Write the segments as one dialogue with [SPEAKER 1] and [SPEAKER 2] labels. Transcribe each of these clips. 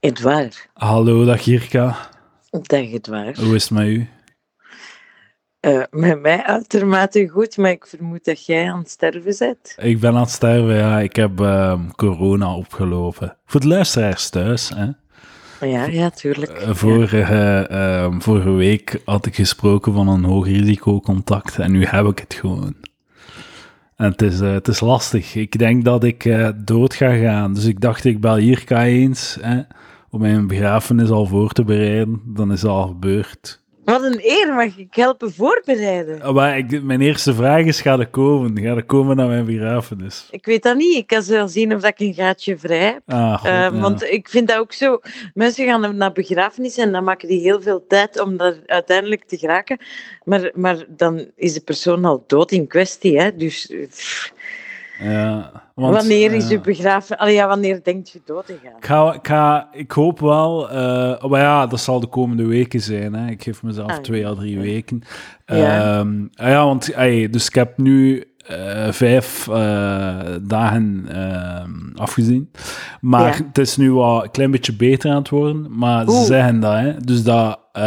[SPEAKER 1] Edouard,
[SPEAKER 2] Hallo, dag Jirka.
[SPEAKER 1] dag Edouard.
[SPEAKER 2] Hoe is het met u?
[SPEAKER 1] Eh met mij uitermate goed, maar ik vermoed dat jij aan het sterven bent.
[SPEAKER 2] Ik ben aan het sterven, ja. Ik heb ehm, corona opgelopen. Voor de luisteraars thuis, hè.
[SPEAKER 1] Ja, ja, tuurlijk.
[SPEAKER 2] Eh, Vorige, ehm, vorige week had ik gesproken van een hoog risicocontact en nu heb ik het gewoon. En het is, eh, het is lastig. Ik denk dat ik eh, dood ga gaan. Dus ik dacht, ik bel Jirka eens hè, om mijn begrafenis al voor te bereiden. Dan is dat al gebeurd.
[SPEAKER 1] Wat een eer, mag ik helpen voorbereiden?
[SPEAKER 2] Maar ik, mijn eerste vraag is, ga er komen? Ga er komen naar mijn begrafenis?
[SPEAKER 1] Ik weet dat niet. Ik kan wel zien of dat ik een gaatje vrij heb.
[SPEAKER 2] Ah, goed,
[SPEAKER 1] Eh,
[SPEAKER 2] ja.
[SPEAKER 1] Want ik vind dat ook zo. Mensen gaan naar begrafenissen en dan maken die heel veel tijd om daar uiteindelijk te geraken. Maar, maar dan is de persoon al dood in kwestie. Hè? Dus eh, pff,
[SPEAKER 2] Ja, want, eh,
[SPEAKER 1] wanneer is
[SPEAKER 2] ja.
[SPEAKER 1] je begrafen? Allee, ja, wanneer denkt je dood te gaan?
[SPEAKER 2] Ik, ga, ik, ga- ik hoop wel, eh, maar ja, dat zal de komende weken zijn. Hè. Ik geef mezelf
[SPEAKER 1] Ah, ja.
[SPEAKER 2] twee à drie weken.
[SPEAKER 1] Ja.
[SPEAKER 2] Ehm, ah ja, want ey, dus ik heb nu eh, vijf eh, dagen ehm, afgezien. Maar
[SPEAKER 1] Ja.
[SPEAKER 2] het is nu wel een klein beetje beter aan het worden. Maar ze
[SPEAKER 1] Oeh.
[SPEAKER 2] zeggen dat, hè. Dus dat... eh,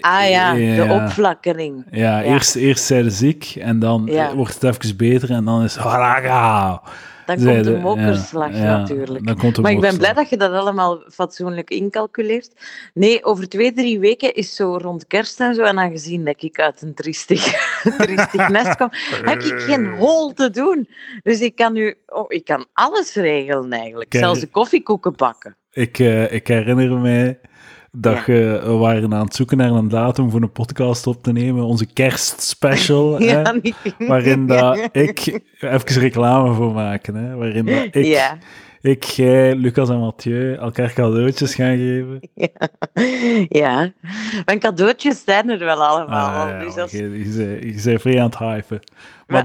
[SPEAKER 1] Ah ja, de
[SPEAKER 2] ja.
[SPEAKER 1] opflakkering.
[SPEAKER 2] Ja,
[SPEAKER 1] Ja.
[SPEAKER 2] Eerst, eerst zijn ze ziek en dan
[SPEAKER 1] Ja.
[SPEAKER 2] eh, wordt het even beter en dan is haraga.
[SPEAKER 1] Dan
[SPEAKER 2] Zeiden,
[SPEAKER 1] komt de
[SPEAKER 2] ja,
[SPEAKER 1] mokkerslag
[SPEAKER 2] ja,
[SPEAKER 1] natuurlijk.
[SPEAKER 2] dan komt de
[SPEAKER 1] Maar ik ben blij
[SPEAKER 2] mokkerslag.
[SPEAKER 1] dat je dat allemaal fatsoenlijk incalculeert. Nee, over twee, drie weken is zo rond kerst en zo. En aangezien dat ik uit een triestig, triestig nest kom, heb ik geen hol te doen. Dus ik kan nu oh, ik kan alles regelen eigenlijk.
[SPEAKER 2] Kijk.
[SPEAKER 1] Zelfs de koffiekoeken bakken.
[SPEAKER 2] Ik, eh, ik herinner mij dat
[SPEAKER 1] Ja.
[SPEAKER 2] je- we waren aan het zoeken naar een datum voor een podcast op te nemen. Onze kerstspecial,
[SPEAKER 1] Ja,
[SPEAKER 2] hè,
[SPEAKER 1] niet-
[SPEAKER 2] waarin dat ik... Even reclame voor maken, hè, waarin dat ik,
[SPEAKER 1] Ja,
[SPEAKER 2] ik, jij, Lucas en Mathieu elkaar cadeautjes gaan geven.
[SPEAKER 1] ja. Mijn cadeautjes zijn er wel allemaal. al,
[SPEAKER 2] Ah, ja,
[SPEAKER 1] dus als,
[SPEAKER 2] je, je, zei- je zei vrij aan het hypen. Maar,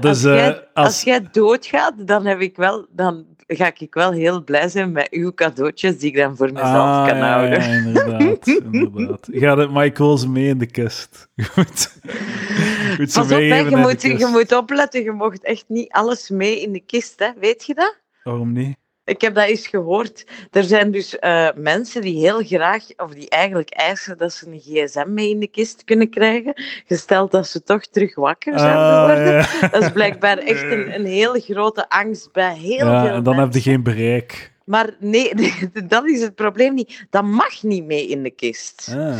[SPEAKER 1] Maar
[SPEAKER 2] dus,
[SPEAKER 1] als, jij,
[SPEAKER 2] eh,
[SPEAKER 1] als... jij doodgaat, dan, heb ik wel, dan ga ik wel heel blij zijn met uw cadeautjes die ik dan voor mezelf
[SPEAKER 2] Ah,
[SPEAKER 1] kan
[SPEAKER 2] ja,
[SPEAKER 1] houden.
[SPEAKER 2] Ja, inderdaad, inderdaad. Ga de Michael's mee in de kist. Goed. Goed, ze
[SPEAKER 1] Pas op, hè,
[SPEAKER 2] meegeven
[SPEAKER 1] je,
[SPEAKER 2] naar de
[SPEAKER 1] moet, je
[SPEAKER 2] kist.
[SPEAKER 1] moet opletten. Je mocht echt niet alles mee in de kist, hè. weet je dat?
[SPEAKER 2] Waarom niet?
[SPEAKER 1] Ik heb dat eens gehoord. Er zijn dus eh, mensen die heel graag, of die eigenlijk eisen dat ze een gsm mee in de kist kunnen krijgen, gesteld dat ze toch terug wakker zijn
[SPEAKER 2] Ah,
[SPEAKER 1] geworden.
[SPEAKER 2] ja.
[SPEAKER 1] Dat is blijkbaar echt een, een hele grote angst bij heel
[SPEAKER 2] Ja,
[SPEAKER 1] veel
[SPEAKER 2] en dan heb
[SPEAKER 1] mensen.
[SPEAKER 2] je geen bereik.
[SPEAKER 1] Maar nee, dat is het probleem niet. Dat mag niet mee in de kist.
[SPEAKER 2] Ah,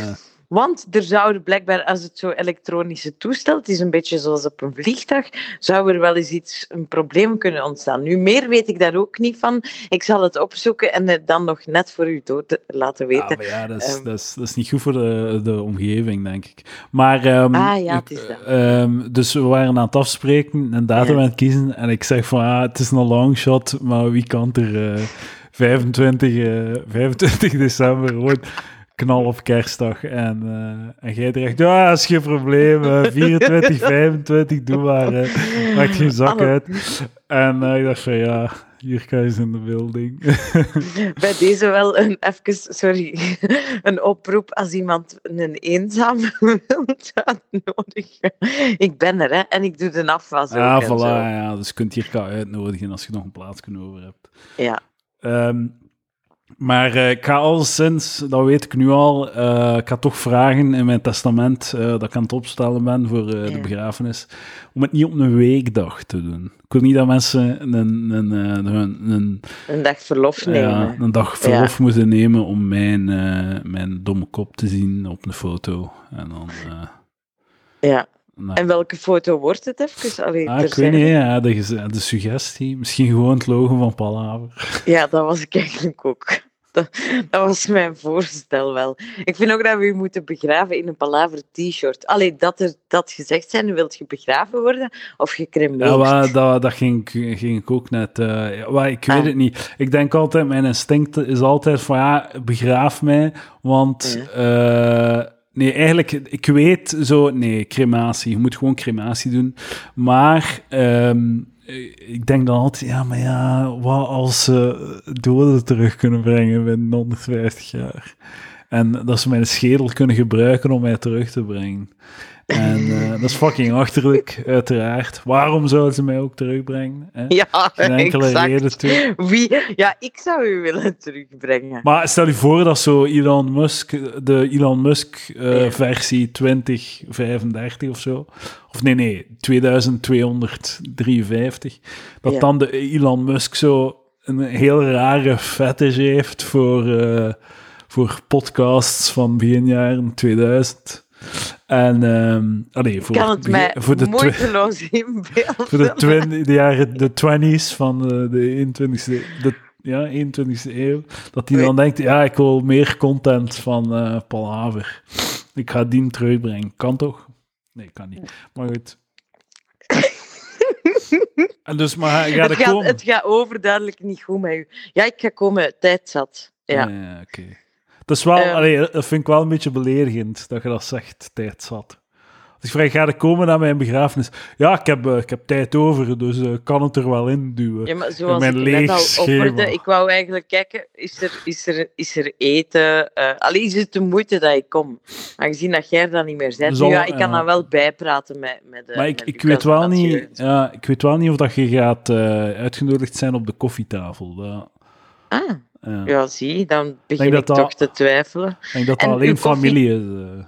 [SPEAKER 1] Want er zouden blijkbaar, als het zo elektronische toestel, het is een beetje zoals op een vliegtuig, zou er wel eens iets, een probleem kunnen ontstaan. Nu, meer weet ik daar ook niet van. Ik zal het opzoeken en het dan nog net voor u dood laten
[SPEAKER 2] ja,
[SPEAKER 1] weten.
[SPEAKER 2] Ah, maar ja, dat is,
[SPEAKER 1] Ehm.
[SPEAKER 2] dat, is, dat is niet goed voor de, de omgeving, denk ik. Maar, ehm,
[SPEAKER 1] Ah, ja,
[SPEAKER 2] ik-
[SPEAKER 1] het is dat.
[SPEAKER 2] ehm, dus we waren aan het afspreken, een datum
[SPEAKER 1] Ja.
[SPEAKER 2] aan het kiezen. En ik zeg van, ah, het is een long shot, maar wie kan er eh, 25, eh, 25 december gewoon knal op kerstdag. En, eh, en jij terecht, ja, is geen probleem, eh, 24, 25, doe maar. eh, maakt geen zak
[SPEAKER 1] Alle-
[SPEAKER 2] uit. En eh, ik dacht van, ja, Jirka is in de building.
[SPEAKER 1] Bij deze wel een, even, sorry, een oproep als iemand een eenzame wilt uitnodigen. Ik ben er, hè, en ik doe de afwas ook.
[SPEAKER 2] Ja,
[SPEAKER 1] en
[SPEAKER 2] voilà,
[SPEAKER 1] zo.
[SPEAKER 2] ja. Dus je kunt Jirka uitnodigen als je nog een plaats kunnen over hebt.
[SPEAKER 1] Ja.
[SPEAKER 2] Ehm, maar eh, ik ga alleszins, dat weet ik nu al, eh, ik ga toch vragen in mijn testament, eh, dat ik aan het opstellen ben voor eh, de
[SPEAKER 1] Ja.
[SPEAKER 2] begrafenis, om het niet op een weekdag te doen. Ik wil niet dat mensen een, een, een, eh, een, een,
[SPEAKER 1] Een dag verlof nemen.
[SPEAKER 2] ja, een dag verlof moeten nemen om mijn, eh, mijn domme kop te zien op een foto. En dan... eh,
[SPEAKER 1] Ja.
[SPEAKER 2] nou.
[SPEAKER 1] En welke foto wordt het even? Allee,
[SPEAKER 2] Ah, ik weet
[SPEAKER 1] terzijde.
[SPEAKER 2] niet, ja, de, gez- de suggestie. Misschien gewoon het logo van Palaver.
[SPEAKER 1] Ja, dat was ik eigenlijk ook. Dat, dat was mijn voorstel wel. Ik vind ook dat we u moeten begraven in een palaver t-shirt. Allee, dat er dat gezegd zijn, wilt je begraven worden of gecremeerd?
[SPEAKER 2] Ja, maar dat, dat ging, ik- ging ik ook net. eh, ja, maar ik weet
[SPEAKER 1] Ah.
[SPEAKER 2] het niet. Ik denk altijd, mijn instinct is altijd van ja, begraaf mij. Want eh, nee, eigenlijk, ik weet zo, nee, crematie. Je moet gewoon crematie doen. Maar ehm, ik denk dan altijd, ja, maar ja, wat als ze doden terug kunnen brengen binnen 150 jaar? En dat ze mijn schedel kunnen gebruiken om mij terug te brengen. En eh, dat is fucking achterlijk, uiteraard. Waarom zouden ze mij ook terugbrengen? Hè?
[SPEAKER 1] Ja,
[SPEAKER 2] Geen enkele
[SPEAKER 1] exact.
[SPEAKER 2] reden toe.
[SPEAKER 1] Wie? Ja, ik zou u willen terugbrengen.
[SPEAKER 2] Maar stel je voor dat zo Elon Musk, de Elon Musk eh, versie 2035 of zo, of nee, nee, 2253, dat
[SPEAKER 1] Ja.
[SPEAKER 2] dan de Elon Musk zo een heel rare fetish heeft voor, eh, voor podcasts van begin jaren 2000. En, ehm allee, voor,
[SPEAKER 1] Ik kan het
[SPEAKER 2] begin-
[SPEAKER 1] mij
[SPEAKER 2] voor de twi-
[SPEAKER 1] moeiteloos
[SPEAKER 2] voor
[SPEAKER 1] inbeelden.
[SPEAKER 2] de, twin, de jaren de 20s van eh, de 21ste, de, ja, 21ste eeuw. Dat hij dan denkt: ja, ik wil meer content van eh Paul Haver. Ik ga die terugbrengen. Kan toch? Nee, kan niet. Maar goed. en dus, maar hij gaat
[SPEAKER 1] het,
[SPEAKER 2] er
[SPEAKER 1] gaat,
[SPEAKER 2] komen.
[SPEAKER 1] het gaat overduidelijk niet goed met u. Ja, ik ga komen, tijd zat. Ja.
[SPEAKER 2] oké. Dat is wel,
[SPEAKER 1] Ehm.
[SPEAKER 2] allee, dat vind ik wel een beetje beledigend dat je dat zegt, tijd zat. Als ik vraag, ga er komen naar mijn begrafenis? Ja, ik heb, eh, ik heb tijd over, dus eh, ik kan het er wel in duwen.
[SPEAKER 1] Ja, maar zoals
[SPEAKER 2] mijn
[SPEAKER 1] ik net al
[SPEAKER 2] leegschema.
[SPEAKER 1] opperde, ik wou eigenlijk kijken, is er, is er, is er eten? eh allee, is het de moeite dat ik kom? Aangezien dat jij er dan niet meer bent.
[SPEAKER 2] Zal-
[SPEAKER 1] nu, ja, ik kan
[SPEAKER 2] ja.
[SPEAKER 1] dan wel bijpraten met, met eh,
[SPEAKER 2] Maar ik,
[SPEAKER 1] met
[SPEAKER 2] ik,
[SPEAKER 1] Lucas
[SPEAKER 2] weet wel
[SPEAKER 1] en
[SPEAKER 2] niet,
[SPEAKER 1] Mathieu.
[SPEAKER 2] ja, ik weet wel niet of dat je gaat eh, uitgenodigd zijn op de koffietafel. Dat,
[SPEAKER 1] Ah,
[SPEAKER 2] ja.
[SPEAKER 1] ja, zie, dan begin
[SPEAKER 2] dat
[SPEAKER 1] ik toch
[SPEAKER 2] dat-
[SPEAKER 1] te twijfelen.
[SPEAKER 2] Ik denk dat
[SPEAKER 1] En
[SPEAKER 2] dat alleen
[SPEAKER 1] uw koffie-
[SPEAKER 2] familie is. eh.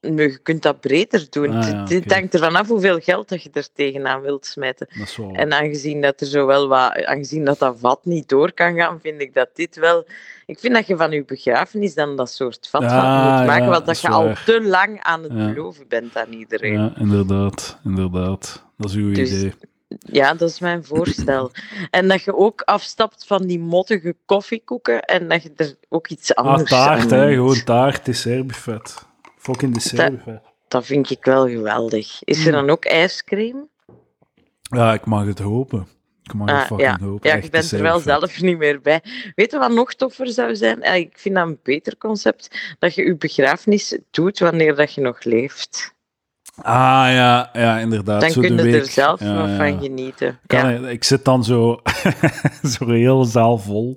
[SPEAKER 1] Maar je kunt dat breder doen.
[SPEAKER 2] Ah,
[SPEAKER 1] Het
[SPEAKER 2] ja,
[SPEAKER 1] het
[SPEAKER 2] oké.
[SPEAKER 1] hangt ervan af hoeveel geld dat je er tegenaan wilt smijten.
[SPEAKER 2] dat is wel...
[SPEAKER 1] En aangezien dat er zowel wat, aangezien dat dat vat niet door kan gaan, vind ik dat dit wel. Ik vind dat je van je begrafenis dan dat soort vat van
[SPEAKER 2] Ah,
[SPEAKER 1] moet maken,
[SPEAKER 2] ja,
[SPEAKER 1] want
[SPEAKER 2] dat
[SPEAKER 1] dat
[SPEAKER 2] is
[SPEAKER 1] je al
[SPEAKER 2] waar.
[SPEAKER 1] te lang aan het
[SPEAKER 2] Ja.
[SPEAKER 1] beloven bent aan iedereen. Ja.
[SPEAKER 2] ja, inderdaad, inderdaad. Dat is uw
[SPEAKER 1] Dus-
[SPEAKER 2] idee.
[SPEAKER 1] dat is mijn voorstel. en dat je ook afstapt van die mottige koffiekoeken en dat je er ook iets
[SPEAKER 2] Ah,
[SPEAKER 1] anders aan
[SPEAKER 2] taart, hè.
[SPEAKER 1] doet.
[SPEAKER 2] Gewoon taart, dessertbuffet. Fucking dessertbuffet.
[SPEAKER 1] Dat vind ik wel geweldig. Is er
[SPEAKER 2] Mm.
[SPEAKER 1] dan ook ijscream?
[SPEAKER 2] Ja, ik mag het hopen. Ik mag het
[SPEAKER 1] Ah,
[SPEAKER 2] fucking hopen.
[SPEAKER 1] Ja,
[SPEAKER 2] Echt
[SPEAKER 1] ik ben er wel
[SPEAKER 2] dessertbuffet.
[SPEAKER 1] zelf niet meer bij. Weet je wat nog toffer zou zijn? Eh, Ik vind dat een beter concept, dat je je begrafenis doet wanneer dat je nog leeft.
[SPEAKER 2] Ah, ja, ja inderdaad.
[SPEAKER 1] Dan
[SPEAKER 2] zo
[SPEAKER 1] kun
[SPEAKER 2] de
[SPEAKER 1] je
[SPEAKER 2] week.
[SPEAKER 1] er zelf
[SPEAKER 2] Ja,
[SPEAKER 1] wat
[SPEAKER 2] ja.
[SPEAKER 1] van genieten.
[SPEAKER 2] Kan,
[SPEAKER 1] ja.
[SPEAKER 2] ik- Ik zit dan zo, zo heel zaal vol.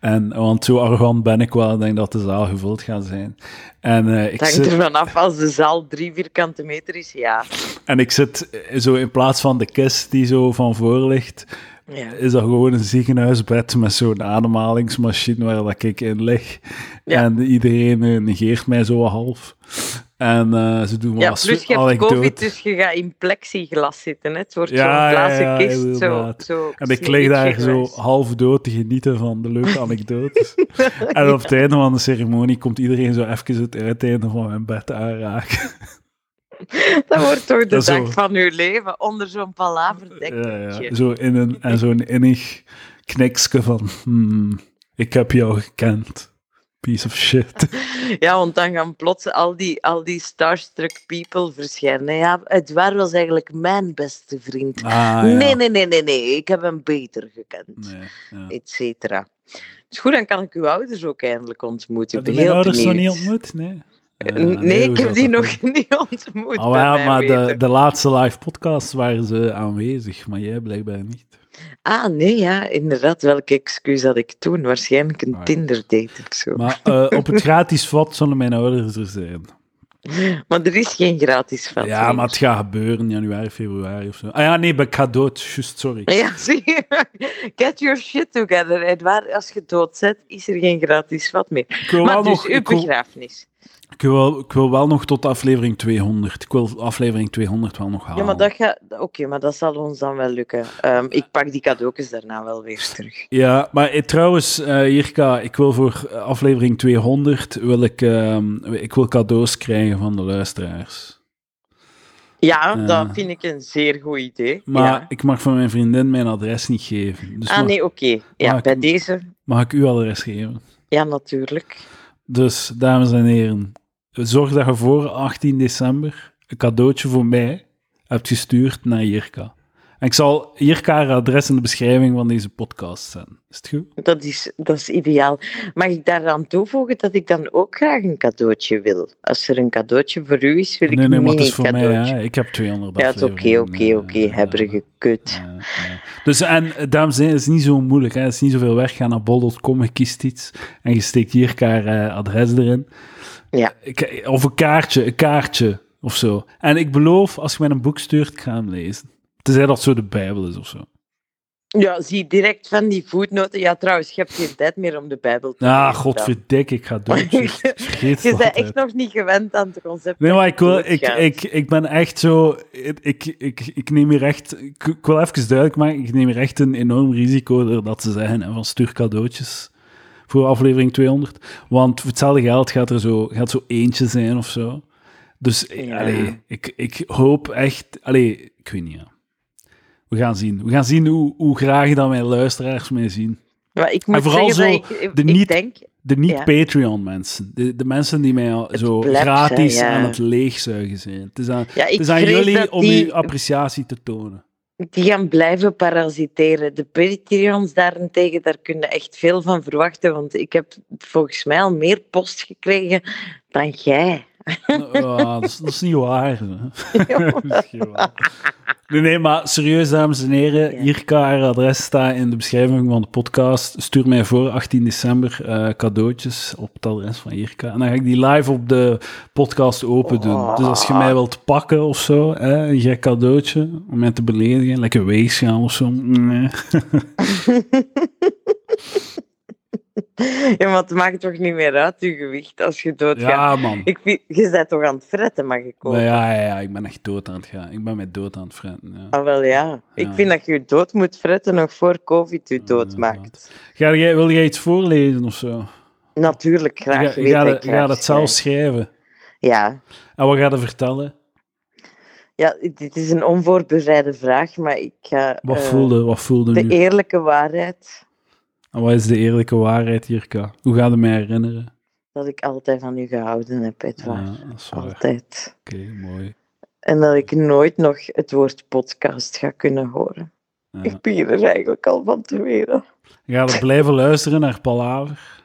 [SPEAKER 2] En, want zo arrogant ben ik wel. Ik denk dat de zaal gevuld gaat zijn. En, eh, ik,
[SPEAKER 1] Het hangt
[SPEAKER 2] zit,
[SPEAKER 1] ervan af als de zaal drie vierkante meter is, ja.
[SPEAKER 2] en ik zit eh, zo in plaats van de kist die zo van voor ligt,
[SPEAKER 1] ja.
[SPEAKER 2] is dat gewoon een ziekenhuisbed met zo'n ademhalingsmachine waar dat ik in lig.
[SPEAKER 1] Ja.
[SPEAKER 2] En iedereen eh, negeert mij zo half. En eh, ze doen wel
[SPEAKER 1] Ja, plus je hebt
[SPEAKER 2] anekdotes.
[SPEAKER 1] covid, dus je gaat in plexiglas zitten. hè. Het wordt
[SPEAKER 2] Ja, ja,
[SPEAKER 1] zo'n glazen
[SPEAKER 2] ja,
[SPEAKER 1] kist. Zo,
[SPEAKER 2] inderdaad.
[SPEAKER 1] zo
[SPEAKER 2] En ik lig daar zo
[SPEAKER 1] sneeuwwitgewijs.
[SPEAKER 2] half dood te genieten van de leuke anekdotes. en op het einde van de ceremonie komt iedereen zo even het uiteinde van mijn bed aanraken.
[SPEAKER 1] Dat wordt toch de dag
[SPEAKER 2] Dat zo.
[SPEAKER 1] van je leven, onder zo'n palaverdek.
[SPEAKER 2] Ja, ja. Zo in een, en zo'n innig kniksken van... "Hmm, ik heb jou gekend. Piece of shit.
[SPEAKER 1] Ja, want dan gaan plots al die, al die starstruck people verschijnen. Ja, Edouard was eigenlijk mijn beste vriend.
[SPEAKER 2] Ah, ja.
[SPEAKER 1] Nee, nee, nee, nee, nee. Ik heb hem beter gekend.
[SPEAKER 2] Nee, ja.
[SPEAKER 1] Et cetera. Dus goed, dan kan ik uw ouders ook eindelijk ontmoeten. Ik
[SPEAKER 2] Heb je
[SPEAKER 1] ben
[SPEAKER 2] mijn
[SPEAKER 1] heel
[SPEAKER 2] ouders nog
[SPEAKER 1] benieuwd.
[SPEAKER 2] niet ontmoet? Nee. Eh,
[SPEAKER 1] N- nee,
[SPEAKER 2] hoe
[SPEAKER 1] ik heb
[SPEAKER 2] zou
[SPEAKER 1] die
[SPEAKER 2] dat
[SPEAKER 1] nog
[SPEAKER 2] dan?
[SPEAKER 1] niet ontmoet.
[SPEAKER 2] Ah,
[SPEAKER 1] bij
[SPEAKER 2] ja,
[SPEAKER 1] mij
[SPEAKER 2] maar de,
[SPEAKER 1] weten.
[SPEAKER 2] de laatste live podcast waren ze aanwezig, maar jij blijkbaar niet.
[SPEAKER 1] Ah, nee, ja, inderdaad. Welke excuus had ik toen? Waarschijnlijk een
[SPEAKER 2] Maar-
[SPEAKER 1] Tinder-date of zo. Maar...
[SPEAKER 2] Ah, Maar eh, op het gratis vat zullen mijn ouders er zijn.
[SPEAKER 1] er is geen gratis vat.
[SPEAKER 2] Ja,
[SPEAKER 1] meer.
[SPEAKER 2] maar het gaat gebeuren in januari, februari of zo. Ah ja, nee, maar ik ga dood. Just, sorry.
[SPEAKER 1] Ja, zie je. Get your shit together. Edouard, als je dood zet, is er geen gratis vat meer.
[SPEAKER 2] Ik wil,
[SPEAKER 1] Maar
[SPEAKER 2] wel
[SPEAKER 1] dus
[SPEAKER 2] nog,
[SPEAKER 1] uw
[SPEAKER 2] ik, wil,
[SPEAKER 1] begrafenis.
[SPEAKER 2] ik, wil, ik wil wel nog tot aflevering 200. Ik wil aflevering 200 wel nog halen.
[SPEAKER 1] Ja, maar dat gaat... Oké, maar dat zal ons dan wel lukken. Ehm, ik pak die cadeautjes daarna wel weer terug.
[SPEAKER 2] Ja, maar eh, trouwens, eh Jirka, ik wil voor eh, aflevering 200 wil ik, ehm, ik wil cadeaus krijgen van de luisteraars.
[SPEAKER 1] Ja,
[SPEAKER 2] Ja.
[SPEAKER 1] dat vind ik een zeer goed idee.
[SPEAKER 2] Eh. Maar
[SPEAKER 1] Ja.
[SPEAKER 2] ik mag van mijn vriendin mijn adres niet geven. Dus
[SPEAKER 1] Ah,
[SPEAKER 2] mag,
[SPEAKER 1] nee, oké. Ja,
[SPEAKER 2] maar ik-
[SPEAKER 1] bij deze...
[SPEAKER 2] mag ik uw adres geven?
[SPEAKER 1] Ja, natuurlijk.
[SPEAKER 2] Dus, dames en heren, zorg dat je voor 18 december een cadeautje voor mij hebt gestuurd naar Jirka. En ik zal hier haar adres in de beschrijving van deze podcast zetten. Is het goed?
[SPEAKER 1] Dat is, dat is ideaal. Mag ik daaraan toevoegen dat ik dan ook graag een cadeautje wil? Als er een cadeautje voor u is, wil ik
[SPEAKER 2] nee, nee,
[SPEAKER 1] een
[SPEAKER 2] maar het
[SPEAKER 1] mini
[SPEAKER 2] is voor mij.
[SPEAKER 1] cadeautje.
[SPEAKER 2] Hè. Ik heb 200
[SPEAKER 1] Ja, het is oké, oké,
[SPEAKER 2] afleveringen,
[SPEAKER 1] oké,
[SPEAKER 2] eh,
[SPEAKER 1] hebberige kut.
[SPEAKER 2] Ja, ja. Dus en eh, dames en heren, het is niet zo moeilijk. Hè? Het is niet zoveel weg. Ga naar bol.com, je kiest iets en je steekt hier elkaar eh, adres erin.
[SPEAKER 1] Ja.
[SPEAKER 2] Ik- eh, Of een kaartje, een kaartje of zo. En ik beloof, als je mij een boek stuurt, ik ga hem lezen. Tenzij dat zo de Bijbel is of zo. Ah,
[SPEAKER 1] Ja, zie direct van die voetnoten. Ja, trouwens, je hebt geen tijd meer om de Bijbel te
[SPEAKER 2] Ah,
[SPEAKER 1] lezen.
[SPEAKER 2] godverdik, ik ga dood. juist. Ik Vergeet
[SPEAKER 1] Je
[SPEAKER 2] het
[SPEAKER 1] bent
[SPEAKER 2] altijd.
[SPEAKER 1] echt nog niet gewend aan het concept.
[SPEAKER 2] Nee, maar ik, wil, ik,
[SPEAKER 1] Doodgaans.
[SPEAKER 2] ik, ik ben echt zo. Ik, ik, ik, ik neem hier echt. Ik, ik wil even duidelijk maken. Ik neem hier echt een enorm risico door dat ze zeggen. hè, Van stuur cadeautjes voor aflevering 200. Want voor hetzelfde geld gaat er zo, gaat zo eentje zijn of zo. Dus eh,
[SPEAKER 1] Ja.
[SPEAKER 2] allee, ik, ik hoop echt. Allee, ik weet niet. Ja. We gaan zien. We gaan zien hoe, hoe graag dat mijn luisteraars mij zien.
[SPEAKER 1] Maar ik moet
[SPEAKER 2] vooral
[SPEAKER 1] zeggen
[SPEAKER 2] zo
[SPEAKER 1] dat ik,
[SPEAKER 2] de
[SPEAKER 1] ik
[SPEAKER 2] niet-
[SPEAKER 1] denk,
[SPEAKER 2] De niet-Patreon-mensen. De, de mensen die mij al zo
[SPEAKER 1] plebs, hè,
[SPEAKER 2] gratis
[SPEAKER 1] ja.
[SPEAKER 2] aan het leegzuigen zijn. Het is aan,
[SPEAKER 1] ja, ik
[SPEAKER 2] het is Dus aan
[SPEAKER 1] vrees
[SPEAKER 2] jullie
[SPEAKER 1] dat
[SPEAKER 2] om
[SPEAKER 1] die,
[SPEAKER 2] uw appreciatie te tonen.
[SPEAKER 1] die gaan blijven parasiteren. De Patreons daarentegen, daar kunnen echt veel van verwachten, want ik heb volgens mij al meer post gekregen dan jij.
[SPEAKER 2] Nou, Ja, dat, is, dat is niet waar. hè. Dat is niet waar. Nee, nee, maar serieus, dames en heren.
[SPEAKER 1] Ja.
[SPEAKER 2] Hier kan haar adres staan in de beschrijving van de podcast. Stuur mij voor 18 december eh, cadeautjes op het adres van Jirka. En dan ga ik die live op de podcast open doen.
[SPEAKER 1] Oh.
[SPEAKER 2] Dus als je mij wilt pakken of zo, hè, een gek cadeautje om mij te beledigen, lekker weegschaal of zo. Nee.
[SPEAKER 1] Ja, maar het maakt toch niet meer uit, je gewicht, als je doodgaat.
[SPEAKER 2] Ja, man.
[SPEAKER 1] Ik vind, je bent toch aan het fretten, mag ik ook?
[SPEAKER 2] Maar ja, ja, ja, ik ben echt dood aan het gaan. Ik ben mij dood aan het fretten. Ja.
[SPEAKER 1] Ah, wel ja. Ik
[SPEAKER 2] Ja.
[SPEAKER 1] vind dat je je dood moet fretten nog voor COVID je dood maakt.
[SPEAKER 2] Ga jij, wil jij iets voorlezen of zo?
[SPEAKER 1] Natuurlijk, graag.
[SPEAKER 2] Ga,
[SPEAKER 1] weet
[SPEAKER 2] ga,
[SPEAKER 1] ik
[SPEAKER 2] de-
[SPEAKER 1] graag.
[SPEAKER 2] ga dat zelf schrijven.
[SPEAKER 1] Ja.
[SPEAKER 2] En wat ga je vertellen?
[SPEAKER 1] ja, dit is een onvoorbereide vraag, maar ik ga...
[SPEAKER 2] Wat
[SPEAKER 1] eh,
[SPEAKER 2] voelde, wat voelde
[SPEAKER 1] De
[SPEAKER 2] nu?
[SPEAKER 1] eerlijke waarheid,
[SPEAKER 2] En wat is de eerlijke waarheid, Jirka? Hoe ga je mij herinneren?
[SPEAKER 1] dat ik altijd van u gehouden heb, Edouard.
[SPEAKER 2] Ja, dat is waar. Oké,
[SPEAKER 1] altijd.
[SPEAKER 2] mooi.
[SPEAKER 1] En dat ik nooit nog het woord podcast ga kunnen horen.
[SPEAKER 2] Ja.
[SPEAKER 1] Ik begin er eigenlijk al van te weren.
[SPEAKER 2] Ga je blijven luisteren naar Palaver?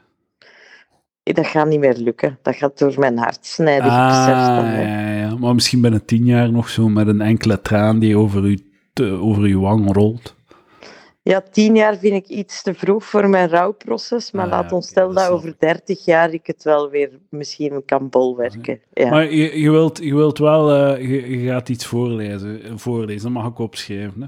[SPEAKER 1] Dat gaat niet meer lukken. Dat gaat door mijn hart snijden.
[SPEAKER 2] Ah,
[SPEAKER 1] ik besef dat wel.
[SPEAKER 2] ja, ja. Maar misschien binnen tien jaar nog zo met een enkele traan die over uw, te- over uw wang rolt.
[SPEAKER 1] Ja, tien jaar vind ik iets te vroeg voor mijn rouwproces, maar
[SPEAKER 2] Ah,
[SPEAKER 1] laat
[SPEAKER 2] ja,
[SPEAKER 1] ons
[SPEAKER 2] oké,
[SPEAKER 1] stellen
[SPEAKER 2] dat
[SPEAKER 1] dat,
[SPEAKER 2] snap
[SPEAKER 1] over dertig jaar ik het wel weer misschien kan bolwerken. Ja.
[SPEAKER 2] Maar je, je, wilt, je wilt wel, eh, je, je gaat iets voorlezen, voorlezen, dat mag ik opschrijven. Hè?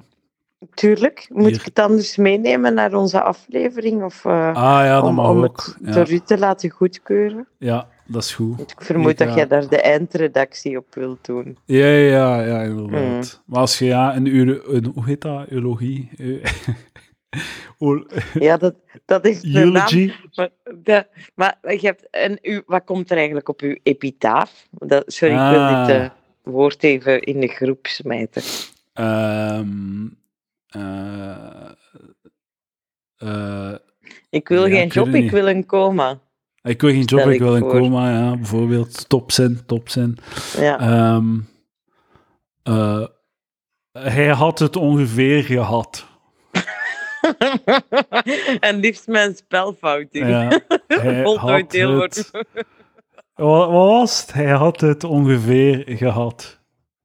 [SPEAKER 1] Tuurlijk, moet
[SPEAKER 2] Hier.
[SPEAKER 1] ik het anders meenemen naar onze aflevering of eh,
[SPEAKER 2] Ah ja, dat
[SPEAKER 1] om,
[SPEAKER 2] mag
[SPEAKER 1] om
[SPEAKER 2] ook.
[SPEAKER 1] het
[SPEAKER 2] Ja,
[SPEAKER 1] door u te laten goedkeuren?
[SPEAKER 2] ja, dat is goed.
[SPEAKER 1] Want ik vermoed
[SPEAKER 2] Ja.
[SPEAKER 1] dat jij daar de eindredactie op wilt doen.
[SPEAKER 2] Ja, ja, ja, inderdaad.
[SPEAKER 1] Mhm.
[SPEAKER 2] Maar als je ja, een, uro- een hoe heet dat? Eulogie? Eu- Ol-
[SPEAKER 1] Ja, dat, dat is de naam.
[SPEAKER 2] Eulogy?
[SPEAKER 1] Maar, de- maar je hebt en u, wat komt er eigenlijk op uw epitaaf? Dat, sorry, ik wil
[SPEAKER 2] Ah.
[SPEAKER 1] dit eh, woord even in de groep smijten.
[SPEAKER 2] Ehm, eh, eh,
[SPEAKER 1] Ik wil
[SPEAKER 2] Ja,
[SPEAKER 1] geen
[SPEAKER 2] ik weet
[SPEAKER 1] job,
[SPEAKER 2] het
[SPEAKER 1] ik
[SPEAKER 2] niet.
[SPEAKER 1] wil een coma.
[SPEAKER 2] ik wil geen job,
[SPEAKER 1] Stel
[SPEAKER 2] ik
[SPEAKER 1] ik
[SPEAKER 2] wil een
[SPEAKER 1] voor.
[SPEAKER 2] coma, ja, bijvoorbeeld. Topzin, topzin.
[SPEAKER 1] Ja.
[SPEAKER 2] Ehm, eh, hij had het ongeveer gehad.
[SPEAKER 1] en liefst mijn spelfout. Ja,
[SPEAKER 2] Ja, hij
[SPEAKER 1] Voltooid
[SPEAKER 2] had
[SPEAKER 1] deelwoord.
[SPEAKER 2] het... Wat, wat was het? Hij had het ongeveer gehad.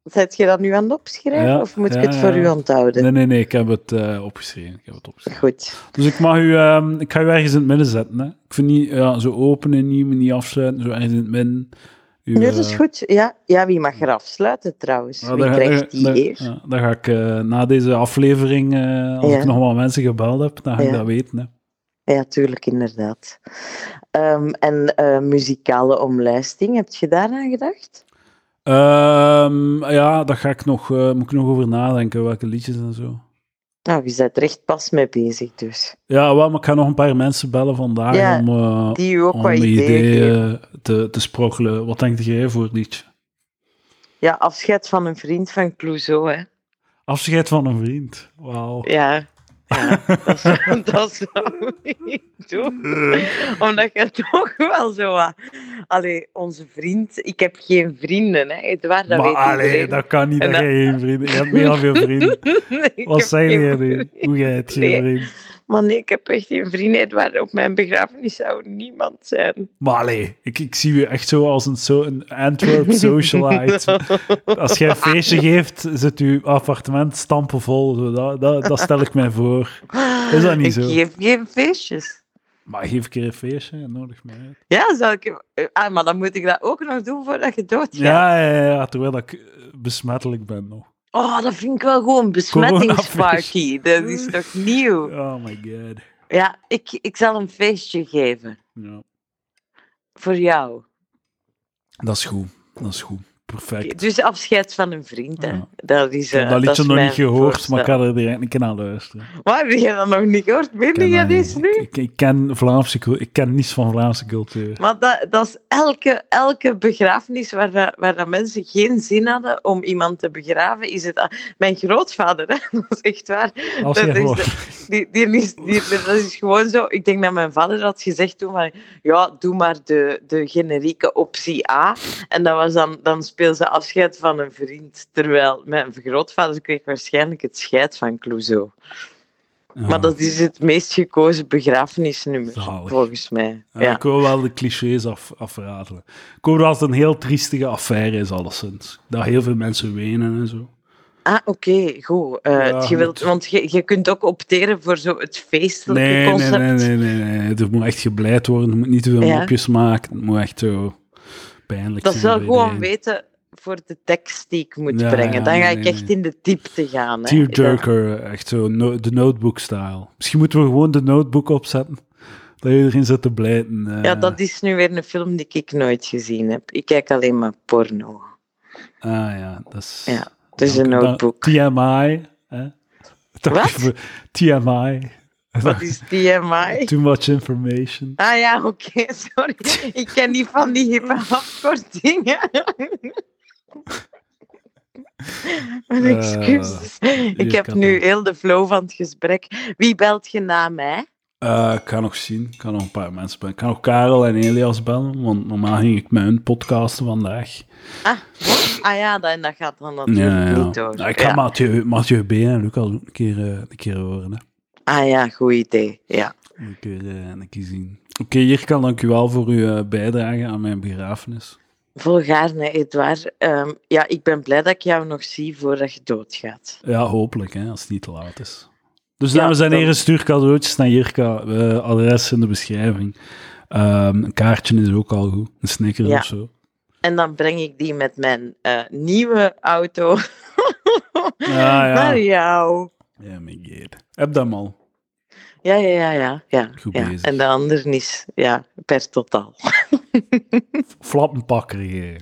[SPEAKER 1] Zet je dat nu aan het opschrijven
[SPEAKER 2] Ja,
[SPEAKER 1] of moet
[SPEAKER 2] ja,
[SPEAKER 1] ik het voor
[SPEAKER 2] ja.
[SPEAKER 1] u onthouden?
[SPEAKER 2] Nee, nee, nee, ik heb het eh, opgeschreven. Ik heb het opgeschreven.
[SPEAKER 1] Goed.
[SPEAKER 2] Dus ik mag u, ehm, ik ga u ergens in het midden zetten. Hè. Ik vind niet ja, zo openen, niet, niet afsluiten, zo ergens in het midden. U,
[SPEAKER 1] Nu, dat is
[SPEAKER 2] eh,
[SPEAKER 1] goed. Ja, ja, wie mag er afsluiten trouwens?
[SPEAKER 2] ja,
[SPEAKER 1] wie
[SPEAKER 2] daar-
[SPEAKER 1] krijgt die
[SPEAKER 2] daar-
[SPEAKER 1] eer?
[SPEAKER 2] ja, daar ga ik eh, na deze aflevering, eh, als
[SPEAKER 1] Ja.
[SPEAKER 2] ik nog wel mensen gebeld heb, dan ga ik
[SPEAKER 1] Ja.
[SPEAKER 2] dat weten. Hè.
[SPEAKER 1] Ja, tuurlijk, inderdaad. Ehm, en eh, muzikale omlijsting, heb je daaraan gedacht?
[SPEAKER 2] Ehm, ja, daar ga ik nog, eh, moet ik nog over nadenken, welke liedjes en zo.
[SPEAKER 1] Nou, je bent er echt pas mee bezig dus.
[SPEAKER 2] Ja, wel, maar ik ga nog een paar mensen bellen vandaag
[SPEAKER 1] Ja,
[SPEAKER 2] om, eh,
[SPEAKER 1] Die u ook
[SPEAKER 2] om
[SPEAKER 1] wat
[SPEAKER 2] ideeën
[SPEAKER 1] ideeën
[SPEAKER 2] eh.
[SPEAKER 1] geven.
[SPEAKER 2] te, te sprokkelen. Wat denk jij voor het liedje?
[SPEAKER 1] Ja, afscheid van een vriend van Clouseau, hè.
[SPEAKER 2] Afscheid van een vriend. Wauw.
[SPEAKER 1] Ja, Ja, dat zou, dat zou ik niet doen.
[SPEAKER 2] Eh,
[SPEAKER 1] Omdat je toch wel zo wat... Allee, onze vriend... Ik heb geen vrienden, hè, Edouard. Dat
[SPEAKER 2] maar
[SPEAKER 1] weet
[SPEAKER 2] allee,
[SPEAKER 1] iedereen.
[SPEAKER 2] dat kan niet,
[SPEAKER 1] En
[SPEAKER 2] dat
[SPEAKER 1] dat-
[SPEAKER 2] jij geen vrienden... Je hebt heel veel vrienden.
[SPEAKER 1] Ik
[SPEAKER 2] Wat
[SPEAKER 1] heb
[SPEAKER 2] zeg
[SPEAKER 1] geen
[SPEAKER 2] je
[SPEAKER 1] vrienden.
[SPEAKER 2] nu? Hoe jij het
[SPEAKER 1] Nee.
[SPEAKER 2] geen vrienden?
[SPEAKER 1] Maar nee, ik heb echt geen vrienden. Edouard, op mijn begrafenis zou niemand zijn.
[SPEAKER 2] Maar allee, ik, ik zie je echt zo als een, zo, een Antwerp socialite. Als jij een feestje geeft, zit je appartement stampenvol. Zo, dat, dat, dat stel ik mij voor. Is dat niet zo?
[SPEAKER 1] Ik geef geen feestjes.
[SPEAKER 2] Maar geef een keer een feestje, nodig mij uit.
[SPEAKER 1] Ja, zou ik... Ah, maar dan moet ik dat ook nog doen voordat je doodgaat.
[SPEAKER 2] Ja, ja, ja, ja, terwijl ik eh, besmettelijk ben nog.
[SPEAKER 1] Oh, dat vind ik wel gewoon besmettingsparty. Dat is toch nieuw?
[SPEAKER 2] Oh my god.
[SPEAKER 1] Ja, ik, ik zal een feestje geven.
[SPEAKER 2] Ja.
[SPEAKER 1] Voor jou.
[SPEAKER 2] Dat is goed, dat is goed. Perfect.
[SPEAKER 1] Dus afscheid van een vriend, hè.
[SPEAKER 2] Ja.
[SPEAKER 1] Dat is...
[SPEAKER 2] Ik heb
[SPEAKER 1] eh,
[SPEAKER 2] dat liedje
[SPEAKER 1] is
[SPEAKER 2] nog
[SPEAKER 1] mijn
[SPEAKER 2] niet gehoord, maar
[SPEAKER 1] voorstel.
[SPEAKER 2] ik ga er direct een keer naar luisteren.
[SPEAKER 1] Maar heb je dat nog niet gehoord? Weet
[SPEAKER 2] ken
[SPEAKER 1] je
[SPEAKER 2] dat
[SPEAKER 1] dat is
[SPEAKER 2] niet.
[SPEAKER 1] nu?
[SPEAKER 2] Ik, ik ken Vlaamse cul- ik ken niets van Vlaamse cultuur.
[SPEAKER 1] Maar dat, dat is elke, elke begrafenis waar, dat- waar dat mensen geen zin hadden om iemand te begraven, is het... ah, Mijn grootvader, hè, dat is echt waar.
[SPEAKER 2] Als
[SPEAKER 1] dat
[SPEAKER 2] je
[SPEAKER 1] is
[SPEAKER 2] gewoon...
[SPEAKER 1] Die, die is, die, dat is gewoon zo. Ik denk dat mijn vader had gezegd toen van, ja, doe maar de, de generieke optie A. En dat was dan, dan speel ze afscheid van een vriend. Terwijl mijn grootvader kreeg waarschijnlijk het scheid van Clouseau.
[SPEAKER 2] Ja.
[SPEAKER 1] Maar dat is het meest gekozen begrafenisnummer,
[SPEAKER 2] Ah. Zalig.
[SPEAKER 1] volgens mij.
[SPEAKER 2] Ja,
[SPEAKER 1] Ja.
[SPEAKER 2] Ik wil wel de clichés af, afratelen. Ik hoor dat het een heel triestige affaire is, alleszins. Dat heel veel mensen wenen en zo.
[SPEAKER 1] Ah, oké, goed. Eh,
[SPEAKER 2] Ja,
[SPEAKER 1] je wilt,
[SPEAKER 2] goed.
[SPEAKER 1] want je, je kunt ook opteren voor zo het feestelijke
[SPEAKER 2] Nee, nee,
[SPEAKER 1] concept.
[SPEAKER 2] nee, nee, nee, nee. Er moet echt gebleid worden. Er moet niet te veel
[SPEAKER 1] Ja.
[SPEAKER 2] mopjes maken. Het moet echt zo pijnlijk
[SPEAKER 1] Dat is
[SPEAKER 2] zijn.
[SPEAKER 1] wel
[SPEAKER 2] voor
[SPEAKER 1] gewoon
[SPEAKER 2] iedereen.
[SPEAKER 1] weten voor de tekst die ik moet
[SPEAKER 2] Ja, ja,
[SPEAKER 1] brengen. Dan ga
[SPEAKER 2] nee,
[SPEAKER 1] ik
[SPEAKER 2] nee,
[SPEAKER 1] echt
[SPEAKER 2] nee.
[SPEAKER 1] in de diepte gaan. hè.
[SPEAKER 2] Tearjerker, echt zo. no- de notebook-style. Misschien moeten we gewoon de notebook opzetten. Dat je erin zit te blijten. eh.
[SPEAKER 1] Ja, dat is nu weer een film die ik nooit gezien heb. Ik kijk alleen maar porno.
[SPEAKER 2] Ah ja, dat is...
[SPEAKER 1] Ja, dus een
[SPEAKER 2] dan- dan-
[SPEAKER 1] notebook.
[SPEAKER 2] TMI. Hè? Dat-
[SPEAKER 1] Wat?
[SPEAKER 2] TMI.
[SPEAKER 1] Wat is TMI?
[SPEAKER 2] Too much information.
[SPEAKER 1] Ah ja, oké, sorry. Ik ken die van die hippe afkortingen. Mijn
[SPEAKER 2] Eh,
[SPEAKER 1] excuses.
[SPEAKER 2] hier
[SPEAKER 1] Ik heb
[SPEAKER 2] kan
[SPEAKER 1] nu
[SPEAKER 2] het.
[SPEAKER 1] heel de flow van het gesprek. Wie belt je na mij?
[SPEAKER 2] Eh, ik kan nog zien. Ik kan nog een paar mensen bellen. Ik kan nog Karel en Elias bellen, want normaal ging ik met hun podcasten vandaag.
[SPEAKER 1] Ah, ah ja, dat, dat gaat dan natuurlijk
[SPEAKER 2] Ja, ja.
[SPEAKER 1] niet door.
[SPEAKER 2] Nou, ik ga
[SPEAKER 1] Ja.
[SPEAKER 2] Mathieu, Mathieu B. en Lucas ook een keer, eh, een keer horen. Hè.
[SPEAKER 1] Ah ja, goed idee. Ja.
[SPEAKER 2] Een keer, eh, een keer zien. Oké, Jirka, dank u wel voor uw eh, bijdrage aan mijn begrafenis.
[SPEAKER 1] Volgaarne, Edouard. Ehm, ja, ik ben blij dat ik jou nog zie voordat je doodgaat.
[SPEAKER 2] Ja, hopelijk, hè, als het niet te laat is. Dus
[SPEAKER 1] Ja,
[SPEAKER 2] dames en
[SPEAKER 1] dan-
[SPEAKER 2] heren, stuur cadeautjes naar Jirka. eh, adres in de beschrijving. Ehm, een kaartje is ook al goed. Een snicker
[SPEAKER 1] Ja.
[SPEAKER 2] of zo.
[SPEAKER 1] En dan breng ik die met mijn eh, nieuwe auto
[SPEAKER 2] Ah, ja.
[SPEAKER 1] naar jou.
[SPEAKER 2] Ja, mijn god. Heb dat al.
[SPEAKER 1] Ja, ja, ja, ja. ja,
[SPEAKER 2] Goed
[SPEAKER 1] ja.
[SPEAKER 2] bezig.
[SPEAKER 1] En de ander is ja, per totaal.
[SPEAKER 2] Flappenpakker hier.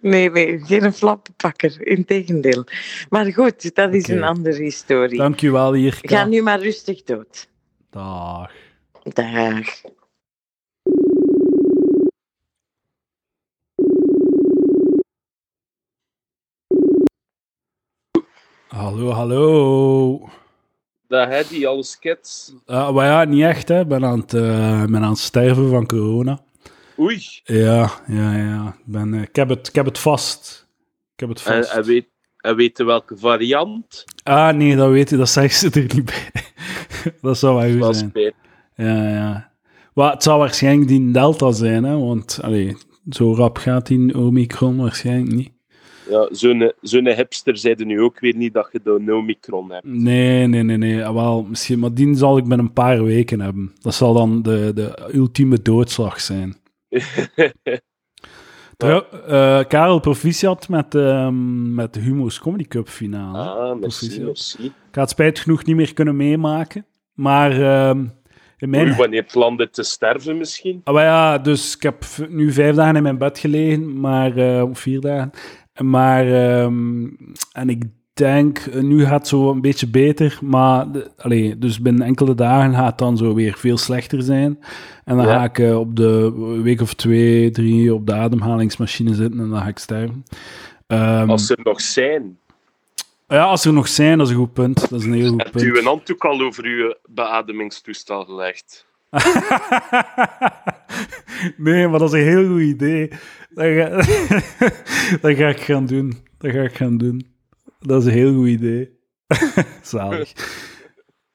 [SPEAKER 1] Nee, nee, geen flappenpakker. Integendeel. Maar goed, dat is
[SPEAKER 2] Oké.
[SPEAKER 1] een andere historie.
[SPEAKER 2] Dankjewel, Jirka.
[SPEAKER 1] Ga nu maar rustig dood.
[SPEAKER 2] Dag.
[SPEAKER 1] Dag.
[SPEAKER 2] Hallo, hallo.
[SPEAKER 3] Dat hij die alle skits.
[SPEAKER 2] Eh, maar ja, niet echt, hè. Ik ben aan het, eh, ben aan het sterven van corona.
[SPEAKER 3] Oei,
[SPEAKER 2] Ja, ja, ja. Ik, ben, eh, ik, heb, het, ik heb het vast. Ik heb het
[SPEAKER 3] hij,
[SPEAKER 2] vast.
[SPEAKER 3] hij, Eh, weet, hij weet welke variant.
[SPEAKER 2] Ah, nee, dat weet je. Dat zeggen ze er niet bij. dat zou wel
[SPEAKER 3] Wel
[SPEAKER 2] goed zijn.
[SPEAKER 3] spijt.
[SPEAKER 2] Ja, ja. Maar het zou waarschijnlijk die Delta zijn, hè. Want, allee, zo rap gaat die Omicron waarschijnlijk niet.
[SPEAKER 3] Ja, Zo'n zo'n hipster zeiden nu ook weer niet dat je de Nomicron hebt.
[SPEAKER 2] Nee, nee, nee, nee. Ah, Wel, misschien, maar die zal ik met een paar weken hebben. Dat zal dan de, de ultieme doodslag zijn. Trouw, eh, Karel, proficiat met, ehm, met de Humo's Comedy Cup finale.
[SPEAKER 3] Ah, merci,
[SPEAKER 2] Proficiat.
[SPEAKER 3] merci.
[SPEAKER 2] Ik had spijt genoeg niet meer kunnen meemaken. Maar ehm, in mijn...
[SPEAKER 3] Oei, wanneer plan dit te sterven misschien?
[SPEAKER 2] Ah, maar ja, dus ik heb v- nu vijf dagen in mijn bed gelegen, maar eh, of vier dagen. Maar ehm, en ik denk, eh, nu gaat het zo een beetje beter, maar de- allee, dus binnen enkele dagen gaat het dan zo weer veel slechter zijn. En dan
[SPEAKER 3] Ja.
[SPEAKER 2] ga ik eh, op de week of twee, drie op de ademhalingsmachine zitten en dan ga ik sterven. Ehm,
[SPEAKER 3] Als ze er nog zijn.
[SPEAKER 2] Ah Ja, als er nog zijn, dat is een goed punt. Dat is een heel goed
[SPEAKER 3] Hebt u
[SPEAKER 2] punt.
[SPEAKER 3] een handdoek al over uw beademingstoestel gelegd?
[SPEAKER 2] nee, maar dat is een heel goed idee. Dat ga, dat ga ik gaan doen. Dat ga ik gaan doen. Dat is een heel goed idee. Zalig.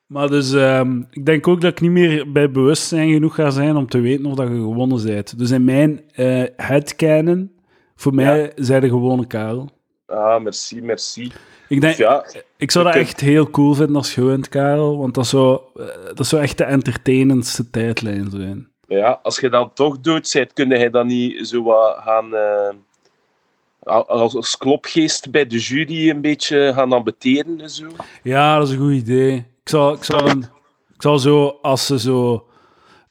[SPEAKER 2] Maar dus, ehm, ik denk ook dat ik niet meer bij bewustzijn genoeg ga zijn om te weten of dat je gewonnen bent. Dus in mijn eh headcanon, voor mij, zijn de gewone Karel.
[SPEAKER 3] Ah, merci, merci.
[SPEAKER 2] Ik denk,
[SPEAKER 3] Ja,
[SPEAKER 2] ik zou dat
[SPEAKER 3] Ik-
[SPEAKER 2] echt heel cool vinden als je wint, Karel. Want dat zou, eh, dat zou echt de entertainendste tijdlijn zijn.
[SPEAKER 3] ja, als je dan toch dood bent, kun je dan niet zo wat gaan... eh, al- als, als klopgeest bij de jury een beetje gaan ambeteren en zo.
[SPEAKER 2] Ja, dat is een goed idee. Ik zal, ik zal, een- ik zal zo, als ze zo...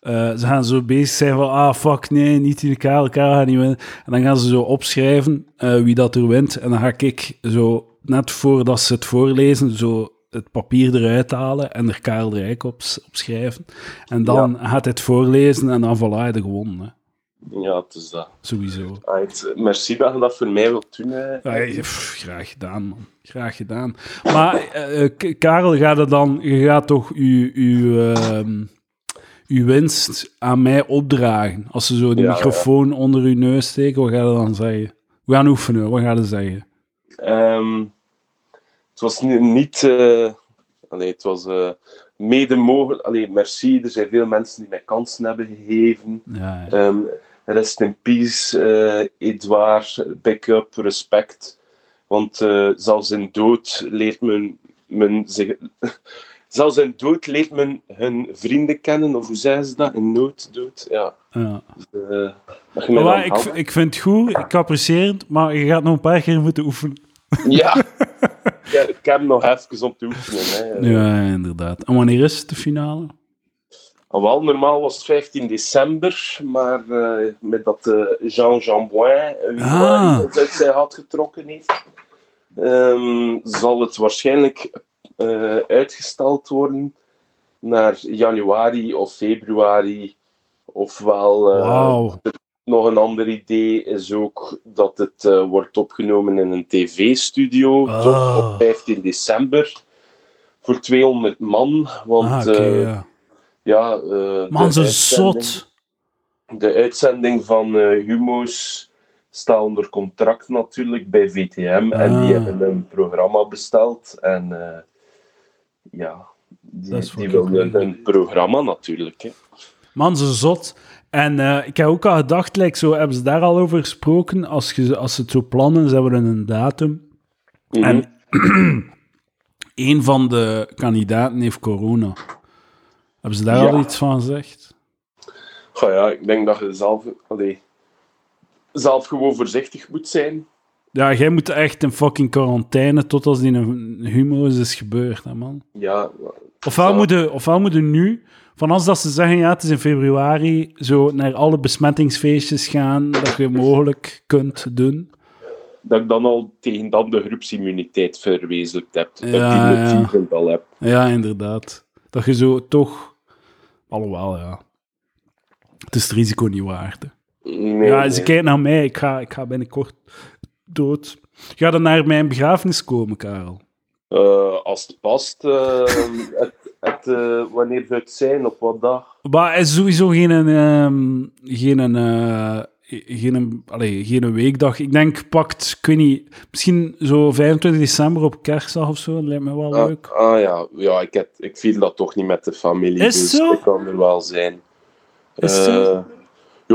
[SPEAKER 2] eh, ze gaan zo bezig zijn van, ah, fuck, nee, niet die Karel, Karel gaat niet winnen. En dan gaan ze zo opschrijven eh, wie dat er wint. En dan ga ik zo, net voordat ze het voorlezen, zo het papier eruit halen en er Karel de Rijk op, op schrijven. En dan gaat hij het voorlezen en dan voilà, hij de gewonnen. hè.
[SPEAKER 3] Ja, het is dat.
[SPEAKER 2] Sowieso.
[SPEAKER 3] Right. Merci dat je dat voor mij eh. wilt doen. hè.
[SPEAKER 2] Nou Ja, Ah, ja, pff, graag gedaan, man. Graag gedaan. Maar eh, eh, K- Karel, gaat er dan, je gaat toch uw, uw, ehm, uw winst aan mij opdragen? Als ze zo de
[SPEAKER 3] Ja,
[SPEAKER 2] microfoon onder uw neus steken, wat gaat er dan zeggen? We gaan oefenen, wat gaat er zeggen?
[SPEAKER 3] Ehm, het was ni- niet. eh, allee, het was eh, mede mogelijk. Allee, merci. Er zijn veel mensen die mij kansen hebben gegeven.
[SPEAKER 2] Ja, ja.
[SPEAKER 3] Ehm, rest in peace, eh Edouard. Pick up, respect. Want eh, zelfs in dood leert men, men zich. Zelfs in dood leert men hun vrienden kennen, of hoe zeggen ze dat? In nood, dood. Ja.
[SPEAKER 2] ja.
[SPEAKER 3] Eh, mag je mij
[SPEAKER 2] Maar
[SPEAKER 3] dan
[SPEAKER 2] waar, ik,
[SPEAKER 3] helpen?
[SPEAKER 2] v- ik vind het goed, ik apprecieer het, maar je gaat nog een paar keer moeten oefenen.
[SPEAKER 3] Ja. ja. Ik heb hem nog even om te oefenen. Hè.
[SPEAKER 2] Ja, inderdaad. En wanneer is het de finale?
[SPEAKER 3] Ah, Wel, normaal was het 15 december, maar eh, met dat eh, Jean Jamboin, eh, wie
[SPEAKER 2] Ah.
[SPEAKER 3] maar iets uit zijn had getrokken heeft, ehm, zal het waarschijnlijk eh, uitgesteld worden naar januari of februari. Ofwel, eh,
[SPEAKER 2] Wauw.
[SPEAKER 3] nog een ander idee is ook dat het eh, wordt opgenomen in een tv-studio
[SPEAKER 2] Ah.
[SPEAKER 3] tot op 15 december voor 200 man. Want
[SPEAKER 2] Ah, oké,
[SPEAKER 3] eh,
[SPEAKER 2] ja.
[SPEAKER 3] ja, eh,
[SPEAKER 2] Man,
[SPEAKER 3] de
[SPEAKER 2] ze
[SPEAKER 3] uitzending-
[SPEAKER 2] zot.
[SPEAKER 3] De uitzending van eh, Humo's staat onder contract natuurlijk bij VTM. En die
[SPEAKER 2] Ah.
[SPEAKER 3] hebben een programma besteld. En eh, ja, die,
[SPEAKER 2] Dat is
[SPEAKER 3] die
[SPEAKER 2] fucking
[SPEAKER 3] willen
[SPEAKER 2] cool.
[SPEAKER 3] een programma natuurlijk. Hè.
[SPEAKER 2] Man, ze zot. En eh, ik heb ook al gedacht, like, zo, hebben ze daar al over gesproken? Als, je, als ze het zo plannen, ze hebben een datum.
[SPEAKER 3] Mhm.
[SPEAKER 2] En een van de kandidaten heeft corona. Hebben ze daar
[SPEAKER 3] Ja.
[SPEAKER 2] al iets van gezegd?
[SPEAKER 3] Goh, ja, ik denk dat je zelf, allee, zelf gewoon voorzichtig moet zijn.
[SPEAKER 2] Ja, jij moet echt in fucking quarantaine tot als die een humoris is gebeurd, hè, man.
[SPEAKER 3] Ja,
[SPEAKER 2] Ofwel
[SPEAKER 3] Ja.
[SPEAKER 2] moeten, ofwel moeten nu, van als dat ze zeggen, ja, het is in februari, zo naar alle besmettingsfeestjes gaan dat je mogelijk kunt doen.
[SPEAKER 3] dat ik dan al tegen dan de groepsimmuniteit verwezenlijkt heb. Dat ik
[SPEAKER 2] Ja,
[SPEAKER 3] die
[SPEAKER 2] ja.
[SPEAKER 3] natuurlijk al heb.
[SPEAKER 2] Ja, inderdaad. Dat je zo toch... Alhoewel, ja. Het is het risico niet waard. hè.
[SPEAKER 3] Nee,
[SPEAKER 2] ja, ze
[SPEAKER 3] nee.
[SPEAKER 2] kijkt naar mij. Ik ga, ik ga binnenkort dood. Ga dan naar mijn begrafenis komen, Karel.
[SPEAKER 3] Eh, als het past, eh, het, het, eh, wanneer zou het zijn, op wat dag?
[SPEAKER 2] Maar er is sowieso geen... ehm, geen... eh, geen, allee, geen weekdag. Ik denk, pakt, ik weet niet, misschien zo 25 december op kerstdag of zo. Dat lijkt me wel
[SPEAKER 3] Ah,
[SPEAKER 2] leuk.
[SPEAKER 3] ah, ja, ja ik, heb, ik viel dat toch niet met de familie,
[SPEAKER 2] Is
[SPEAKER 3] dus
[SPEAKER 2] zo?
[SPEAKER 3] ik kan er wel zijn.
[SPEAKER 2] Is zo?
[SPEAKER 3] Eh,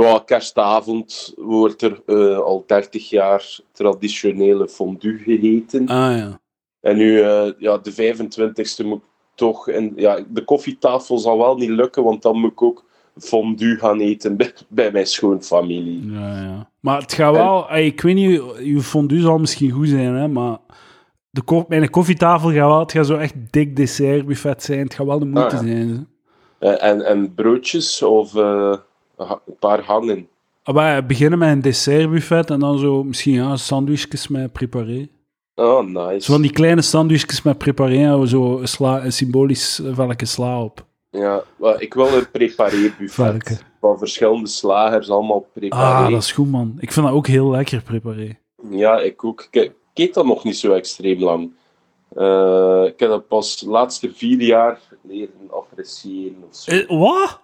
[SPEAKER 3] ja, kerstavond wordt er eh, al 30 jaar traditionele fondue gegeten.
[SPEAKER 2] Ah ja.
[SPEAKER 3] En nu, eh, ja, de 25ste moet ik toch. En, ja, de koffietafel zal wel niet lukken, want dan moet ik ook fondue gaan eten bij, bij mijn schoonfamilie.
[SPEAKER 2] Ja, ja. Maar het gaat wel... ey, Ik weet niet, uw fondue zal misschien goed zijn, hè, maar de ko- mijn koffietafel gaat wel... Het gaat zo echt dik dessertbuffet zijn. Het gaat wel de moeite
[SPEAKER 3] Ah,
[SPEAKER 2] zijn. hè.
[SPEAKER 3] Eh, en, en broodjes of eh, ha- een paar hangen.
[SPEAKER 2] Ah, Maar ja, beginnen met een dessertbuffet en dan zo misschien ja, sandwichjes met preparé.
[SPEAKER 3] Oh, nice.
[SPEAKER 2] Zo van die kleine sandwichjes met preparé en zo een, sla, een symbolisch eh, velke sla op.
[SPEAKER 3] Ja, wel, ik wil een
[SPEAKER 2] Varken.
[SPEAKER 3] preparé-buffet. Van verschillende slagers, allemaal
[SPEAKER 2] Ah,
[SPEAKER 3] preparé.
[SPEAKER 2] dat is goed, man. Ik vind dat ook heel lekker, preparé.
[SPEAKER 3] Ja, ik ook. Ik ik eet dat nog niet zo extreem lang. Eh, ik heb dat pas de laatste vier jaar leren appreciëren. Of zo.
[SPEAKER 2] Eh, wat?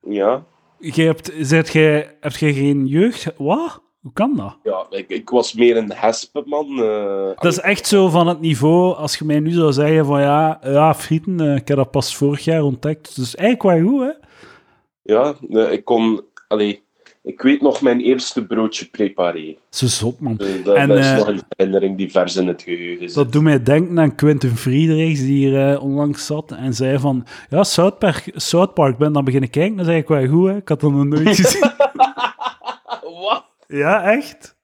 [SPEAKER 3] Ja,
[SPEAKER 2] Je hebt, zet jij, heb jij geen jeugd? Wat? Hoe kan dat?
[SPEAKER 3] ja ik, ik was meer een hespenman. eh.
[SPEAKER 2] Dat is echt zo van het niveau, als je mij nu zou zeggen van ja, ja frieten, eh, ik heb dat pas vorig jaar ontdekt. Dus eigenlijk wel goed, hè?
[SPEAKER 3] Ja, nee, ik kon... Allee, ik weet nog mijn eerste broodje prepareren.
[SPEAKER 2] Zo zot, man.
[SPEAKER 3] Dus dat,
[SPEAKER 2] En,
[SPEAKER 3] dat is
[SPEAKER 2] eh,
[SPEAKER 3] nog een herinnering die vers in het geheugen zit.
[SPEAKER 2] Dat doet mij denken aan Quentin Friedrichs, die hier eh, onlangs zat en zei van... Ja, South Park, South Park ben dan beginnen kijken, dat is eigenlijk wel goed, hè? Ik had dat nog nooit gezien.
[SPEAKER 3] Wat?
[SPEAKER 2] ja, echt?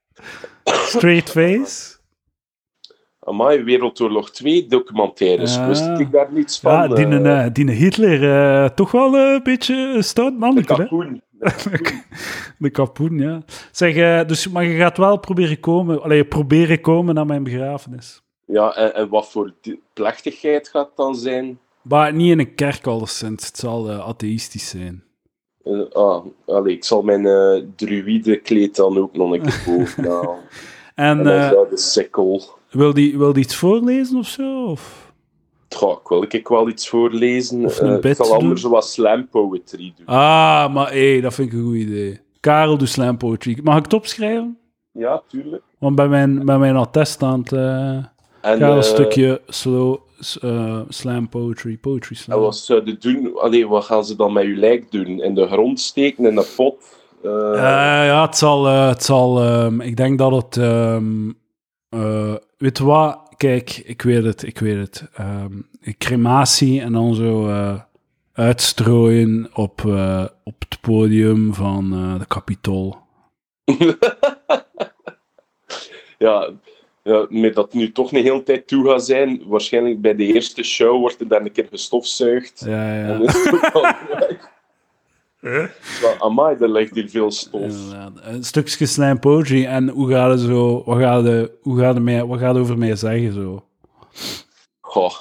[SPEAKER 2] Straight face?
[SPEAKER 3] Amai, Wereldoorlog 2 documentaires.
[SPEAKER 2] Ja.
[SPEAKER 3] Wist ik daar niets van?
[SPEAKER 2] Ja, die,
[SPEAKER 3] eh,
[SPEAKER 2] eh, die Hitler, eh, toch wel eh, een beetje een stout
[SPEAKER 3] de
[SPEAKER 2] mannetje, hè?
[SPEAKER 3] kalkoen.
[SPEAKER 2] De kapoen, ja. Zeg, eh, dus, maar je gaat wel proberen komen, allee, proberen komen naar mijn begrafenis.
[SPEAKER 3] Ja, en, en wat voor di- plechtigheid gaat het dan zijn?
[SPEAKER 2] Maar niet in een kerk alleszins, het zal eh, atheïstisch zijn.
[SPEAKER 3] Eh, ah, allee, ik zal mijn eh druïdekleed dan ook nog een keer boven halen.
[SPEAKER 2] En
[SPEAKER 3] En
[SPEAKER 2] eh,
[SPEAKER 3] dan zou de sikkel...
[SPEAKER 2] wil, die, wil die iets voorlezen of zo? Of?
[SPEAKER 3] Goh, ik wil ik wel iets voorlezen.
[SPEAKER 2] Of een
[SPEAKER 3] Eh, ik
[SPEAKER 2] bed
[SPEAKER 3] zal
[SPEAKER 2] doen.
[SPEAKER 3] anders wat slam poetry doen.
[SPEAKER 2] Ah, maar hé, dat vind ik een goed idee. Karel doet slam poetry. Mag ik het opschrijven?
[SPEAKER 3] Ja, tuurlijk.
[SPEAKER 2] Want bij mijn, bij mijn attest staat eh,
[SPEAKER 3] En,
[SPEAKER 2] Karel een
[SPEAKER 3] eh,
[SPEAKER 2] stukje slow, s- eh, slam poetry, poetry
[SPEAKER 3] En
[SPEAKER 2] slam.
[SPEAKER 3] wat zouden doen? Allee, wat gaan ze dan met je lijk doen? In de grond steken, in de pot? Eh,
[SPEAKER 2] Eh, ja, het zal. eh, het zal ehm, ik denk dat het. ehm, eh, weet je wat? Kijk, ik weet het, ik weet het. Ehm, crematie en dan zo eh, uitstrooien op, eh, op het podium van eh, de Capitool.
[SPEAKER 3] ja, ja, met dat nu toch een hele tijd toe gaat zijn. Waarschijnlijk bij de eerste show wordt er dan een keer gestofzuigd.
[SPEAKER 2] Ja, ja.
[SPEAKER 3] En is het ook al weg. Maar Amai, er ligt hier veel stof.
[SPEAKER 2] Inderdaad. Een stukje slam poetry en hoe gaat het zo, wat gaat het, hoe gaat het, mij, wat gaat het over mij zeggen zo?
[SPEAKER 3] Goh.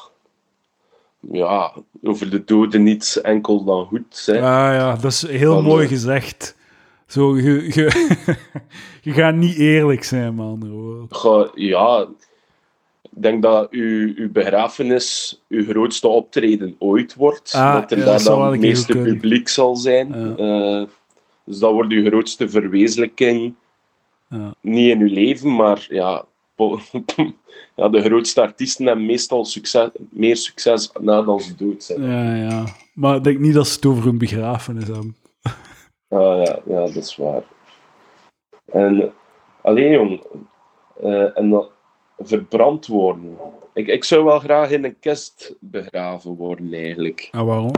[SPEAKER 3] Ja, over de doden niets enkel dan goed. Hè.
[SPEAKER 2] Ja, ja, dat is heel
[SPEAKER 3] Van,
[SPEAKER 2] mooi
[SPEAKER 3] eh,
[SPEAKER 2] gezegd. Zo, je, je, je gaat niet eerlijk zijn, man. hoor.
[SPEAKER 3] Goh, ja, ik denk dat uw, uw begrafenis uw grootste optreden ooit wordt.
[SPEAKER 2] Ah,
[SPEAKER 3] dat er
[SPEAKER 2] ja,
[SPEAKER 3] daar
[SPEAKER 2] dat zou
[SPEAKER 3] dan
[SPEAKER 2] wel
[SPEAKER 3] het
[SPEAKER 2] een keer
[SPEAKER 3] meeste
[SPEAKER 2] goed kunnen.
[SPEAKER 3] publiek zal
[SPEAKER 2] Ja.
[SPEAKER 3] zijn. Eh, dus dat wordt uw grootste verwezenlijking.
[SPEAKER 2] Ja.
[SPEAKER 3] Niet in uw leven, maar ja, po- ja, de grootste artiesten hebben meestal succes, meer succes nadat ze dood zijn.
[SPEAKER 2] Ja, ja. Maar ik denk niet dat ze het over hun begrafenis hebben.
[SPEAKER 3] Ah, ja, ja, dat is waar. En alleen jong, eh, en dan verbrand worden. Ik, ik zou wel graag in een kist begraven worden, eigenlijk.
[SPEAKER 2] En waarom?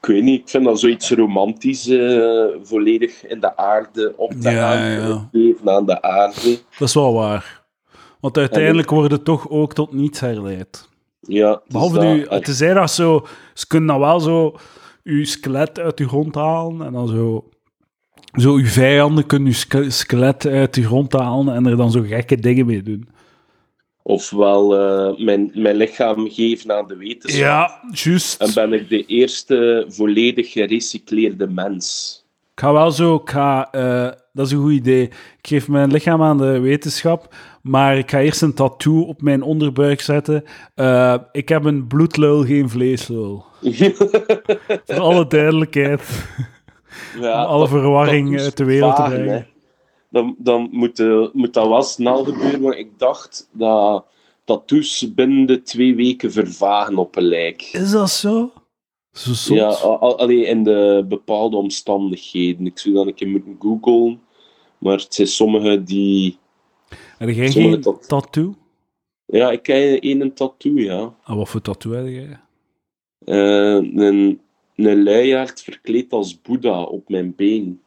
[SPEAKER 3] Ik weet niet, ik vind dat zoiets romantisch, eh, volledig in de aarde, op de
[SPEAKER 2] Ja,
[SPEAKER 3] aarde,
[SPEAKER 2] ja.
[SPEAKER 3] het leven aan de aarde.
[SPEAKER 2] Dat is wel waar. Want uiteindelijk worden toch ook tot niets herleid.
[SPEAKER 3] Ja, het is
[SPEAKER 2] Behalve
[SPEAKER 3] dat.
[SPEAKER 2] nu, het is Dus dat zo, ze kunnen dan wel zo uw skelet uit uw grond halen en dan zo. Zo, uw vijanden kunnen uw ske- skelet uit uw grond halen en er dan zo gekke dingen mee doen.
[SPEAKER 3] Ofwel eh, mijn, mijn lichaam geven aan de wetenschap.
[SPEAKER 2] Ja, juist.
[SPEAKER 3] En ben ik de eerste volledig gerecycleerde mens.
[SPEAKER 2] Ik ga wel zo, ik ga, eh, dat is een goed idee. Ik geef mijn lichaam aan de wetenschap, maar ik ga eerst een tattoo op mijn onderbuik zetten. Eh, ik heb een bloedlul, geen vleeslul. Voor alle duidelijkheid,
[SPEAKER 3] Ja,
[SPEAKER 2] om alle verwarring
[SPEAKER 3] dat is
[SPEAKER 2] uit de wereld te
[SPEAKER 3] vaag,
[SPEAKER 2] brengen.
[SPEAKER 3] hè. Dan, dan moet, eh, moet dat wel snel gebeuren, want ik dacht dat tattoos binnen de twee weken vervagen op een lijk.
[SPEAKER 2] Is dat zo? Zo zot.
[SPEAKER 3] Ja, oh, a- a- allee, in de bepaalde omstandigheden. Ik zou dat een keer moeten googlen, maar het zijn sommige die...
[SPEAKER 2] Heb jij
[SPEAKER 3] sommige
[SPEAKER 2] geen
[SPEAKER 3] tat-
[SPEAKER 2] tattoo?
[SPEAKER 3] Ja, ik ken één een tattoo, ja.
[SPEAKER 2] En wat voor tattoo heb jij?
[SPEAKER 3] Eh, een, een luiaard verkleed als Boeddha op mijn been.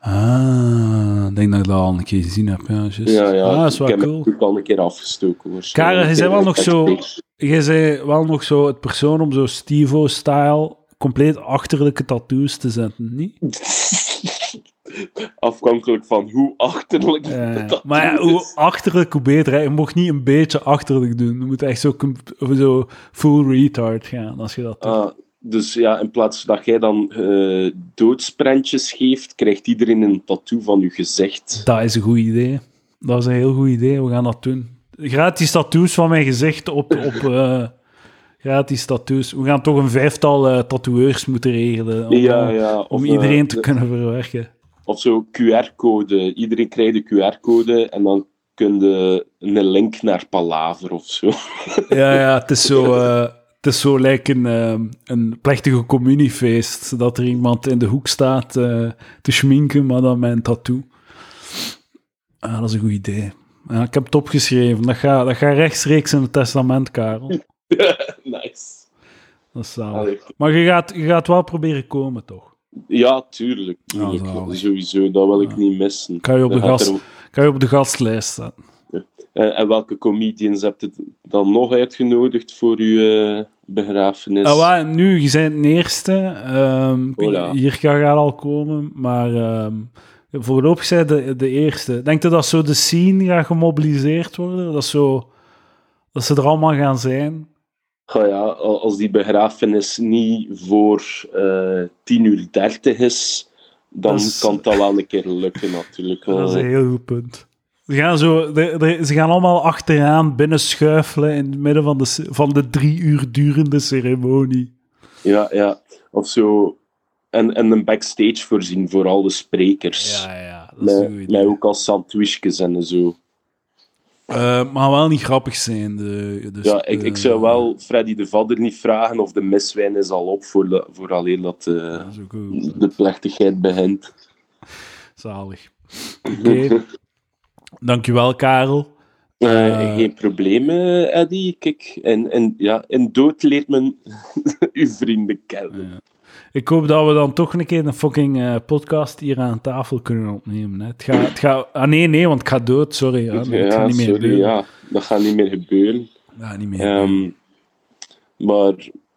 [SPEAKER 2] Ah, ik denk dat ik dat al een keer gezien heb. Ja, juist.
[SPEAKER 3] Ja, ja,
[SPEAKER 2] Ah, dat is
[SPEAKER 3] ik
[SPEAKER 2] wel
[SPEAKER 3] heb
[SPEAKER 2] cool.
[SPEAKER 3] het ook al een keer afgestoken. waarschijnlijk.
[SPEAKER 2] Karel, je bent wel nog zo-
[SPEAKER 3] Ik-
[SPEAKER 2] Jij zei wel nog zo het persoon om zo Stevo-style compleet achterlijke tattoos te zetten, niet?
[SPEAKER 3] Afhankelijk van hoe achterlijk
[SPEAKER 2] Eh,
[SPEAKER 3] dat
[SPEAKER 2] maar ja,
[SPEAKER 3] is.
[SPEAKER 2] hoe achterlijk, hoe beter. Hè. Je mocht niet een beetje achterlijk doen. Je moet echt zo, com- of zo full retard gaan als je dat doet.
[SPEAKER 3] Ah, dus ja, in plaats dat jij dan eh doodsprentjes geeft, krijgt iedereen een tattoo van je gezicht.
[SPEAKER 2] Dat is een goed idee. Dat is een heel goed idee. We gaan dat doen. gratis tattoos van mijn gezicht op, op eh, gratis tattoos. We gaan toch een vijftal eh, tatoeëurs moeten regelen om,
[SPEAKER 3] ja, ja,
[SPEAKER 2] om
[SPEAKER 3] of,
[SPEAKER 2] iedereen
[SPEAKER 3] eh,
[SPEAKER 2] te kunnen verwerken.
[SPEAKER 3] Of zo QR-code. Iedereen krijgt een QR-code en dan kun je een link naar Palaver of zo.
[SPEAKER 2] Ja, ja, het is zo, eh, het is zo lijkt een, ehm, een plechtige communiefeest. Dat er iemand in de hoek staat eh, te schminken, maar dan met een tattoo. Ah, dat is een goed idee. Ja, ik heb het opgeschreven. Dat gaat dat gaat rechtstreeks in het testament, Karel.
[SPEAKER 3] nice.
[SPEAKER 2] Dat is zalig.
[SPEAKER 3] Allee.
[SPEAKER 2] Maar je gaat, je gaat wel proberen komen, toch?
[SPEAKER 3] Ja, tuurlijk. tuurlijk.
[SPEAKER 2] Oh, zalig.
[SPEAKER 3] Sowieso, dat wil ik niet missen.
[SPEAKER 2] Kan je op de,
[SPEAKER 3] Dan gaat
[SPEAKER 2] gast,
[SPEAKER 3] er-
[SPEAKER 2] kan je op de gastlijst staan?
[SPEAKER 3] Eh, en, en welke comedians hebt je dan nog uitgenodigd voor uw eh, begrafenis?
[SPEAKER 2] Ah, wa, nu, je bent de eerste. Ehm
[SPEAKER 3] Hola.
[SPEAKER 2] Hier kan gaat al komen, maar ehm voorlopig zijn de, de eerste. Denk je dat zo de scene gaat gemobiliseerd worden? Dat, zo, dat ze er allemaal gaan zijn?
[SPEAKER 3] Goh ja, a- als die begrafenis niet voor eh 10 uur 30 is, dan
[SPEAKER 2] Dat is-
[SPEAKER 3] kan het al wel een keer lukken natuurlijk. Eh,
[SPEAKER 2] Dat is een heel goed punt. Ze gaan, zo, de- de- ze gaan allemaal achteraan binnenschuifelen in het midden van de, ce- van de drie uur durende ceremonie.
[SPEAKER 3] Ja, ja. Of zo. En, en een backstage voorzien voor al de sprekers.
[SPEAKER 2] ja,
[SPEAKER 3] Mij, mij ook als sandwichjes en zo.
[SPEAKER 2] Eh, maar wel niet grappig zijn. De, dus,
[SPEAKER 3] Ja, ik, ik zou wel Freddy de Vadder niet vragen of de miswijn is al op voor, de- voor alleen dat
[SPEAKER 2] Dat
[SPEAKER 3] de,
[SPEAKER 2] is ook goed.
[SPEAKER 3] de plechtigheid begint.
[SPEAKER 2] Zalig. Oké. Dankjewel, Karel.
[SPEAKER 3] Eh,
[SPEAKER 2] Eh.
[SPEAKER 3] geen probleem, eh, Eddy. Kijk, en, en, ja, in dood leert men uw vrienden kennen.
[SPEAKER 2] Ik hoop dat we dan toch een keer een fucking eh, podcast hier aan tafel kunnen opnemen. Hè. Het gaat... Het gaat ah, nee, nee, want ik ga dood. Sorry. hè. Nee, het Eh, gaat
[SPEAKER 3] ja,
[SPEAKER 2] niet meer
[SPEAKER 3] sorry,
[SPEAKER 2] gebeuren.
[SPEAKER 3] ja, dat gaat niet meer gebeuren.
[SPEAKER 2] Ja, niet meer.
[SPEAKER 3] Ehm, maar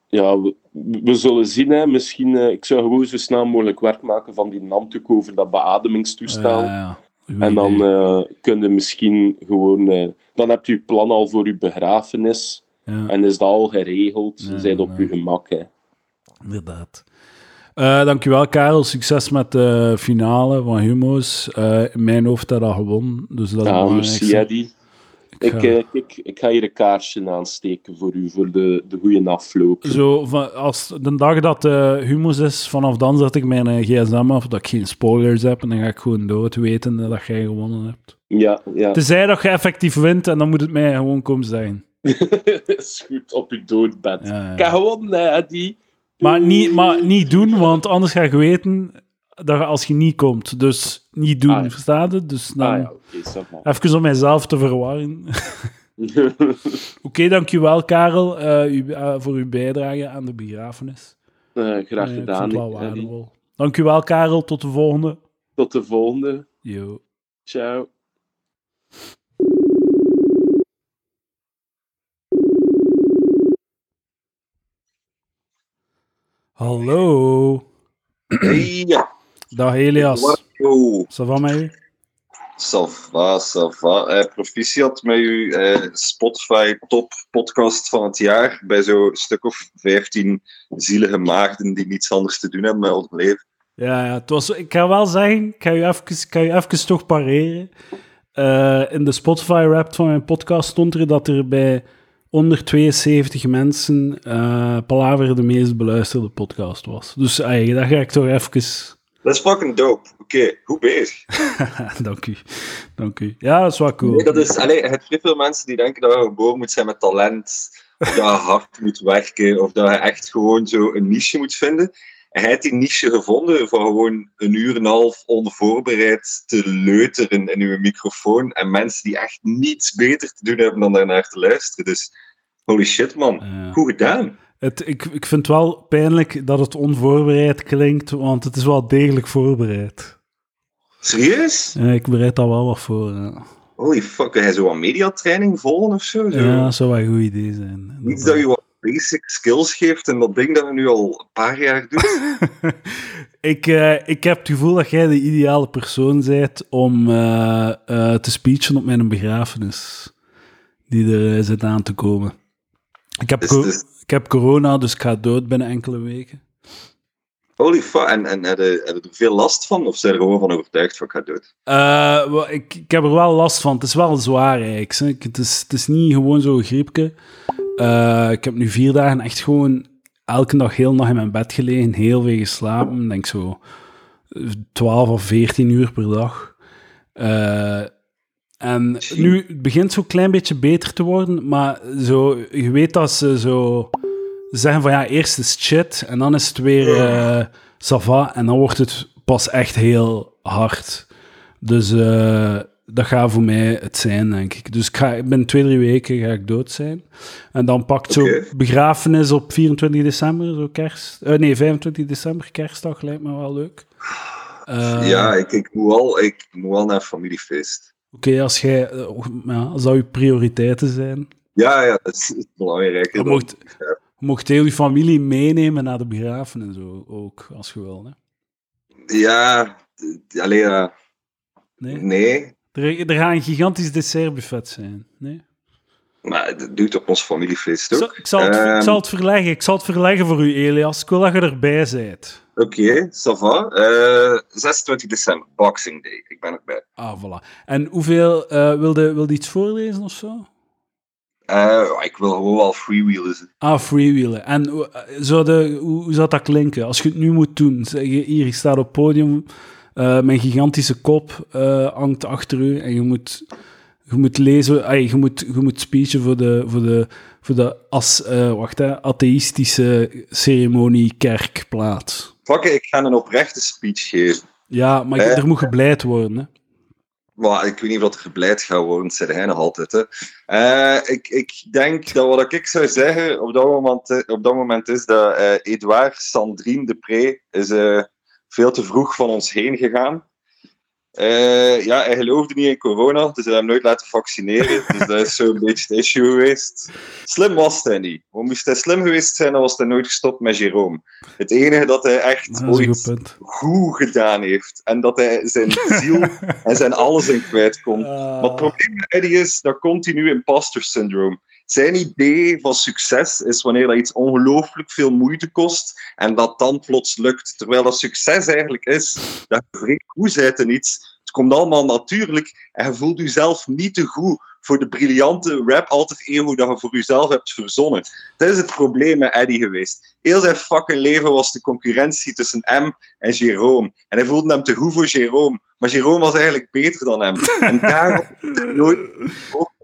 [SPEAKER 3] ja, we, we zullen zien. Hè. Misschien, eh, ik zou gewoon zo snel mogelijk werk maken van die namtuk over dat beademingstoestel.
[SPEAKER 2] Ja, Eh, ja. Goed
[SPEAKER 3] en dan
[SPEAKER 2] idee.
[SPEAKER 3] eh kun je misschien gewoon... eh, dan hebt u uw plan al voor uw begrafenis.
[SPEAKER 2] Ja,
[SPEAKER 3] En is dat al geregeld.
[SPEAKER 2] Ja,
[SPEAKER 3] Zijn op
[SPEAKER 2] ja.
[SPEAKER 3] uw gemak. Hè.
[SPEAKER 2] inderdaad. Eh, dankjewel, Karel. Succes met de finale van Humo's. Eh, in mijn hoofd had dat gewonnen. Dus dat is
[SPEAKER 3] Ja,
[SPEAKER 2] het
[SPEAKER 3] merci,
[SPEAKER 2] belangrijkste.
[SPEAKER 3] Eddy. Ik,
[SPEAKER 2] ga-
[SPEAKER 3] eh, kijk, ik ga hier een kaarsje aansteken voor u, voor de, de goede afloop.
[SPEAKER 2] Zo, van, als de dag dat eh humus is, vanaf dan zet ik mijn eh, gsm af, dat ik geen spoilers heb, en dan ga ik gewoon dood weten eh, dat jij gewonnen hebt.
[SPEAKER 3] Ja, ja.
[SPEAKER 2] Tenzij dat je effectief wint, en dan moet het mij gewoon komen zijn.
[SPEAKER 3] is goed op uw doodbed.
[SPEAKER 2] Ja, ja.
[SPEAKER 3] Ik eh, heb gewonnen, hè, Eddy.
[SPEAKER 2] Maar niet, maar niet doen, want anders ga je weten dat je als je niet komt. Dus niet doen,
[SPEAKER 3] Ah, ja.
[SPEAKER 2] verstaat het? Dus dan,
[SPEAKER 3] Ah ja, oké, Eh, ça va.
[SPEAKER 2] even om mijzelf te verwarren. Oké, dankjewel Karel eh, u- eh, voor uw bijdrage aan de begrafenis.
[SPEAKER 3] Eh, graag
[SPEAKER 2] Eh, ik vond
[SPEAKER 3] gedaan.
[SPEAKER 2] het wel
[SPEAKER 3] Eddie.
[SPEAKER 2] waardevol. Dankjewel Karel, tot de volgende.
[SPEAKER 3] Tot de volgende.
[SPEAKER 2] Yo.
[SPEAKER 3] Ciao.
[SPEAKER 2] Hallo.
[SPEAKER 4] Ja,
[SPEAKER 2] Dag Elias.
[SPEAKER 4] Marco.
[SPEAKER 2] Ça va met u?
[SPEAKER 4] Ça va, ça va. Eh, proficiat met uw eh, Spotify top podcast van het jaar. Bij zo'n stuk of 15 zielige maagden die niets anders te doen hebben met ons leven.
[SPEAKER 2] Ja, ja het was, ik ga wel zeggen, ik ga je even, ik ga je even toch pareren. Eh, in de Spotify-rap van mijn podcast stond er dat er bij 172 mensen eh Palaver de meest beluisterde podcast was. Dus eigenlijk, daar ga ik toch even...
[SPEAKER 4] Dat is fucking dope. Oké, goed bezig.
[SPEAKER 2] dank u, dank u. Ja, dat is wel cool.
[SPEAKER 4] Nee, dat is, allez, je hebt veel mensen die denken dat je geboren moet zijn met talent, of dat je hard moet werken, of dat je echt gewoon zo een niche moet vinden. En hij heeft die niche gevonden van gewoon een uur en een half onvoorbereid te leuteren in uw microfoon en mensen die echt niets beter te doen hebben dan daarnaar te luisteren. Dus holy shit man,
[SPEAKER 2] Ja.
[SPEAKER 4] goed gedaan.
[SPEAKER 2] Het, ik, ik vind het wel pijnlijk dat het onvoorbereid klinkt, want het is wel degelijk voorbereid.
[SPEAKER 4] Serieus?
[SPEAKER 2] Eh, ik bereid daar wel wat voor. ja.
[SPEAKER 4] Holy fuck, kun jij zo wat mediatraining volgen of zo? Zo-
[SPEAKER 2] Ja, dat zou wel een goed idee zijn.
[SPEAKER 4] Iets dat je wat basic skills geeft en dat ding dat we nu al een paar jaar doen.
[SPEAKER 2] ik, eh, ik heb het gevoel dat jij de ideale persoon bent om eh, eh, te speechen op mijn begrafenis. Die er eh, zit aan te komen. Ik heb,
[SPEAKER 4] Dus
[SPEAKER 2] co-
[SPEAKER 4] het is-
[SPEAKER 2] ik heb corona, dus ik ga dood binnen enkele weken.
[SPEAKER 4] Holy fuck. En, en heb je heb je er veel last van? Of zijn er gewoon van overtuigd van ik ga dood?
[SPEAKER 2] Eh, wel, ik, ik heb er wel last van. Het is wel zwaar eigenlijk. zeg. Ik- Het is, het is niet gewoon zo'n griepje. Eh, ik heb nu vier dagen echt gewoon elke dag heel nacht in mijn bed gelegen. Heel veel geslapen. Ik Denk zo 12 of 14 uur per dag. Eh, en nu het begint zo'n klein beetje beter te worden. Maar zo, je weet dat ze zo zeggen van ja, eerst is het shit. En dan is het weer eh sava. En dan wordt het pas echt heel hard. Dus eh, dat gaat voor mij het zijn, denk ik. Dus ik ga, binnen twee, drie weken ga ik dood zijn. En dan pakt zo
[SPEAKER 4] Oké.
[SPEAKER 2] begrafenis op 24 december, zo kerst. eh, nee, 25 december, kerstdag, lijkt me wel leuk. Eh,
[SPEAKER 4] ja, ik, ik, moet al, ik moet al naar familiefeest.
[SPEAKER 2] Oké, als jij, eh, och, ja, als dat je prioriteiten zijn,
[SPEAKER 4] Ja, ja, dat is het belangrijke.
[SPEAKER 2] je
[SPEAKER 4] dan.
[SPEAKER 2] mocht, je mocht heel je familie meenemen naar de begrafenis ook, ook als je wil. Hè?
[SPEAKER 4] Ja, d- allee, ja.
[SPEAKER 2] Nee?
[SPEAKER 4] nee.
[SPEAKER 2] Er, er gaat een gigantisch dessertbuffet zijn. Nee?
[SPEAKER 4] Maar dat doet op ons familiefeest
[SPEAKER 2] Ik
[SPEAKER 4] ook.
[SPEAKER 2] zal, ik zal het, ik
[SPEAKER 4] Ehm.
[SPEAKER 2] zal het verleggen. Ik zal het verleggen voor u, Elias. Ik wil dat je erbij bent.
[SPEAKER 4] Oké, ça va. Eh, 26 december, Boxing Day. Ik ben erbij.
[SPEAKER 2] Ah, voilà. En hoeveel... eh wilde, wilde iets voorlezen of zo?
[SPEAKER 4] Eh, ik wil gewoon wel freewheelen.
[SPEAKER 2] Ah, freewheelen. En hoe- eh, zou de, hoe, hoe zou dat klinken? Als je het nu moet doen. Zeg je, hier, ik sta op het podium. eh, mijn gigantische kop eh, hangt achter u. En je moet, je moet lezen... ai, je, moet, je moet speechen voor de... Voor de voor de as, eh, wacht, hè, atheïstische ceremonie kerkplaats.
[SPEAKER 4] Fuck, it, ik ga een oprechte speech geven.
[SPEAKER 2] Ja, maar
[SPEAKER 4] Eh?
[SPEAKER 2] er moet gebleid worden. Hè.
[SPEAKER 4] Maar ik weet niet of dat er gebleid gaat worden, het zijn hij nog altijd. Hè. Eh, ik, ik denk dat wat ik zou zeggen op dat moment, eh, op dat moment is dat eh Edouard Sandrine Depré is eh, veel te vroeg van ons heen gegaan. Eh, ja, hij geloofde niet in corona, dus hij heeft hem nooit laten vaccineren. Dus dat is zo'n beetje het issue geweest. Slim was hij niet. Want moest hij slim geweest zijn, dan was hij nooit gestopt met Jerome. Het enige dat hij echt
[SPEAKER 2] Dat is een goed
[SPEAKER 4] ooit
[SPEAKER 2] punt.
[SPEAKER 4] goed gedaan heeft. En dat hij zijn ziel en zijn alles in kwijt kon. Wat het probleem met Eddie is, dat continu imposter syndroom. Zijn idee van succes is wanneer dat iets ongelooflijk veel moeite kost en dat dan plots lukt. Terwijl dat succes eigenlijk is dat je vreemd goed bent in iets. Het komt allemaal natuurlijk en je voelt jezelf niet te goed voor de briljante rap altijd ego dat je voor jezelf hebt verzonnen. Dat is het probleem met Eddie geweest. Heel zijn fucking leven was de concurrentie tussen hem en Jerome. En hij voelde hem te goed voor Jerome. Maar Jerome was eigenlijk beter dan hem. En daarom nooit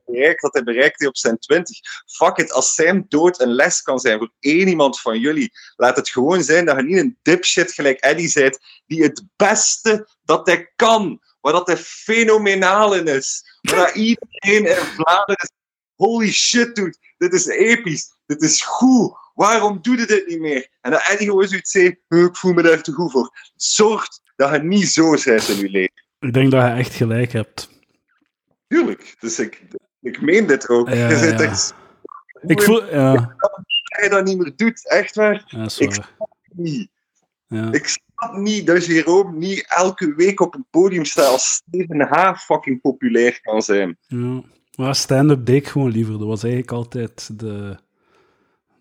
[SPEAKER 4] bereikt dat hij bereikte op zijn 20. Fuck it, als zijn dood een les kan zijn voor één iemand van jullie, laat het gewoon zijn dat je niet een dipshit gelijk Eddie bent, die het beste dat hij kan, waar dat hij fenomenaal in is, waar dat iedereen in Vlaanderen holy shit doet, dit is episch, dit is goed, waarom doe je dit niet meer? En dat Eddie gewoon zoiets zegt, "Eh, ik voel me daar te goed voor. Zorg dat je niet zo bent in je leven.
[SPEAKER 2] Ik denk dat je echt gelijk hebt.
[SPEAKER 4] Tuurlijk. Dus ik, ik meen dit ook.
[SPEAKER 2] Ja,
[SPEAKER 4] je zit
[SPEAKER 2] ja.
[SPEAKER 4] echt
[SPEAKER 2] Ik voel... Ja,
[SPEAKER 4] hij dat niet meer doet. Echt waar?
[SPEAKER 2] ja, dat is waar.
[SPEAKER 4] Niet.
[SPEAKER 2] Ja.
[SPEAKER 4] Ik snap niet dat Jerome niet elke week op een podium staat als Steven H. fucking populair kan zijn.
[SPEAKER 2] Ja. Maar stand-up deed ik gewoon liever. Dat was eigenlijk altijd de...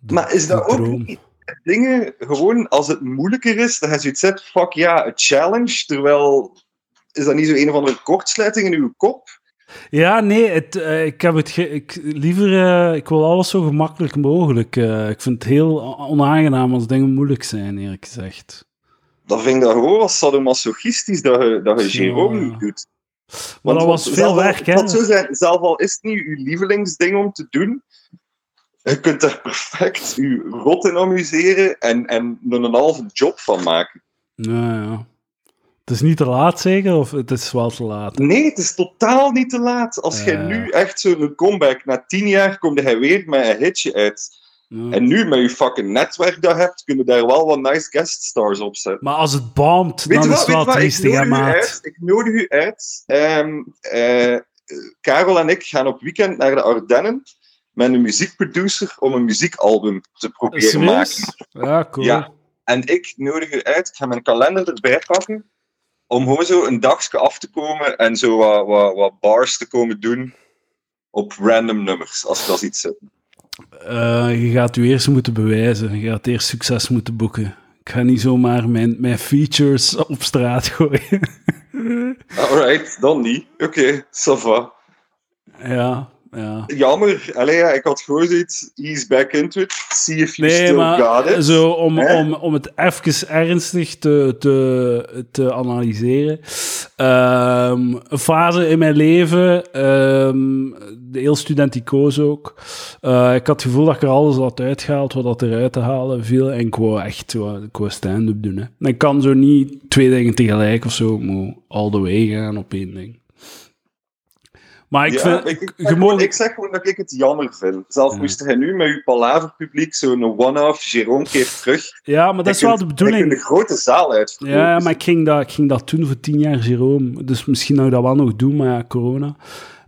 [SPEAKER 2] de-
[SPEAKER 4] Maar is dat
[SPEAKER 2] de
[SPEAKER 4] ook
[SPEAKER 2] droom.
[SPEAKER 4] niet dingen, gewoon als het moeilijker is, dat je zoiets zegt, fuck ja, een challenge, terwijl is dat niet zo een of andere kortsluiting in uw kop?
[SPEAKER 2] Ja, nee, het, eh, ik heb het... ge- ik, liever... eh, ik wil alles zo gemakkelijk mogelijk. eh. ik vind het heel o- onaangenaam als dingen moeilijk zijn, eerlijk gezegd.
[SPEAKER 4] Dan vind ik dat gewoon als sadomasochistisch dat je, dat je
[SPEAKER 2] Ja.
[SPEAKER 4] Jerome niet doet.
[SPEAKER 2] Maar dat was veel werk, hè.
[SPEAKER 4] Dat zo zijn, zelf al is het niet uw lievelingsding om te doen, je kunt daar perfect je rot in amuseren en, en er een halve job van maken.
[SPEAKER 2] Ja, ja. Het is niet te laat, zeker? Of het is wel te laat?
[SPEAKER 4] Nee, het is totaal niet te laat. Als jij
[SPEAKER 2] Eh.
[SPEAKER 4] nu echt zo'n comeback, na tien jaar komt hij weer met een hitje uit.
[SPEAKER 2] Ja.
[SPEAKER 4] En nu met je fucking netwerk dat je hebt, kunnen daar wel wat nice guest stars op zetten.
[SPEAKER 2] Maar als het boomt,
[SPEAKER 4] Weet
[SPEAKER 2] dan
[SPEAKER 4] je
[SPEAKER 2] is
[SPEAKER 4] wat,
[SPEAKER 2] het
[SPEAKER 4] weet
[SPEAKER 2] wel
[SPEAKER 4] je wat, ik
[SPEAKER 2] triest, hè,
[SPEAKER 4] nodig u
[SPEAKER 2] maat?
[SPEAKER 4] uit. Ik nodig u uit. Ehm, eh, Karel en ik gaan op weekend naar de Ardennen met een muziekproducer om een muziekalbum te proberen maken.
[SPEAKER 2] Eh, Serieus? Ja, cool.
[SPEAKER 4] Ja. En ik nodig u uit. Ik ga mijn kalender erbij pakken om gewoon zo een dagje af te komen en zo wat, wat, wat bars te komen doen op random nummers, als dat iets is.
[SPEAKER 2] Eh, je gaat je eerst moeten bewijzen. Je gaat eerst succes moeten boeken. Ik ga niet zomaar mijn, mijn features op straat gooien.
[SPEAKER 4] Alright, dan niet. Oké, ça va.
[SPEAKER 2] ja, ja.
[SPEAKER 4] Jammer. Allee, ja, ik had gewoon zoiets. Ease back into it. See if you
[SPEAKER 2] Nee,
[SPEAKER 4] still got
[SPEAKER 2] maar
[SPEAKER 4] it.
[SPEAKER 2] zo om,
[SPEAKER 4] hè?
[SPEAKER 2] om, om het even ernstig te, te, te analyseren. Ehm, een fase in mijn leven, ehm, de heel studenticoos ook. Eh, ik had het gevoel dat ik er alles had uitgehaald wat dat eruit te halen viel. En ik wou echt wou- ik wou stand-up doen. Hè. En ik kan zo niet twee dingen tegelijk of zo. Ik moet all the way gaan op één ding. Maar Ah, ik
[SPEAKER 4] Ja,
[SPEAKER 2] vind...
[SPEAKER 4] ik, ik,
[SPEAKER 2] je
[SPEAKER 4] zeg
[SPEAKER 2] mag-
[SPEAKER 4] gewoon- ik zeg gewoon dat ik het jammer vind. Zelf
[SPEAKER 2] Ja.
[SPEAKER 4] moest hij nu met uw palaverpubliek zo'n one-off, Jérôme keert terug.
[SPEAKER 2] ja, maar dat is wel de
[SPEAKER 4] Ik
[SPEAKER 2] bedoeling.
[SPEAKER 4] een grote zaal uitverkopen.
[SPEAKER 2] Ja, maar ik ging, dat, ik ging dat toen voor tien jaar, Jerome. Dus misschien zou ik dat wel nog doen, maar ja, corona.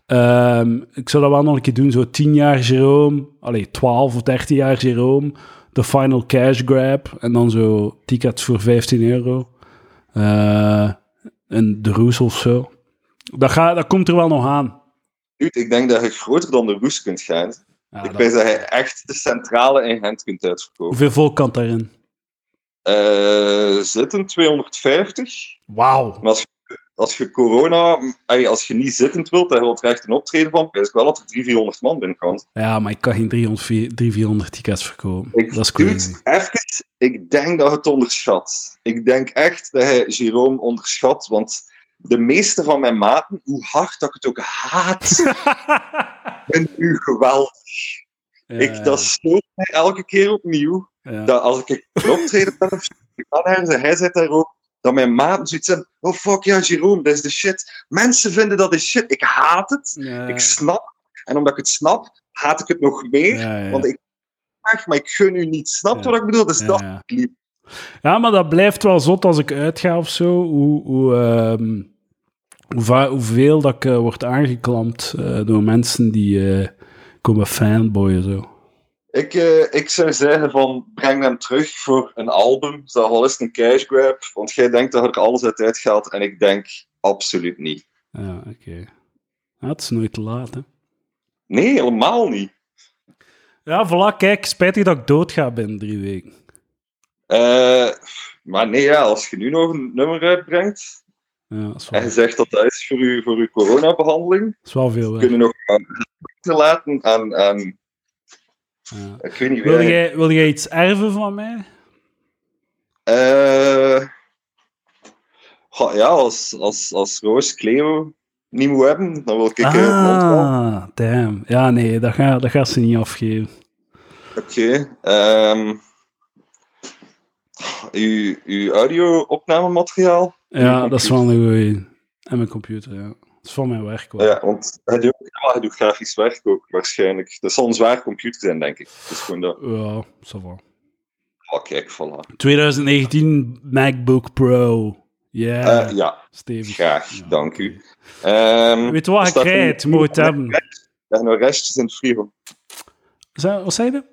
[SPEAKER 2] Ehm, ik zou dat wel nog een keer doen, zo tien jaar Jerome. Allee, twaalf of dertien jaar Jerome. De final cash grab. En dan zo tickets voor 15 euro. Eh, en de roes of zo. Dat, ga, dat komt er wel nog aan.
[SPEAKER 4] Dude, Dus ik denk dat je groter dan de roes kunt gaan.
[SPEAKER 2] Ja,
[SPEAKER 4] ik
[SPEAKER 2] dat-
[SPEAKER 4] weet dat je echt de centrale in Gent kunt uitverkopen.
[SPEAKER 2] hoeveel volk kan daarin?
[SPEAKER 4] Eh, zitten 250.
[SPEAKER 2] Wauw.
[SPEAKER 4] Maar als je, als je corona, ey, als je niet zittend wilt en je wilt er echt een optreden van, is ik wel dat er 300 man binnenkomt.
[SPEAKER 2] Ja, maar ik kan geen 300, 400 tickets verkopen.
[SPEAKER 4] Ik-
[SPEAKER 2] Dat is
[SPEAKER 4] Dude,
[SPEAKER 2] crazy.
[SPEAKER 4] even, ik denk dat je het onderschat. Ik denk echt dat hij Jerome onderschat, want de meeste van mijn maten, hoe hard dat ik het ook haat, en nu geweldig. Ik, dat stoot mij elke keer opnieuw.
[SPEAKER 2] Ja.
[SPEAKER 4] Dat als ik een optreden ben of zo, ik kan ergens en hij zit daar ook, dat mijn maten zoiets hebben. Oh fuck ja, Jeroen, dat is de shit. Mensen vinden dat de shit. Ik haat het.
[SPEAKER 2] Ja.
[SPEAKER 4] Ik snap. En omdat ik het snap, haat ik het nog meer.
[SPEAKER 2] Ja, ja.
[SPEAKER 4] Want ik graag, maar ik gun u niet. Snap je
[SPEAKER 2] Ja.
[SPEAKER 4] wat ik bedoel? Dus
[SPEAKER 2] Ja,
[SPEAKER 4] dat is
[SPEAKER 2] ja.
[SPEAKER 4] lief.
[SPEAKER 2] Ja, maar dat blijft wel zot als ik uitga of zo. Hoe, hoe, ehm, hoe va- hoeveel dat ik eh, word aangeklampt eh, door mensen die eh, komen fanboyen zo.
[SPEAKER 4] Ik, eh, ik zou zeggen van, breng hem terug voor een album. Zal wel eens een cash grab. Want jij denkt dat er alles uit uitgaat. En ik denk, absoluut niet.
[SPEAKER 2] Ja, oké. Ja, het is nooit te laat, hè.
[SPEAKER 4] Nee, helemaal niet.
[SPEAKER 2] Ja, voilà, kijk, spijtig dat ik doodga binnen drie weken.
[SPEAKER 4] Eh, maar nee, ja, als je nu nog een nummer uitbrengt
[SPEAKER 2] Ja, dat is wel,
[SPEAKER 4] en je zegt dat dat is voor je, voor uw coronabehandeling,
[SPEAKER 2] dat is wel veel
[SPEAKER 4] kun
[SPEAKER 2] werk.
[SPEAKER 4] je nog aan te laten aan, aan,
[SPEAKER 2] Ja.
[SPEAKER 4] ik weet niet
[SPEAKER 2] Wil
[SPEAKER 4] wie.
[SPEAKER 2] jij, wil jij iets erven van mij?
[SPEAKER 4] Eh, goh, ja, als, als, als Roos Cleo niet moet hebben, dan wil ik eh, het mond wel.
[SPEAKER 2] ah, damn. Ja, nee, dat gaat dat gaat ze niet afgeven.
[SPEAKER 4] Oké. ehm, uw, uw audio-opnamemateriaal?
[SPEAKER 2] Ja, dat is wel een goeie. En mijn computer, ja. Dat is van mijn werk wel.
[SPEAKER 4] Ja, want hij doet, ja, hij doet grafisch werk ook, waarschijnlijk. Dat zal een zwaar computer zijn, denk ik. Dat is gewoon dat.
[SPEAKER 2] Ja, ça va.
[SPEAKER 4] Oh, kijk, voilà.
[SPEAKER 2] 2019 MacBook Pro. Yeah,
[SPEAKER 4] Eh, ja,
[SPEAKER 2] stevig.
[SPEAKER 4] graag,
[SPEAKER 2] Ja,
[SPEAKER 4] dank
[SPEAKER 2] oké.
[SPEAKER 4] u. Ehm,
[SPEAKER 2] Weet je wat, je
[SPEAKER 4] staat er-
[SPEAKER 2] krijgt, moet je het hebben.
[SPEAKER 4] Er zijn nog restjes in het frigo.
[SPEAKER 2] Zijn- Wat zei je?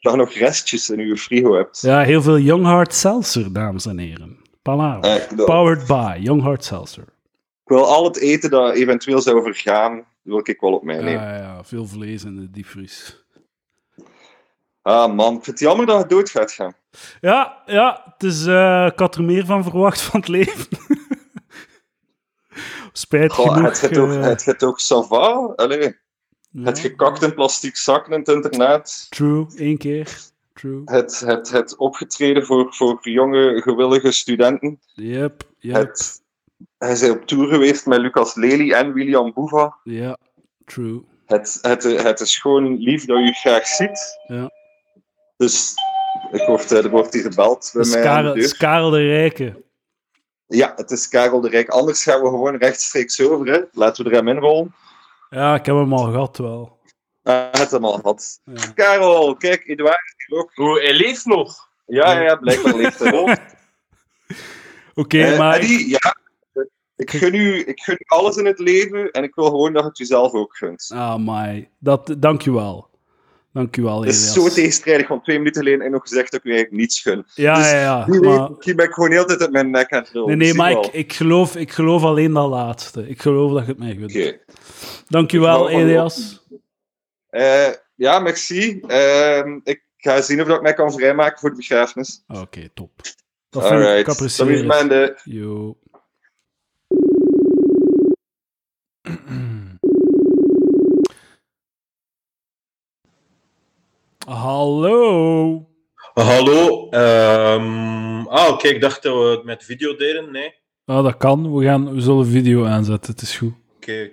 [SPEAKER 4] Dat je nog restjes in uw frigo hebt.
[SPEAKER 2] Ja, heel veel Young Heart Seltzer, dames en heren. Palaver.
[SPEAKER 4] Eh, ik, wil-
[SPEAKER 2] Powered by Young Heart Seltzer.
[SPEAKER 4] ik wil al het eten dat eventueel zou vergaan, wil ik wel op mij
[SPEAKER 2] Ja,
[SPEAKER 4] nemen.
[SPEAKER 2] ja, ja, veel vlees in de diepvries.
[SPEAKER 4] Ah man, ik vind het jammer dat je dood gaat gaan.
[SPEAKER 2] Ja, ja, het is, eh, ik had er meer van verwacht van het leven. Spijt
[SPEAKER 4] Goh,
[SPEAKER 2] genoeg.
[SPEAKER 4] het gaat ook,
[SPEAKER 2] eh,
[SPEAKER 4] het gaat ook sava. Allee, het
[SPEAKER 2] ja.
[SPEAKER 4] gekakt in plastic zakken in het internaat.
[SPEAKER 2] True, één keer. True.
[SPEAKER 4] Het, het, het opgetreden voor, voor jonge, gewillige studenten.
[SPEAKER 2] Yep, yep,
[SPEAKER 4] Het, hij is op tour geweest met Lucas Lely en William Boeva.
[SPEAKER 2] ja, true.
[SPEAKER 4] Het, het, het is gewoon lief dat u graag ziet.
[SPEAKER 2] Ja.
[SPEAKER 4] Dus ik word, eh, er wordt hier gebeld bij
[SPEAKER 2] Dat is
[SPEAKER 4] mij aan de
[SPEAKER 2] Karel, dat is
[SPEAKER 4] deur.
[SPEAKER 2] Karel de Rijke.
[SPEAKER 4] Ja, het is Karel de Rijk. Anders gaan we gewoon rechtstreeks over. Hè. Laten we er hem inrollen.
[SPEAKER 2] Ja, ik heb hem al gehad wel.
[SPEAKER 4] Ah, het hem al had.
[SPEAKER 2] Ja.
[SPEAKER 4] Karel, kijk, Edouard is hier ook.
[SPEAKER 3] Hoe, hij leeft nog.
[SPEAKER 4] Ja, ja, ja, blijkbaar leeft hij ook.
[SPEAKER 2] Oké,
[SPEAKER 4] Eh,
[SPEAKER 2] maar ik-
[SPEAKER 4] Eddie, ja, ik gun, u, ik gun u alles in het leven en ik wil gewoon dat je het jezelf ook gunt.
[SPEAKER 2] Ah, my. Dat, dankjewel. Dankjewel,
[SPEAKER 4] Het is
[SPEAKER 2] Elias.
[SPEAKER 4] zo tegenstrijdig, want twee minuten geleden heb ik nog gezegd dat ik u eigenlijk niets gun.
[SPEAKER 2] Ja,
[SPEAKER 4] dus
[SPEAKER 2] ja, ja.
[SPEAKER 4] Nu
[SPEAKER 2] Ah, maar-
[SPEAKER 4] weet ik, hier ben ik gewoon heel de tijd uit mijn nek aan het rollen.
[SPEAKER 2] nee, nee,
[SPEAKER 4] Zie
[SPEAKER 2] maar
[SPEAKER 4] wel.
[SPEAKER 2] ik, ik, geloof, ik geloof alleen dat laatste. Ik geloof dat je het mij gunt.
[SPEAKER 4] Oké.
[SPEAKER 2] Dankjewel,
[SPEAKER 4] Ik hou van
[SPEAKER 2] Elias.
[SPEAKER 4] Eh, ja, merci. Ehm, ik ga zien of dat ik mij kan vrijmaken voor de begrafenis.
[SPEAKER 2] Oké, top. Dat vind ik, ik
[SPEAKER 4] Oh. Alright.
[SPEAKER 2] apprecieer
[SPEAKER 4] Salut,
[SPEAKER 2] het.
[SPEAKER 4] Mende.
[SPEAKER 2] Yo. Hallo.
[SPEAKER 5] Hallo. ehm, ah, oké, ik dacht dat we het met video deden. Nee. Oké,
[SPEAKER 2] Ah, dat kan. We, gaan, we zullen video aanzetten. Het is goed.
[SPEAKER 5] oké.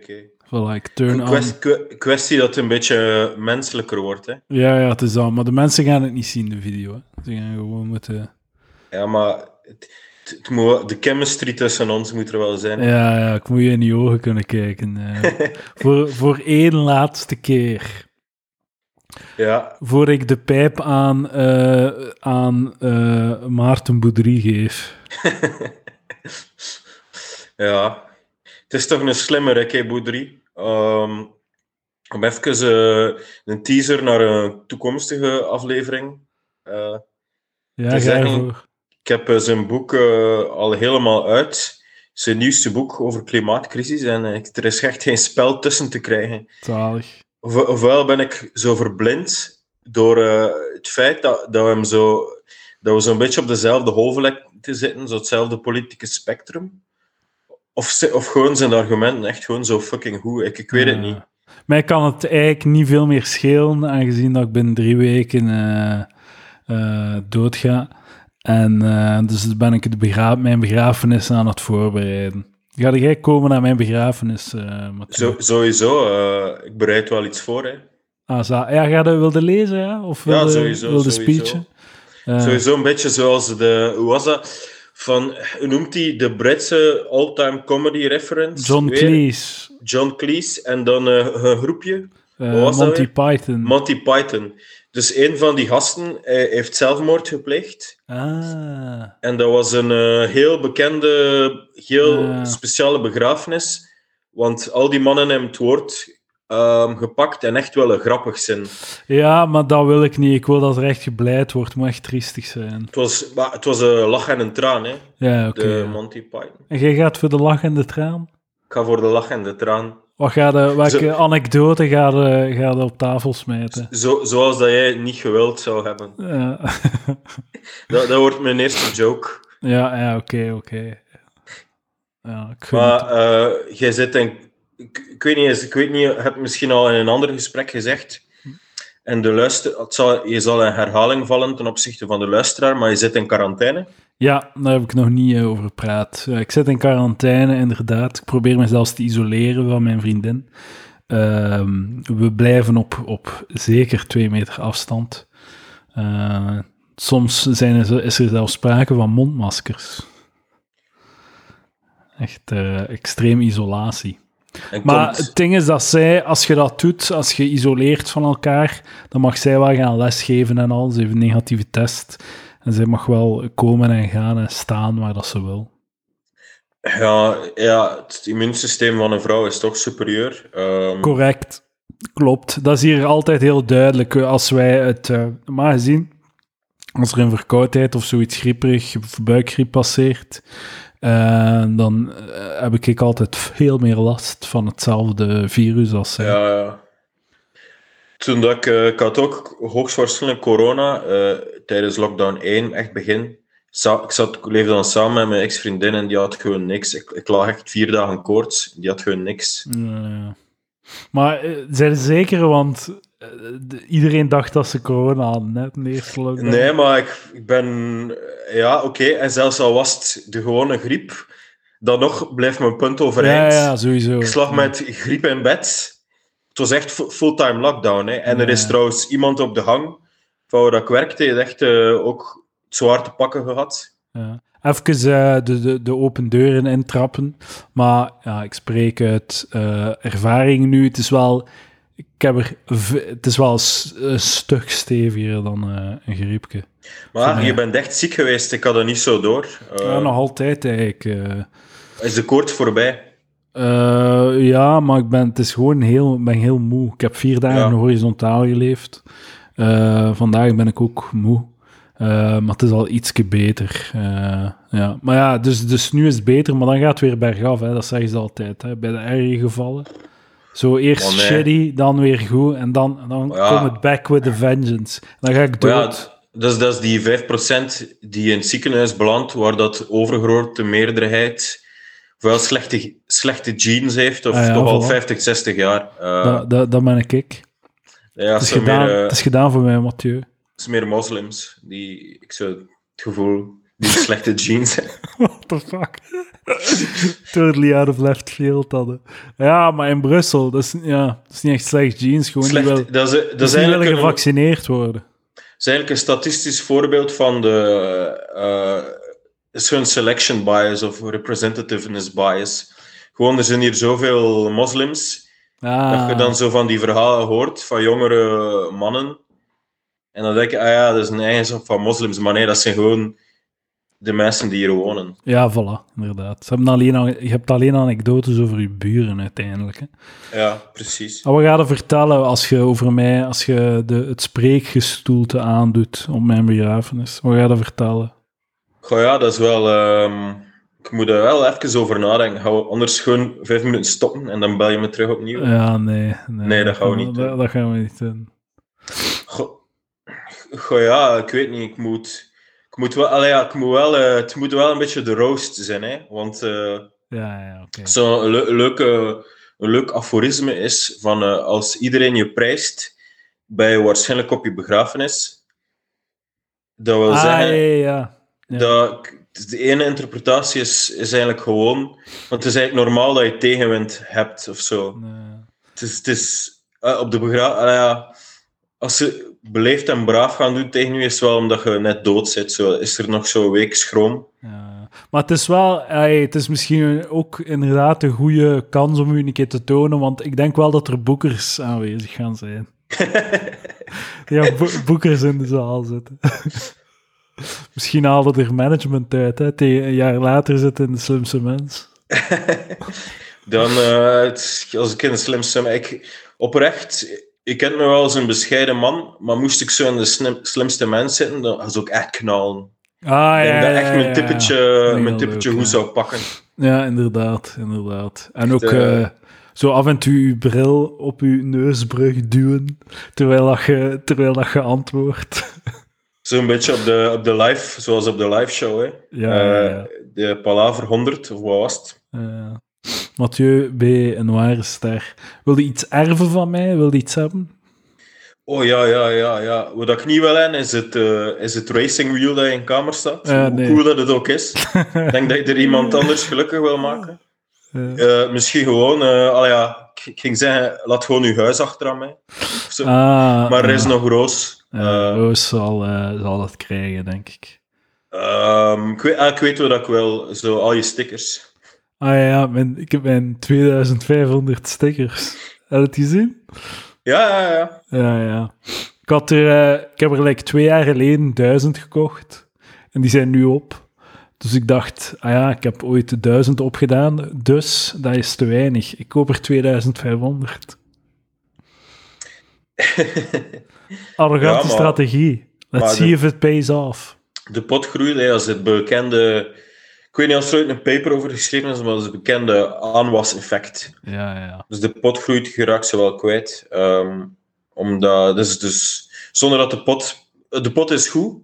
[SPEAKER 2] Voilà, ik turn
[SPEAKER 5] Een
[SPEAKER 2] aan.
[SPEAKER 5] kwest- kwe- kwestie dat het een beetje menselijker wordt. Hè.
[SPEAKER 2] Ja, ja, het is aan. Maar de mensen gaan het niet zien, de video. Hè. Ze gaan gewoon moeten...
[SPEAKER 5] Ja, maar het, het- het moet, de chemistry tussen ons moet er wel zijn.
[SPEAKER 2] Ja, ja, ik moet je in die ogen kunnen kijken. eh. voor, voor één laatste keer.
[SPEAKER 5] Ja,
[SPEAKER 2] Voor ik de pijp aan, eh, aan eh, Maarten Boudry geef.
[SPEAKER 5] ja. Het is toch een slimmer, hè, Kebo 3. Ehm, om even eh, een teaser naar een toekomstige aflevering. eh,
[SPEAKER 2] Ja,
[SPEAKER 5] Te
[SPEAKER 2] ga
[SPEAKER 5] zeggen-
[SPEAKER 2] ervoor.
[SPEAKER 5] Ik heb eh, zijn boek eh, al helemaal uit. Zijn nieuwste boek over klimaatcrisis. En eh, ik- er is echt geen spel tussen te krijgen.
[SPEAKER 2] Zalig.
[SPEAKER 5] Of, ofwel ben ik zo verblind door eh, het feit dat, dat we hem zo... Dat we zo'n beetje op dezelfde golflengte zitten, zo hetzelfde politieke spectrum. Of, ze- of gewoon zijn argumenten echt gewoon zo fucking goed. Ik, ik weet het
[SPEAKER 2] Ja.
[SPEAKER 5] niet.
[SPEAKER 2] Mij kan het eigenlijk niet veel meer schelen, aangezien dat ik binnen drie weken eh, eh, doodga. En eh, dus ben ik de begra- mijn begrafenis aan het voorbereiden. Ga jij komen naar mijn begrafenis, eh Mathieu?
[SPEAKER 5] Zo, sowieso, eh, ik bereid wel iets voor. Hè.
[SPEAKER 2] Ah, za- ja, ga je wilde lezen, ja? Of wilde,
[SPEAKER 5] Ja, sowieso.
[SPEAKER 2] wilde
[SPEAKER 5] sowieso.
[SPEAKER 2] speechen? Eh,
[SPEAKER 5] Sowieso een beetje zoals de. Hoe was dat? Van, hoe noemt hij de Britse all-time comedy reference?
[SPEAKER 2] John
[SPEAKER 5] weer?
[SPEAKER 2] Cleese,
[SPEAKER 5] John Cleese en dan eh, een groepje,
[SPEAKER 2] eh,
[SPEAKER 5] Wat was dat
[SPEAKER 2] Monty
[SPEAKER 5] weer?
[SPEAKER 2] Python.
[SPEAKER 5] Monty Python. Dus een van die gasten eh, heeft zelfmoord gepleegd.
[SPEAKER 2] ah,
[SPEAKER 5] En dat was een eh, heel bekende, heel
[SPEAKER 2] Ja.
[SPEAKER 5] speciale begrafenis. Want al die mannen hebben het woord ehm, gepakt en echt wel een grappig zijn.
[SPEAKER 2] ja, maar dat wil ik niet. Ik wil dat er echt gebleid wordt. Het moet echt triestig zijn.
[SPEAKER 5] Het was, maar het was een lach en een traan, hè,
[SPEAKER 2] Ja, oké.
[SPEAKER 5] de
[SPEAKER 2] ja.
[SPEAKER 5] Monty Python.
[SPEAKER 2] En jij gaat voor de lach en de traan?
[SPEAKER 5] Ik ga voor de lach en de traan.
[SPEAKER 2] Wat ga je, welke
[SPEAKER 5] Zo-
[SPEAKER 2] anekdote ga je, ga je op tafel smijten? Eh,
[SPEAKER 5] Zo, zoals dat jij het niet gewild zou hebben.
[SPEAKER 2] Ja,
[SPEAKER 5] Dat, dat wordt mijn eerste joke.
[SPEAKER 2] ja, ja, oké, oké. Ja, ik gun het.
[SPEAKER 5] Maar eh, jij zit en ik, ik weet niet eens, ik weet niet, ik heb misschien al in een ander gesprek gezegd. En de luister, het zal, je zal in herhaling vallen ten opzichte van de luisteraar, maar je zit in quarantaine.
[SPEAKER 2] Ja, daar heb ik nog niet eh, over gepraat. Eh, ik zit in quarantaine, inderdaad. Ik probeer mezelf te isoleren van mijn vriendin. Ehm, we blijven op, op zeker twee meter afstand. Eh, soms zijn er, zo- is er zelfs sprake van mondmaskers. Echt eh, extreem isolatie.
[SPEAKER 5] En
[SPEAKER 2] Maar
[SPEAKER 5] komt-
[SPEAKER 2] het ding is dat zij, als je dat doet, als je isoleert van elkaar, dan mag zij wel gaan lesgeven en al. Ze heeft een negatieve test. En zij mag wel komen en gaan en staan waar dat ze wil.
[SPEAKER 5] ja, ja, het immuunsysteem van een vrouw is toch superieur. Ehm,
[SPEAKER 2] Correct. Klopt. Dat is hier altijd heel duidelijk. eh, Als wij het eh, maar zien, als er een verkoudheid of zoiets grieperig, of buikgriep passeert, eh, dan eh, heb ik ik altijd veel meer last van hetzelfde virus als zij.
[SPEAKER 5] Ja, ja. Toen dat ik, eh, ik had ook hoogstwaarschijnlijk corona eh, tijdens lockdown 1, echt begin. Sa- ik, zat, ik leefde dan samen met mijn ex-vriendin en die had gewoon niks. Ik, ik lag echt vier dagen koorts, die had gewoon niks.
[SPEAKER 2] Ja. Maar eh, zijn ze zeker, want eh, de- iedereen dacht dat ze corona hadden, net in de eerste lockdown.
[SPEAKER 5] Nee, maar ik, ik ben... eh, Ja, oké. En zelfs al was het de gewone griep, dan nog blijft mijn punt
[SPEAKER 2] ja,
[SPEAKER 5] overeind.
[SPEAKER 2] ja, sowieso.
[SPEAKER 5] Ik slag met griep in bed. Het was echt fu- fulltime lockdown. Hè. En er
[SPEAKER 2] Ja.
[SPEAKER 5] is trouwens iemand op de gang van waar ik werkte, die heeft echt eh, ook het zwaar te pakken gehad.
[SPEAKER 2] Ja. Even eh, de, de, de open deuren intrappen. Maar ja, ik spreek uit eh, ervaring nu. Het is wel, ik heb er, v- het is wel s- een stuk steviger dan eh, een griepje.
[SPEAKER 5] Maar
[SPEAKER 2] Ja.
[SPEAKER 5] je bent echt ziek geweest, ik had dat niet zo door. Eh,
[SPEAKER 2] ja, nog altijd eigenlijk. eh.
[SPEAKER 5] Is de koorts voorbij?
[SPEAKER 2] Eh, ja, maar ik ben, het is gewoon heel, ik ben heel moe. Ik heb vier dagen
[SPEAKER 5] Ja.
[SPEAKER 2] horizontaal geleefd. Eh, vandaag ben ik ook moe. Eh, maar het is al ietsje beter. Eh, ja. Maar ja, dus, dus nu is het beter, maar dan gaat het weer bergaf. Hè. Dat zeggen ze altijd, hè. bij de erge gevallen. Zo eerst
[SPEAKER 5] Maar Oh, nee.
[SPEAKER 2] shitty, dan weer goed en dan, dan
[SPEAKER 5] Ja.
[SPEAKER 2] komt het back with a vengeance. Dan ga ik
[SPEAKER 5] Maar ja,
[SPEAKER 2] dood.
[SPEAKER 5] d- dat is, dat is die 5% die in het ziekenhuis belandt, waar dat overgrote meerderheid wel slechte, ge- slechte genes heeft, of
[SPEAKER 2] Ah ja,
[SPEAKER 5] toch al
[SPEAKER 2] voilà.
[SPEAKER 5] 50, 60 jaar. Eh,
[SPEAKER 2] dat, dat, dat ben ik. ik.
[SPEAKER 5] ja,
[SPEAKER 2] Het
[SPEAKER 5] het
[SPEAKER 2] is,
[SPEAKER 5] zijn
[SPEAKER 2] gedaan,
[SPEAKER 5] meer, eh,
[SPEAKER 2] het is gedaan voor mij, Mathieu.
[SPEAKER 5] het zijn meer moslims die, ik zo het gevoel, die slechte genes hebben.
[SPEAKER 2] What the fuck? totally out of left field hadden. Ja, maar in Brussel, dat is, ja, dat is niet echt slecht jeans. Gewoon
[SPEAKER 5] Slecht-
[SPEAKER 2] die willen,
[SPEAKER 5] dat is, dat
[SPEAKER 2] dus
[SPEAKER 5] is
[SPEAKER 2] die willen
[SPEAKER 5] eigenlijk een,
[SPEAKER 2] gevaccineerd worden.
[SPEAKER 5] is eigenlijk een statistisch voorbeeld van de eh, is hun selection bias of representativeness bias. Gewoon, er zijn hier zoveel moslims
[SPEAKER 2] Ah,
[SPEAKER 5] dat je dan zo van die verhalen hoort van jongere mannen. En dan denk je, ah ja, dat is een eigenschap van moslims. Maar nee, dat zijn gewoon de mensen die hier wonen.
[SPEAKER 2] Ja, voilà, inderdaad. Ze hebben alleen, al- je hebt alleen anekdotes over je buren uiteindelijk. Hè.
[SPEAKER 5] Ja, precies.
[SPEAKER 2] Maar we gaan het vertellen als je over mij, als je de, het spreekgestoelte aandoet op mijn begrafenis. We gaan dat vertellen.
[SPEAKER 5] Goh ja, dat is wel... ehm, ik moet er wel even over nadenken. Gaan we anders gewoon vijf minuten stoppen en dan bel je me terug opnieuw.
[SPEAKER 2] Ja, nee. Nee,
[SPEAKER 5] Nee, dat gaan we niet
[SPEAKER 2] Dat,
[SPEAKER 5] doen.
[SPEAKER 2] dat gaan we niet doen.
[SPEAKER 5] Goh, goh, ja, ik weet niet. Ik moet, ik moet wel, allee, ja, ik moet wel, eh, het moet wel een beetje de roast zijn, hè? Want eh,
[SPEAKER 2] Ja, ja, oké.
[SPEAKER 5] zo'n le- leuke, een leuk aforisme is van eh, als iedereen je prijst, ben je waarschijnlijk op je begrafenis. Dat wil
[SPEAKER 2] Ah, ja,
[SPEAKER 5] zeggen
[SPEAKER 2] ja, ja. ja.
[SPEAKER 5] dat ik- de ene interpretatie is, is eigenlijk gewoon, want het is eigenlijk normaal dat je tegenwind hebt of zo.
[SPEAKER 2] Nee.
[SPEAKER 5] Het is, het is eh, op de begraaf. ja, als ze beleefd en braaf gaan doen tegen u, is het wel omdat je net dood zit. Zo. Is er nog zo'n week schroom?
[SPEAKER 2] Ja. Maar het is wel, ey, het is misschien ook inderdaad een goede kans om u een keer te tonen, want ik denk wel dat er boekers aanwezig gaan zijn. ja, bo- boekers in de zaal zitten. misschien halen er management uit, hè? Tegen een jaar later zitten in de slimste mens.
[SPEAKER 5] Dan, eh, het- als ik in de slimste... Ik, oprecht, ik ken me wel als een bescheiden man, maar moest ik zo in de slim- slimste mens zitten, dan was ik echt knallen.
[SPEAKER 2] Ah, ja,
[SPEAKER 5] Ik denk dat
[SPEAKER 2] ja,
[SPEAKER 5] echt
[SPEAKER 2] ja,
[SPEAKER 5] mijn
[SPEAKER 2] ja.
[SPEAKER 5] tippetje,
[SPEAKER 2] denk
[SPEAKER 5] mijn
[SPEAKER 2] dat
[SPEAKER 5] tippetje
[SPEAKER 2] ook,
[SPEAKER 5] goed
[SPEAKER 2] ja.
[SPEAKER 5] zou pakken.
[SPEAKER 2] Ja, inderdaad, inderdaad. En ook
[SPEAKER 5] eh,
[SPEAKER 2] eh, zo af en toe je bril op je neusbrug duwen, terwijl dat je, terwijl dat je antwoordt.
[SPEAKER 5] Zo'n beetje op de, op de live, zoals op de live show. Hè.
[SPEAKER 2] Ja, ja,
[SPEAKER 5] Eh,
[SPEAKER 2] ja.
[SPEAKER 5] de Palaver 100, of wat was het?
[SPEAKER 2] Eh, Mathieu B., een ware ster. Wil je iets erven van mij? Wil je iets hebben?
[SPEAKER 5] Oh ja, ja, ja, ja. Wat ik niet wil hebben, is het, eh, is het racing wheel dat in je kamer staat.
[SPEAKER 2] Eh,
[SPEAKER 5] Hoe
[SPEAKER 2] nee.
[SPEAKER 5] cool dat het ook is. ik denk dat je er iemand anders gelukkig wil maken.
[SPEAKER 2] Eh,
[SPEAKER 5] Eh, misschien gewoon, eh al ja, ik, ik ging zeggen, laat gewoon je huis achter aan mij. Of zo.
[SPEAKER 2] ah,
[SPEAKER 5] maar er is
[SPEAKER 2] ah,
[SPEAKER 5] nog roos.
[SPEAKER 2] eh,
[SPEAKER 5] Eh,
[SPEAKER 2] Roos zal, eh, zal dat krijgen, denk ik.
[SPEAKER 5] ehm, ik, weet, ah, ik weet wat ik wil, zo al je stickers.
[SPEAKER 2] Ah ja, ja, mijn, ik heb mijn 2500 stickers. Heb je het gezien?
[SPEAKER 5] Ja, ja, ja.
[SPEAKER 2] Ja, ja. Ik, had er, eh, ik heb er like twee jaar geleden duizend gekocht. En die zijn nu op. Dus ik dacht, ah ja, ik heb ooit de duizend opgedaan, dus dat is te weinig. Ik koop er 2500. Arrogante
[SPEAKER 5] Ja, maar-
[SPEAKER 2] strategie. Let's
[SPEAKER 5] maar
[SPEAKER 2] see
[SPEAKER 5] de-
[SPEAKER 2] if it pays off.
[SPEAKER 5] De pot groeide hè, als het bekende... Ik weet niet of er ooit een paper over geschreven is, maar dat is het bekende aanwas-effect.
[SPEAKER 2] Ja, ja.
[SPEAKER 5] Dus de pot groeit, je raakt ze wel kwijt. Ehm, omdat, dus, dus zonder dat de pot... De pot is goed,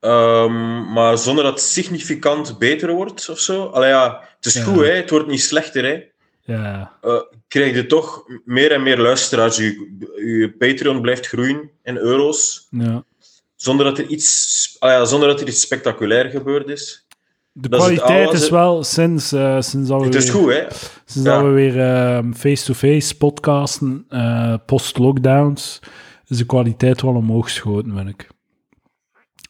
[SPEAKER 5] ehm, maar zonder dat het significant beter wordt of zo. Allee, ja, het is
[SPEAKER 2] Ja.
[SPEAKER 5] goed, hè, het wordt niet slechter. Hè.
[SPEAKER 2] Ja,
[SPEAKER 5] Krijg je toch meer en meer luisteraars. Je, je Patreon blijft groeien in euro's.
[SPEAKER 2] ja.
[SPEAKER 5] Zonder dat er iets, allee, ja, zonder dat er iets spectaculair gebeurd is.
[SPEAKER 2] De
[SPEAKER 5] Dat is het
[SPEAKER 2] kwaliteit
[SPEAKER 5] oude-
[SPEAKER 2] is wel sinds, eh, sinds dat we
[SPEAKER 5] Het is
[SPEAKER 2] weer-
[SPEAKER 5] goed, hè?
[SPEAKER 2] Sinds
[SPEAKER 5] Ja.
[SPEAKER 2] dat Dus we weer ehm, face-to-face podcasten, eh, post-lockdowns, is de kwaliteit wel omhoog geschoten, vind ik.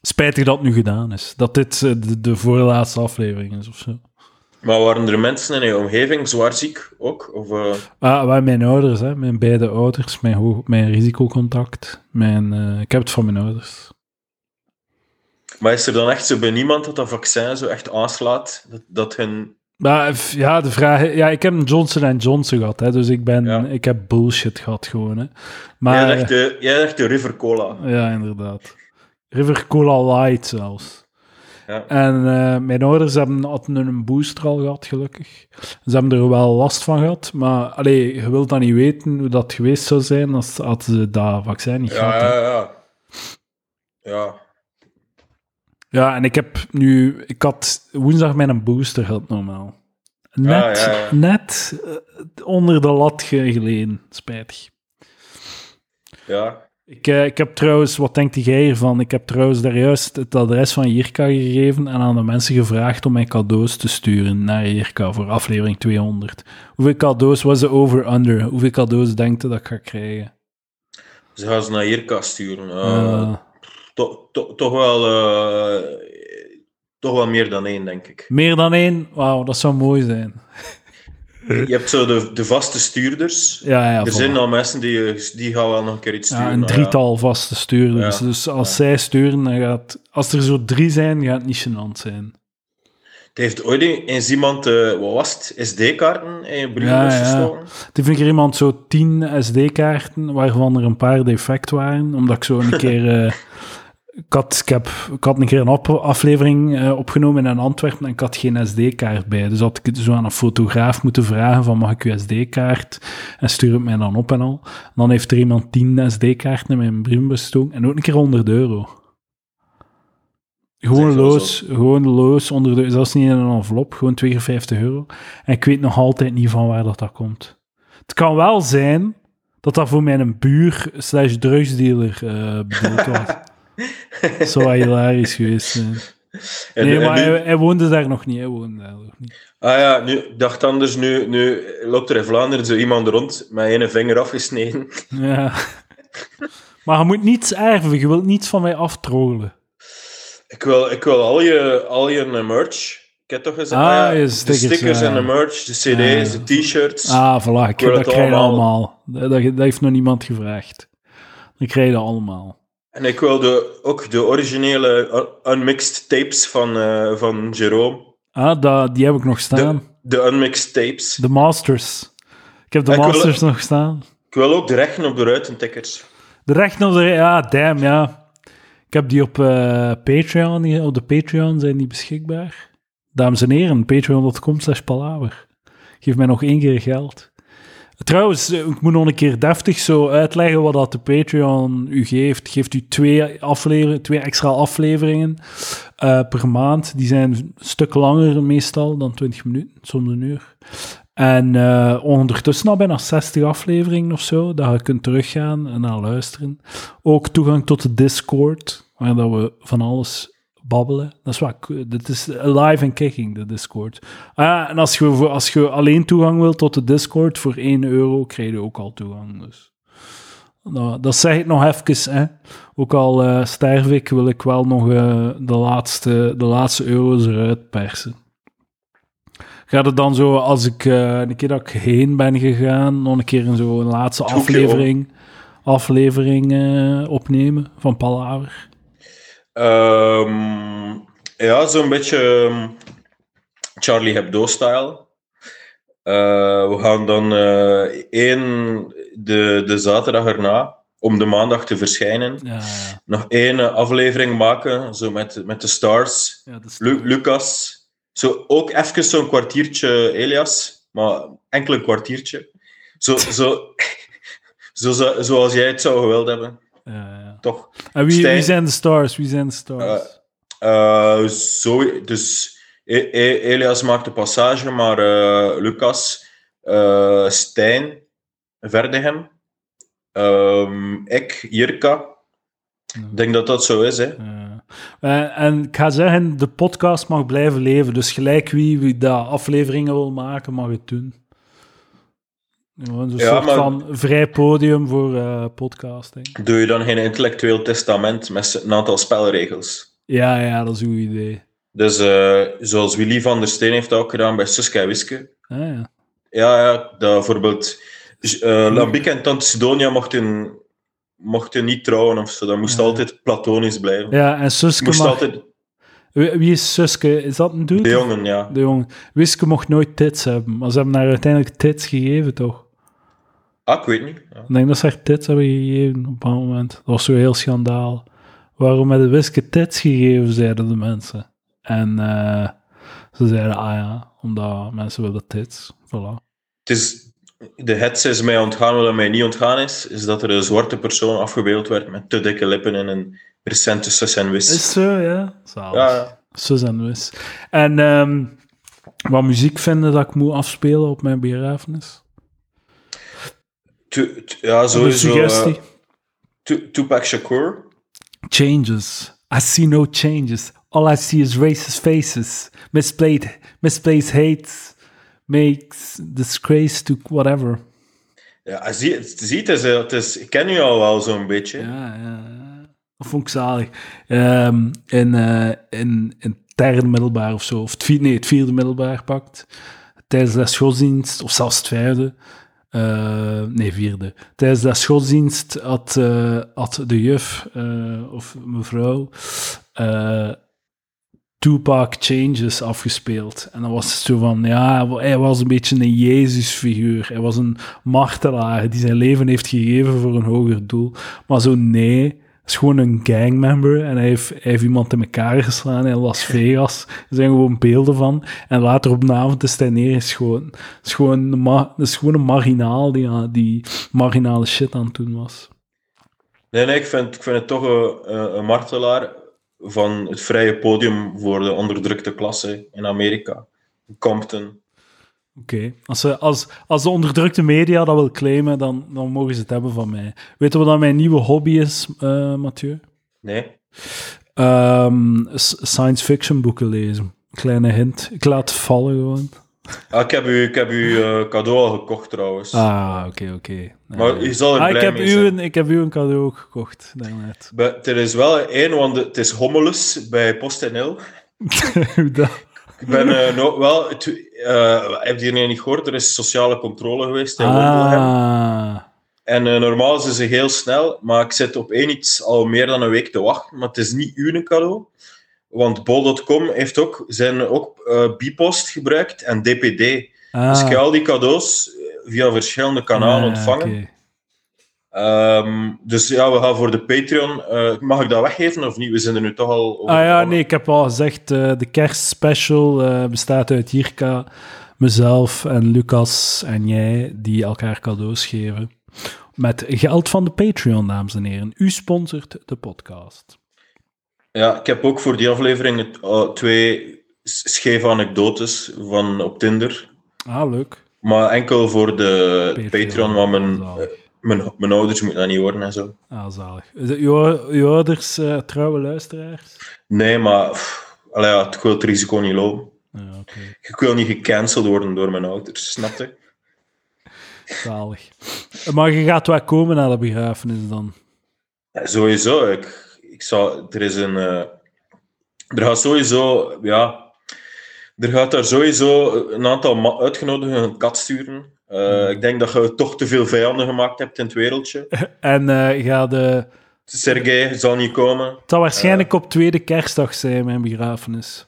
[SPEAKER 2] Spijtig dat het nu gedaan is. Dat dit eh, de, de voorlaatste aflevering is of zo.
[SPEAKER 5] Maar waren er mensen in je omgeving zwaar ziek ook? Of, eh,
[SPEAKER 2] Ah, waar mijn ouders, hè, mijn beide ouders, mijn, hoog, mijn risicocontact. Mijn, eh, ik heb het van mijn ouders.
[SPEAKER 5] Maar is er dan echt zo bij niemand dat dat vaccin zo echt aanslaat? Dat, dat hun...
[SPEAKER 2] Maar f- ja, de vraag, ja, ik heb een Johnson Johnson gehad, hè, dus ik, ben,
[SPEAKER 5] Ja.
[SPEAKER 2] ik heb bullshit gehad gewoon. Hè.
[SPEAKER 5] Jij,
[SPEAKER 2] Maar,
[SPEAKER 5] dacht de, jij dacht de River Cola.
[SPEAKER 2] Ja, inderdaad. River Cola Light zelfs.
[SPEAKER 5] Ja.
[SPEAKER 2] En eh, mijn ouders hebben, hadden een booster al gehad, gelukkig. Ze hebben er wel last van gehad, maar allee, je wilt dan niet weten hoe dat geweest zou zijn als hadden ze dat vaccin niet gehad.
[SPEAKER 5] Ja,
[SPEAKER 2] hè.
[SPEAKER 5] ja, ja. Ja.
[SPEAKER 2] Ja, en ik heb nu... Ik had woensdag mijn booster gehad normaal. Net,
[SPEAKER 5] Ah, ja, ja.
[SPEAKER 2] net eh, onder de lat ge- geleden, spijtig.
[SPEAKER 5] ja.
[SPEAKER 2] Ik, eh, ik heb trouwens, wat denkt jij hiervan? Ik heb trouwens daar juist het adres van Jirka gegeven en aan de mensen gevraagd om mijn cadeaus te sturen naar Jirka voor aflevering 200. Hoeveel cadeaus was de over-under? Hoeveel cadeaus denkt je dat ik ga krijgen?
[SPEAKER 5] Ze gaan ze naar Jirka sturen. Eh,
[SPEAKER 2] Eh,
[SPEAKER 5] to- to- toch, wel, eh, toch wel meer dan één, denk ik.
[SPEAKER 2] meer dan één? Wauw, dat zou mooi zijn.
[SPEAKER 5] Je hebt zo de, de vaste stuurders.
[SPEAKER 2] Ja, ja,
[SPEAKER 5] er
[SPEAKER 2] voilà.
[SPEAKER 5] zijn al mensen die, eh, die gaan wel nog een keer iets sturen.
[SPEAKER 2] ja, een
[SPEAKER 5] maar
[SPEAKER 2] drietal vaste stuurders.
[SPEAKER 5] Ja,
[SPEAKER 2] Dus als
[SPEAKER 5] ja.
[SPEAKER 2] zij sturen, dan gaat... Als er zo drie zijn, gaat het niet gênant zijn.
[SPEAKER 5] Het heeft ooit eens iemand, eh, wat was het, SD-kaarten in je brievenbus
[SPEAKER 2] Ja, ja.
[SPEAKER 5] gestoken.
[SPEAKER 2] Toen vind ik er iemand zo 10 SD-kaarten, waarvan er een paar defect waren. Omdat ik zo een keer. eh, ik, had, ik, heb, ik had een keer een op- aflevering eh, opgenomen in Antwerpen en ik had geen SD-kaart bij. Dus had ik het zo aan een fotograaf moeten vragen: van, mag ik uw SD-kaart? En stuur het mij dan op en al. En dan heeft er iemand 10 SD-kaarten in mijn brievenbus gestoken en ook een keer 100 euro. Gewoon
[SPEAKER 5] Zeg, dat was
[SPEAKER 2] loos, gewoon loos, onder de, zelfs niet in een envelop, gewoon 2 keer 50 euro. En ik weet nog altijd niet van waar dat, dat komt. Het kan wel zijn dat dat voor mijn buur slash drugsdealer eh, bedoeld was. Dat zou wel hilarisch geweest zijn.
[SPEAKER 5] En-
[SPEAKER 2] nee,
[SPEAKER 5] en
[SPEAKER 2] maar
[SPEAKER 5] nu-
[SPEAKER 2] hij, hij woonde daar nog niet. Hij woonde daar nog niet.
[SPEAKER 5] Ah ja, nu, ik dacht anders, nu, nu loopt er in Vlaanderen zo iemand rond met één vinger afgesneden.
[SPEAKER 2] Ja. Maar je moet niets erven. Je wilt niets van mij aftroggelen.
[SPEAKER 5] Ik wil, ik wil al, je, al je merch. Ik heb toch gezegd,
[SPEAKER 2] Ah,
[SPEAKER 5] ah ja,
[SPEAKER 2] je
[SPEAKER 5] de
[SPEAKER 2] stickers,
[SPEAKER 5] stickers
[SPEAKER 2] ja,
[SPEAKER 5] en de
[SPEAKER 2] ja.
[SPEAKER 5] merch, de cd's,
[SPEAKER 2] Ah.
[SPEAKER 5] de t-shirts.
[SPEAKER 2] Ah, voilà. Ik,
[SPEAKER 5] wil
[SPEAKER 2] dat
[SPEAKER 5] het
[SPEAKER 2] krijg je
[SPEAKER 5] allemaal.
[SPEAKER 2] allemaal. Dat, dat- dat heeft nog niemand gevraagd. Dan krijg je dat allemaal.
[SPEAKER 5] En ik wil de, ook de originele un- unmixed tapes van, eh van Jerome.
[SPEAKER 2] Ah, dat, die heb ik nog staan.
[SPEAKER 5] De, de unmixed tapes.
[SPEAKER 2] De Masters. Ik heb de
[SPEAKER 5] Ik wil-
[SPEAKER 2] Masters nog staan.
[SPEAKER 5] Ik wil ook de rechten op de ruitentikkers.
[SPEAKER 2] De rechten op de... Ja, damn, ja. Ik heb die op eh, Patreon. die- Op de Patreon zijn die beschikbaar. Dames en heren, patreon.com slash palaver. Geef mij nog één keer geld. Trouwens, eh, ik moet nog een keer deftig zo uitleggen wat dat de Patreon u geeft. Geeft u twee, afleveringen, twee extra afleveringen eh, per maand. Die zijn een stuk langer meestal dan 20 minuten, soms een uur. En eh, ondertussen al bijna 60 afleveringen of zo, dat je kunt teruggaan en naar luisteren. Ook toegang tot de Discord, waar dat we van alles babbelen. Dat is waar, dit is live en kicking, de Discord. Ah, en als je, voor- als je alleen toegang wilt tot de Discord, voor 1 euro krijg je ook al toegang. Dus. Nou, dat zeg ik nog even, hè. Ook al eh, sterf ik, wil ik wel nog eh, de, laatste, de laatste euro's eruit persen. Gaat het dan zo, als ik eh, een keer dat ik heen ben gegaan, nog een keer in zo'n laatste
[SPEAKER 5] Doe ik je
[SPEAKER 2] aflevering, aflevering eh, opnemen van Palaver?
[SPEAKER 5] Ehm, ja, zo'n beetje ehm, Charlie Hebdo-style. Eh, we gaan dan eh, één de, de zaterdag erna, om de maandag te verschijnen,
[SPEAKER 2] Ja, ja,
[SPEAKER 5] nog één eh, aflevering maken, zo met, met de stars.
[SPEAKER 2] ja. dat is-
[SPEAKER 5] Lu- Lucas, zo ook even zo'n kwartiertje, Elias, maar enkel een kwartiertje. Zo, zo, zo, zo- zoals jij het zou gewild hebben,
[SPEAKER 2] ja, ja.
[SPEAKER 5] toch?
[SPEAKER 2] En wie, wie
[SPEAKER 5] Stijn-
[SPEAKER 2] zijn de stars? Wie zijn de stars?
[SPEAKER 5] Eh, zo, dus E- E- Elias maakt de passage, maar eh, Lucas, eh, Stijn, Verdegem, ehm, ik, Jirka. Ik denk dat dat zo is, hè.
[SPEAKER 2] Ja. Eh, en ik ga zeggen, de podcast mag blijven leven. Dus gelijk wie, wie dat afleveringen wil maken, mag het doen. Gewoon Een
[SPEAKER 5] Ja,
[SPEAKER 2] soort
[SPEAKER 5] maar-
[SPEAKER 2] van vrij podium voor eh, podcasting.
[SPEAKER 5] Doe je dan geen intellectueel testament met een aantal spelregels?
[SPEAKER 2] Ja, ja, dat is een goed idee.
[SPEAKER 5] Dus eh, zoals Willy van der Steen heeft dat ook gedaan bij Suske en Wiske.
[SPEAKER 2] Ah, ja.
[SPEAKER 5] Ja, ja, dat bijvoorbeeld eh Lambiek en Tante Sidonia mochten, mochten niet trouwen of zo. Dat moest
[SPEAKER 2] Ja.
[SPEAKER 5] altijd platonisch blijven.
[SPEAKER 2] ja, en
[SPEAKER 5] Ik
[SPEAKER 2] Suske
[SPEAKER 5] moest
[SPEAKER 2] mag...
[SPEAKER 5] altijd...
[SPEAKER 2] Wie wie is Suske? Is dat een dude?
[SPEAKER 5] De jongen, ja.
[SPEAKER 2] De jongen. Wiske mocht nooit tits hebben, maar ze hebben haar uiteindelijk tits gegeven, toch?
[SPEAKER 5] Ah, ik weet niet. Ja.
[SPEAKER 2] Ik denk dat ze haar tits hebben gegeven op een bepaald moment. Dat was zo heel schandaal. Waarom hebben Wiske tits gegeven, zeiden de mensen. En eh, ze zeiden, ah ja, omdat mensen willen tits. Voilà.
[SPEAKER 5] Het is, de hets is mij ontgaan, wat mij niet ontgaan is, is dat er een zwarte persoon afgebeeld werd met te dikke lippen in een recente sus en wis.
[SPEAKER 2] Is zo, ja. Zalig.
[SPEAKER 5] Ja, ja.
[SPEAKER 2] Sus en wis. En ehm, wat muziek vinden dat ik moet afspelen op mijn begrafenis?
[SPEAKER 5] Tu- tu- ja,
[SPEAKER 2] Een
[SPEAKER 5] sowieso. eh,
[SPEAKER 2] suggestie.
[SPEAKER 5] Tu- Tupac Shakur.
[SPEAKER 2] Changes. I see no changes. All I see is racist faces. Misplaced, misplaced hate makes disgrace to whatever.
[SPEAKER 5] Ja, zie, zie het is, eh, het is, ik ken u al wel zo'n beetje.
[SPEAKER 2] Ja, ja. ja. Dat vond ik zalig. Ehm, in, eh, in, in het derde middelbaar of zo, of het vierde, nee, het vierde middelbaar pakt, tijdens de schooldienst, of zelfs het vijfde, eh, nee, vierde. Tijdens de schooldienst had, eh, had de juf, eh, of mevrouw, eh, Tupac Changes afgespeeld. En dan was het zo van, ja, hij was een beetje een Jezus-figuur. Hij was een martelaar die zijn leven heeft gegeven voor een hoger doel. Maar zo, nee. Het is gewoon een gangmember en hij heeft, hij heeft iemand in elkaar geslaan in Las Vegas. Er zijn gewoon beelden van. En later op de avond is hij neergeschoten. Het is gewoon een, ma- het is gewoon een marginaal die, aan- die marginale shit aan het doen was.
[SPEAKER 5] Nee, nee, ik vind, ik vind het toch een, eh, een- een martelaar van het vrije podium voor de onderdrukte klasse in Amerika. Compton.
[SPEAKER 2] Oké, als, ze- als, als de onderdrukte media dat wil claimen, dan, dan mogen ze het hebben van mij. Weet je wat dat mijn nieuwe hobby is, eh, Mathieu?
[SPEAKER 5] Nee?
[SPEAKER 2] Ehm, s- science fiction boeken lezen. Kleine hint. Ik laat het vallen gewoon.
[SPEAKER 5] Ah, ik heb u, ik heb u eh, cadeau al gekocht trouwens.
[SPEAKER 2] Ah, oké, oké. Nee.
[SPEAKER 5] Maar u zal er
[SPEAKER 2] Ah, ik,
[SPEAKER 5] blij
[SPEAKER 2] heb
[SPEAKER 5] mee
[SPEAKER 2] u
[SPEAKER 5] zijn.
[SPEAKER 2] een, ik heb u een cadeau ook gekocht, daarnet.
[SPEAKER 5] Be- Er is wel één, want het is hommelus bij PostNL.
[SPEAKER 2] Hoe dat?
[SPEAKER 5] Ik ben eh, nog wel... het- eh, heb je hier niet gehoord? Er is sociale controle geweest in Wendelgem.
[SPEAKER 2] Ah,
[SPEAKER 5] En eh, normaal zijn ze heel snel, maar ik zit op één iets al meer dan een week te wachten. Maar het is niet uw cadeau. Want bol.com heeft ook, zijn ook eh bipost gebruikt en DPD.
[SPEAKER 2] ah.
[SPEAKER 5] Dus ik heb al die cadeaus eh, via verschillende kanalen
[SPEAKER 2] Ah,
[SPEAKER 5] ontvangen.
[SPEAKER 2] oké.
[SPEAKER 5] Ehm, dus ja, we gaan voor de Patreon. eh, mag ik dat weggeven of niet? We zijn er nu toch al over
[SPEAKER 2] Ah ja,
[SPEAKER 5] begonnen.
[SPEAKER 2] nee, ik heb al gezegd, eh, de kerstspecial eh, bestaat uit Jirka, mezelf en Lucas en jij, die elkaar cadeaus geven. Met geld van de Patreon, dames en heren. U sponsort de podcast.
[SPEAKER 5] Ja, ik heb ook voor die aflevering het, eh, twee s- scheve anekdotes van op Tinder.
[SPEAKER 2] Ah, leuk.
[SPEAKER 5] Maar enkel voor de Patreon, want mijn,
[SPEAKER 2] Zalig.
[SPEAKER 5] mijn, mijn ouders moeten dat niet horen en zo.
[SPEAKER 2] Ah, zalig. Je, je ouders, eh, trouwe luisteraars?
[SPEAKER 5] Nee, maar pff, allee, ja, ik wil het risico niet lopen.
[SPEAKER 2] Ja, Ah, oké.
[SPEAKER 5] Ik wil niet gecanceld worden door mijn ouders, snap je?
[SPEAKER 2] Zalig. Maar je gaat wel komen naar de begrafenis dan.
[SPEAKER 5] Ja, Eh, sowieso. Ik, ik zal, er is een. eh, er gaat sowieso. Ja. Er gaat daar sowieso een aantal ma- uitgenodigden een kat sturen. Eh, Ik denk dat je toch te veel vijanden gemaakt hebt in het wereldje.
[SPEAKER 2] En eh ga de...
[SPEAKER 5] Sergej zal niet komen.
[SPEAKER 2] Het zal waarschijnlijk op tweede kerstdag zijn, mijn begrafenis.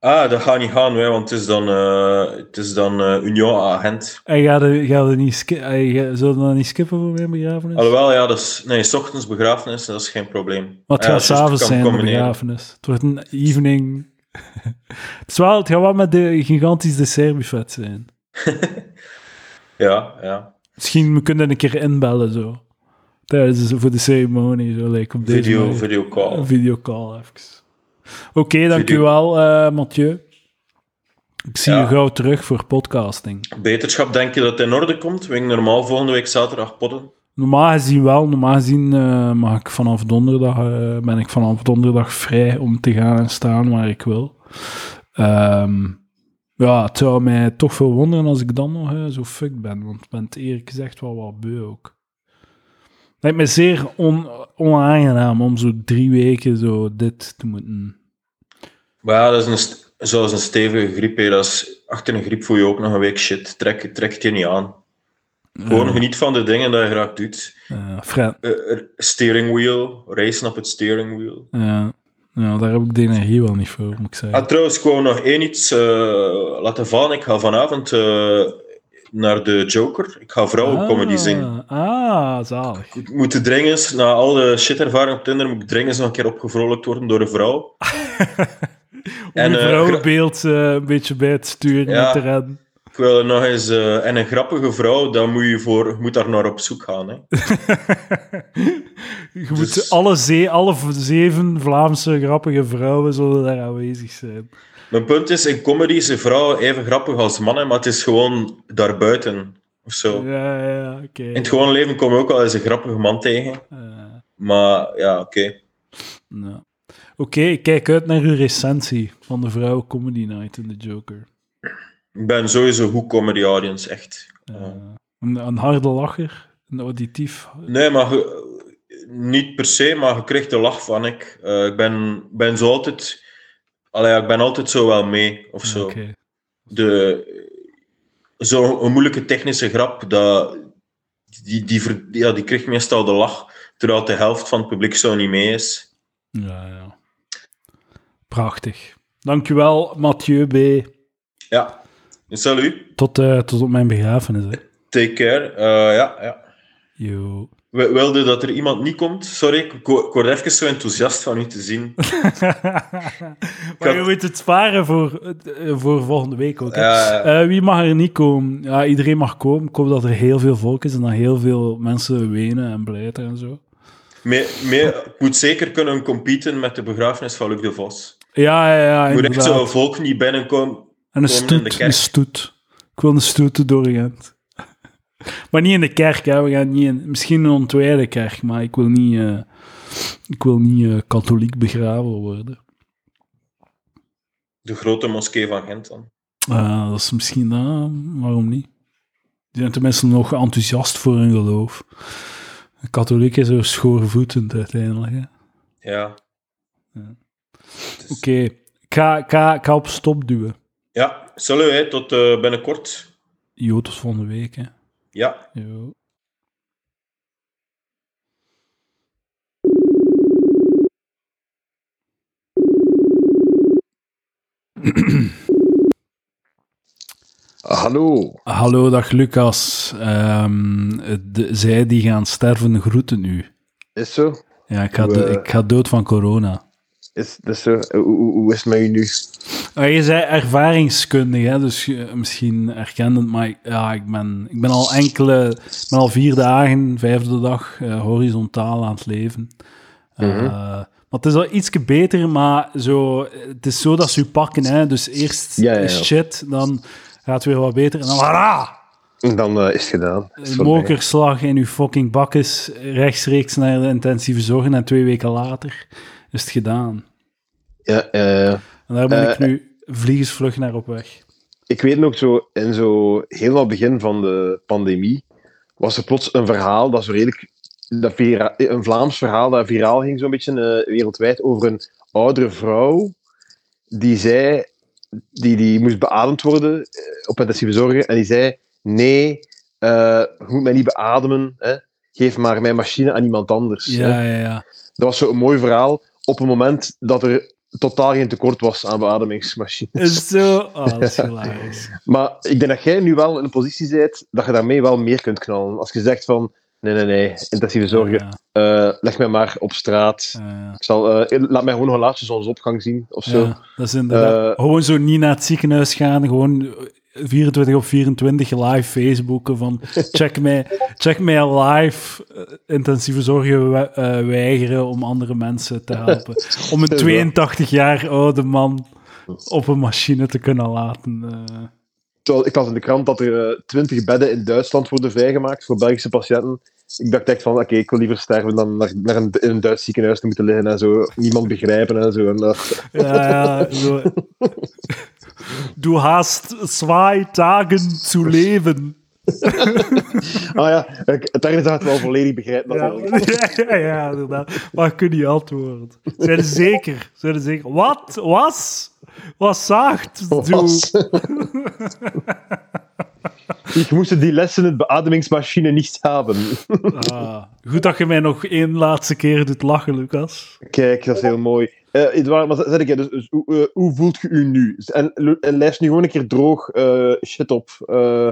[SPEAKER 5] Ah, dat gaat niet gaan, hè, want het is dan, eh, het is dan eh, Union agent.
[SPEAKER 2] En ga je, ga je niet ski- eh, ga- zullen we dat niet skippen voor mijn begrafenis?
[SPEAKER 5] Alhoewel, ja, dat is. Nee, 's ochtends begrafenis, dat is geen probleem. Ah
[SPEAKER 2] Maar het
[SPEAKER 5] Ja,
[SPEAKER 2] gaat
[SPEAKER 5] juist, je
[SPEAKER 2] s'avonds
[SPEAKER 5] kan
[SPEAKER 2] zijn, de
[SPEAKER 5] combineren.
[SPEAKER 2] begrafenis. Het wordt een evening. het, is wel, het gaat wel met de gigantisch dessertbuffet zijn.
[SPEAKER 5] Ja, ja.
[SPEAKER 2] Misschien we kunnen een keer inbellen, zo. Tijdens voor de ceremonie, zo, like op deze
[SPEAKER 5] Video,
[SPEAKER 2] manier.
[SPEAKER 5] videocall.
[SPEAKER 2] Een videocall, even. Oké, dankjewel, eh, Mathieu. Ik zie
[SPEAKER 5] Ja.
[SPEAKER 2] je gauw terug voor podcasting.
[SPEAKER 5] Beterschap, denk je dat het in orde komt? We gaan normaal volgende week zaterdag podden.
[SPEAKER 2] Normaal gezien wel. Normaal gezien eh, mag ik vanaf donderdag, eh, ben ik vanaf donderdag vrij om te gaan en staan waar ik wil. Ehm, ja, het zou mij toch verwonderen als ik dan nog eh, zo fucked ben. Want ik ben het eerlijk gezegd wel wat beu ook. Lijkt me zeer on- onaangenaam om zo drie weken zo dit te moeten...
[SPEAKER 5] Maar ja, dat is een st- zoals een stevige griep. hè. Dat is, achter een griep voel je ook nog een week shit. Trek, trek het je niet aan. Gewoon
[SPEAKER 2] eh,
[SPEAKER 5] geniet van de dingen die je graag doet.
[SPEAKER 2] eh, Fred,
[SPEAKER 5] Eh, er- steering wheel, racen op het steering wheel.
[SPEAKER 2] eh, ja, daar heb ik de energie wel niet voor, moet ik zeggen.
[SPEAKER 5] Ah, trouwens, ik wou nog één iets eh, laten vallen. Ik ga vanavond eh, naar de Joker. Ik ga vrouwencomedy zingen.
[SPEAKER 2] Ah, zalig.
[SPEAKER 5] Ik moet dringend, na al de shit-ervaring op Tinder, moet ik dringend nog een keer opgevrolijkt worden door een vrouw.
[SPEAKER 2] Om je
[SPEAKER 5] eh,
[SPEAKER 2] vrouwenbeeld eh, een beetje bij te sturen
[SPEAKER 5] Ja.
[SPEAKER 2] en te redden.
[SPEAKER 5] Ik wil er nog eens... eh, en een grappige vrouw, dan moet je voor, je moet daar naar op zoek gaan. Hè.
[SPEAKER 2] je moet
[SPEAKER 5] Dus-
[SPEAKER 2] alle, zee, alle v- zeven Vlaamse grappige vrouwen zullen daar aanwezig zijn.
[SPEAKER 5] Mijn punt is, in comedy is een vrouw even grappig als mannen, maar het is gewoon daarbuiten. Of zo.
[SPEAKER 2] Ja, ja, ja, oké.
[SPEAKER 5] In het gewone leven kom je ook wel eens een grappige man tegen.
[SPEAKER 2] Eh,
[SPEAKER 5] Maar ja, oké.
[SPEAKER 2] ja. Oké, ik kijk uit naar uw recensie van de vrouw Comedy Night in The Joker.
[SPEAKER 5] Ik ben sowieso goed comedy audience, echt.
[SPEAKER 2] Eh, een, een harde lacher, een auditief.
[SPEAKER 5] Nee, maar ge- niet per se, maar je kreeg de lach van ik. Eh, ik ben, ben zo altijd... Allee, ja, ik ben altijd zo wel mee, of zo.
[SPEAKER 2] Oké.
[SPEAKER 5] de, zo een moeilijke technische grap, dat, die, die, ver- ja, die kreeg meestal de lach, terwijl de helft van het publiek zo niet mee is.
[SPEAKER 2] Ja, ja. Prachtig. Dankjewel, Mathieu B.
[SPEAKER 5] Ja. Salut,
[SPEAKER 2] Tot, eh, tot op mijn begrafenis. Hè.
[SPEAKER 5] take care. Eh, ja, ja.
[SPEAKER 2] Yo.
[SPEAKER 5] We wilden dat er iemand niet komt. Sorry, ik, ik word ik word even zo enthousiast van u te zien.
[SPEAKER 2] maar je moet het sparen voor, eh, voor volgende week ook. Hè?
[SPEAKER 5] Ja,
[SPEAKER 2] Eh, wie mag er niet komen? Ja, iedereen mag komen. Ik hoop dat er heel veel volk is en dat heel veel mensen wenen en blijten en zo.
[SPEAKER 5] Mee, mee, ik moet zeker kunnen competen met de begrafenis van Luc de Vos.
[SPEAKER 2] Ja, ja, ja.
[SPEAKER 5] Ik moet echt
[SPEAKER 2] Inderdaad.
[SPEAKER 5] zo'n volk niet
[SPEAKER 2] En
[SPEAKER 5] binnenkomen.
[SPEAKER 2] een
[SPEAKER 5] komen in de
[SPEAKER 2] stoet,
[SPEAKER 5] kerk.
[SPEAKER 2] een stoet. Ik wil een stoet door Gent. maar niet in de kerk, hè. We gaan niet in, misschien een ontwijde kerk, maar ik wil niet, eh, ik wil niet eh, katholiek begraven worden.
[SPEAKER 5] De grote moskee van Gent dan.
[SPEAKER 2] Ah, dat is misschien, ah, waarom niet? Die zijn tenminste nog enthousiast voor hun geloof. Een katholiek is er schoorvoetend uiteindelijk. hè.
[SPEAKER 5] Ja.
[SPEAKER 2] Ja.
[SPEAKER 5] Het is-
[SPEAKER 2] Oké, ik, ga, ik, ga, ik ga op stop duwen.
[SPEAKER 5] Ja, salut, hè. tot eh, binnenkort.
[SPEAKER 2] Jo, tot volgende week. Hè.
[SPEAKER 5] Ja.
[SPEAKER 2] Jo.
[SPEAKER 6] Hallo.
[SPEAKER 2] Hallo, dag Lucas. Ehm, de- zij die gaan sterven groeten u.
[SPEAKER 6] Is zo?
[SPEAKER 2] Ja, ik ga,
[SPEAKER 6] Hoe,
[SPEAKER 2] do-
[SPEAKER 6] eh,
[SPEAKER 2] ik ga dood van corona.
[SPEAKER 6] Is, is zo? Hoe, hoe, hoe is het met u nu?
[SPEAKER 2] Maar je zei ervaringskundig, hè, dus je- misschien herkendend, maar ik- ja, ik, ben, ik ben al enkele, ik ben al vier dagen, vijfde dag, eh, horizontaal aan het leven. Eh,
[SPEAKER 6] Mhm.
[SPEAKER 2] Maar het is al ietsje beter, maar zo, het is zo dat ze u pakken. Hè, dus eerst
[SPEAKER 6] Ja, ja, ja.
[SPEAKER 2] is shit, dan gaat het weer wat beter en dan hara!
[SPEAKER 6] Dan eh, is het gedaan. Is het
[SPEAKER 2] Een
[SPEAKER 6] voorbij.
[SPEAKER 2] mokerslag in uw fucking bakkes, rechtstreeks naar de intensieve zorg en twee weken later is het gedaan.
[SPEAKER 6] Ja, eh,
[SPEAKER 2] En daar ben ik
[SPEAKER 6] Eh,
[SPEAKER 2] nu vliegensvlug naar op weg.
[SPEAKER 6] ik weet nog zo, in zo helemaal begin van de pandemie was er plots een verhaal dat zo redelijk, dat vira- eh, een Vlaams verhaal dat viraal ging zo'n beetje eh, wereldwijd over een oudere vrouw die zei, die, die moest beademd worden eh, op intensieve zorgen en die zei, nee, eh je moet mij niet beademen, hè. geef maar mijn machine aan iemand anders. hè.
[SPEAKER 2] Ja, ja, ja.
[SPEAKER 6] Dat was zo'n mooi verhaal op een moment dat er totaal geen tekort was aan beademingsmachines.
[SPEAKER 2] Is zo. Oh, dat is hilarisch.
[SPEAKER 6] Maar ik denk dat jij nu wel in een positie bent dat je daarmee wel meer kunt knallen. Als je zegt van, nee, nee, nee, intensieve zorgen,
[SPEAKER 2] Ja,
[SPEAKER 6] eh, leg mij maar op straat.
[SPEAKER 2] ja,
[SPEAKER 6] Ik zal, eh, laat mij gewoon nog een laatste zonsopgang zien, of zo.
[SPEAKER 2] ja, dat is inderdaad.
[SPEAKER 6] Eh,
[SPEAKER 2] gewoon zo niet naar het ziekenhuis gaan, gewoon 24 op 24 live Facebooken van check mij, check mij live eh, intensieve zorgen we- eh, weigeren om andere mensen te helpen. Om een 82 jaar oude man op een machine te kunnen laten. eh.
[SPEAKER 6] Terwijl ik las in de krant dat er eh, twintig bedden in Duitsland worden vrijgemaakt voor Belgische patiënten. Ik dacht echt van, oké, ik wil liever sterven dan naar, naar een, in een Duits ziekenhuis te moeten liggen en zo. Niemand begrijpen en zo. En, dat.
[SPEAKER 2] Ja, ja, zo. Du hast zwei Tagen zu leben.
[SPEAKER 6] ah ja, ik, daar zou het wel volledig begrijpen.
[SPEAKER 2] Ja,
[SPEAKER 6] natuurlijk.
[SPEAKER 2] ja, ja, inderdaad. Maar ik kun niet antwoorden. Zijn er zeker? Zijn er zeker? Wat? Was? Was zacht? Du?
[SPEAKER 6] ik moest die lessen het beademingsmachine niet hebben.
[SPEAKER 2] Ah, goed dat je mij nog één laatste keer doet lachen, Lucas.
[SPEAKER 6] Kijk, dat is heel mooi. Eh Edouard, maar zeg ik, hè, dus, dus hoe, eh, hoe voelt je u nu? En, en lijst nu gewoon een keer droog eh, shit op, eh,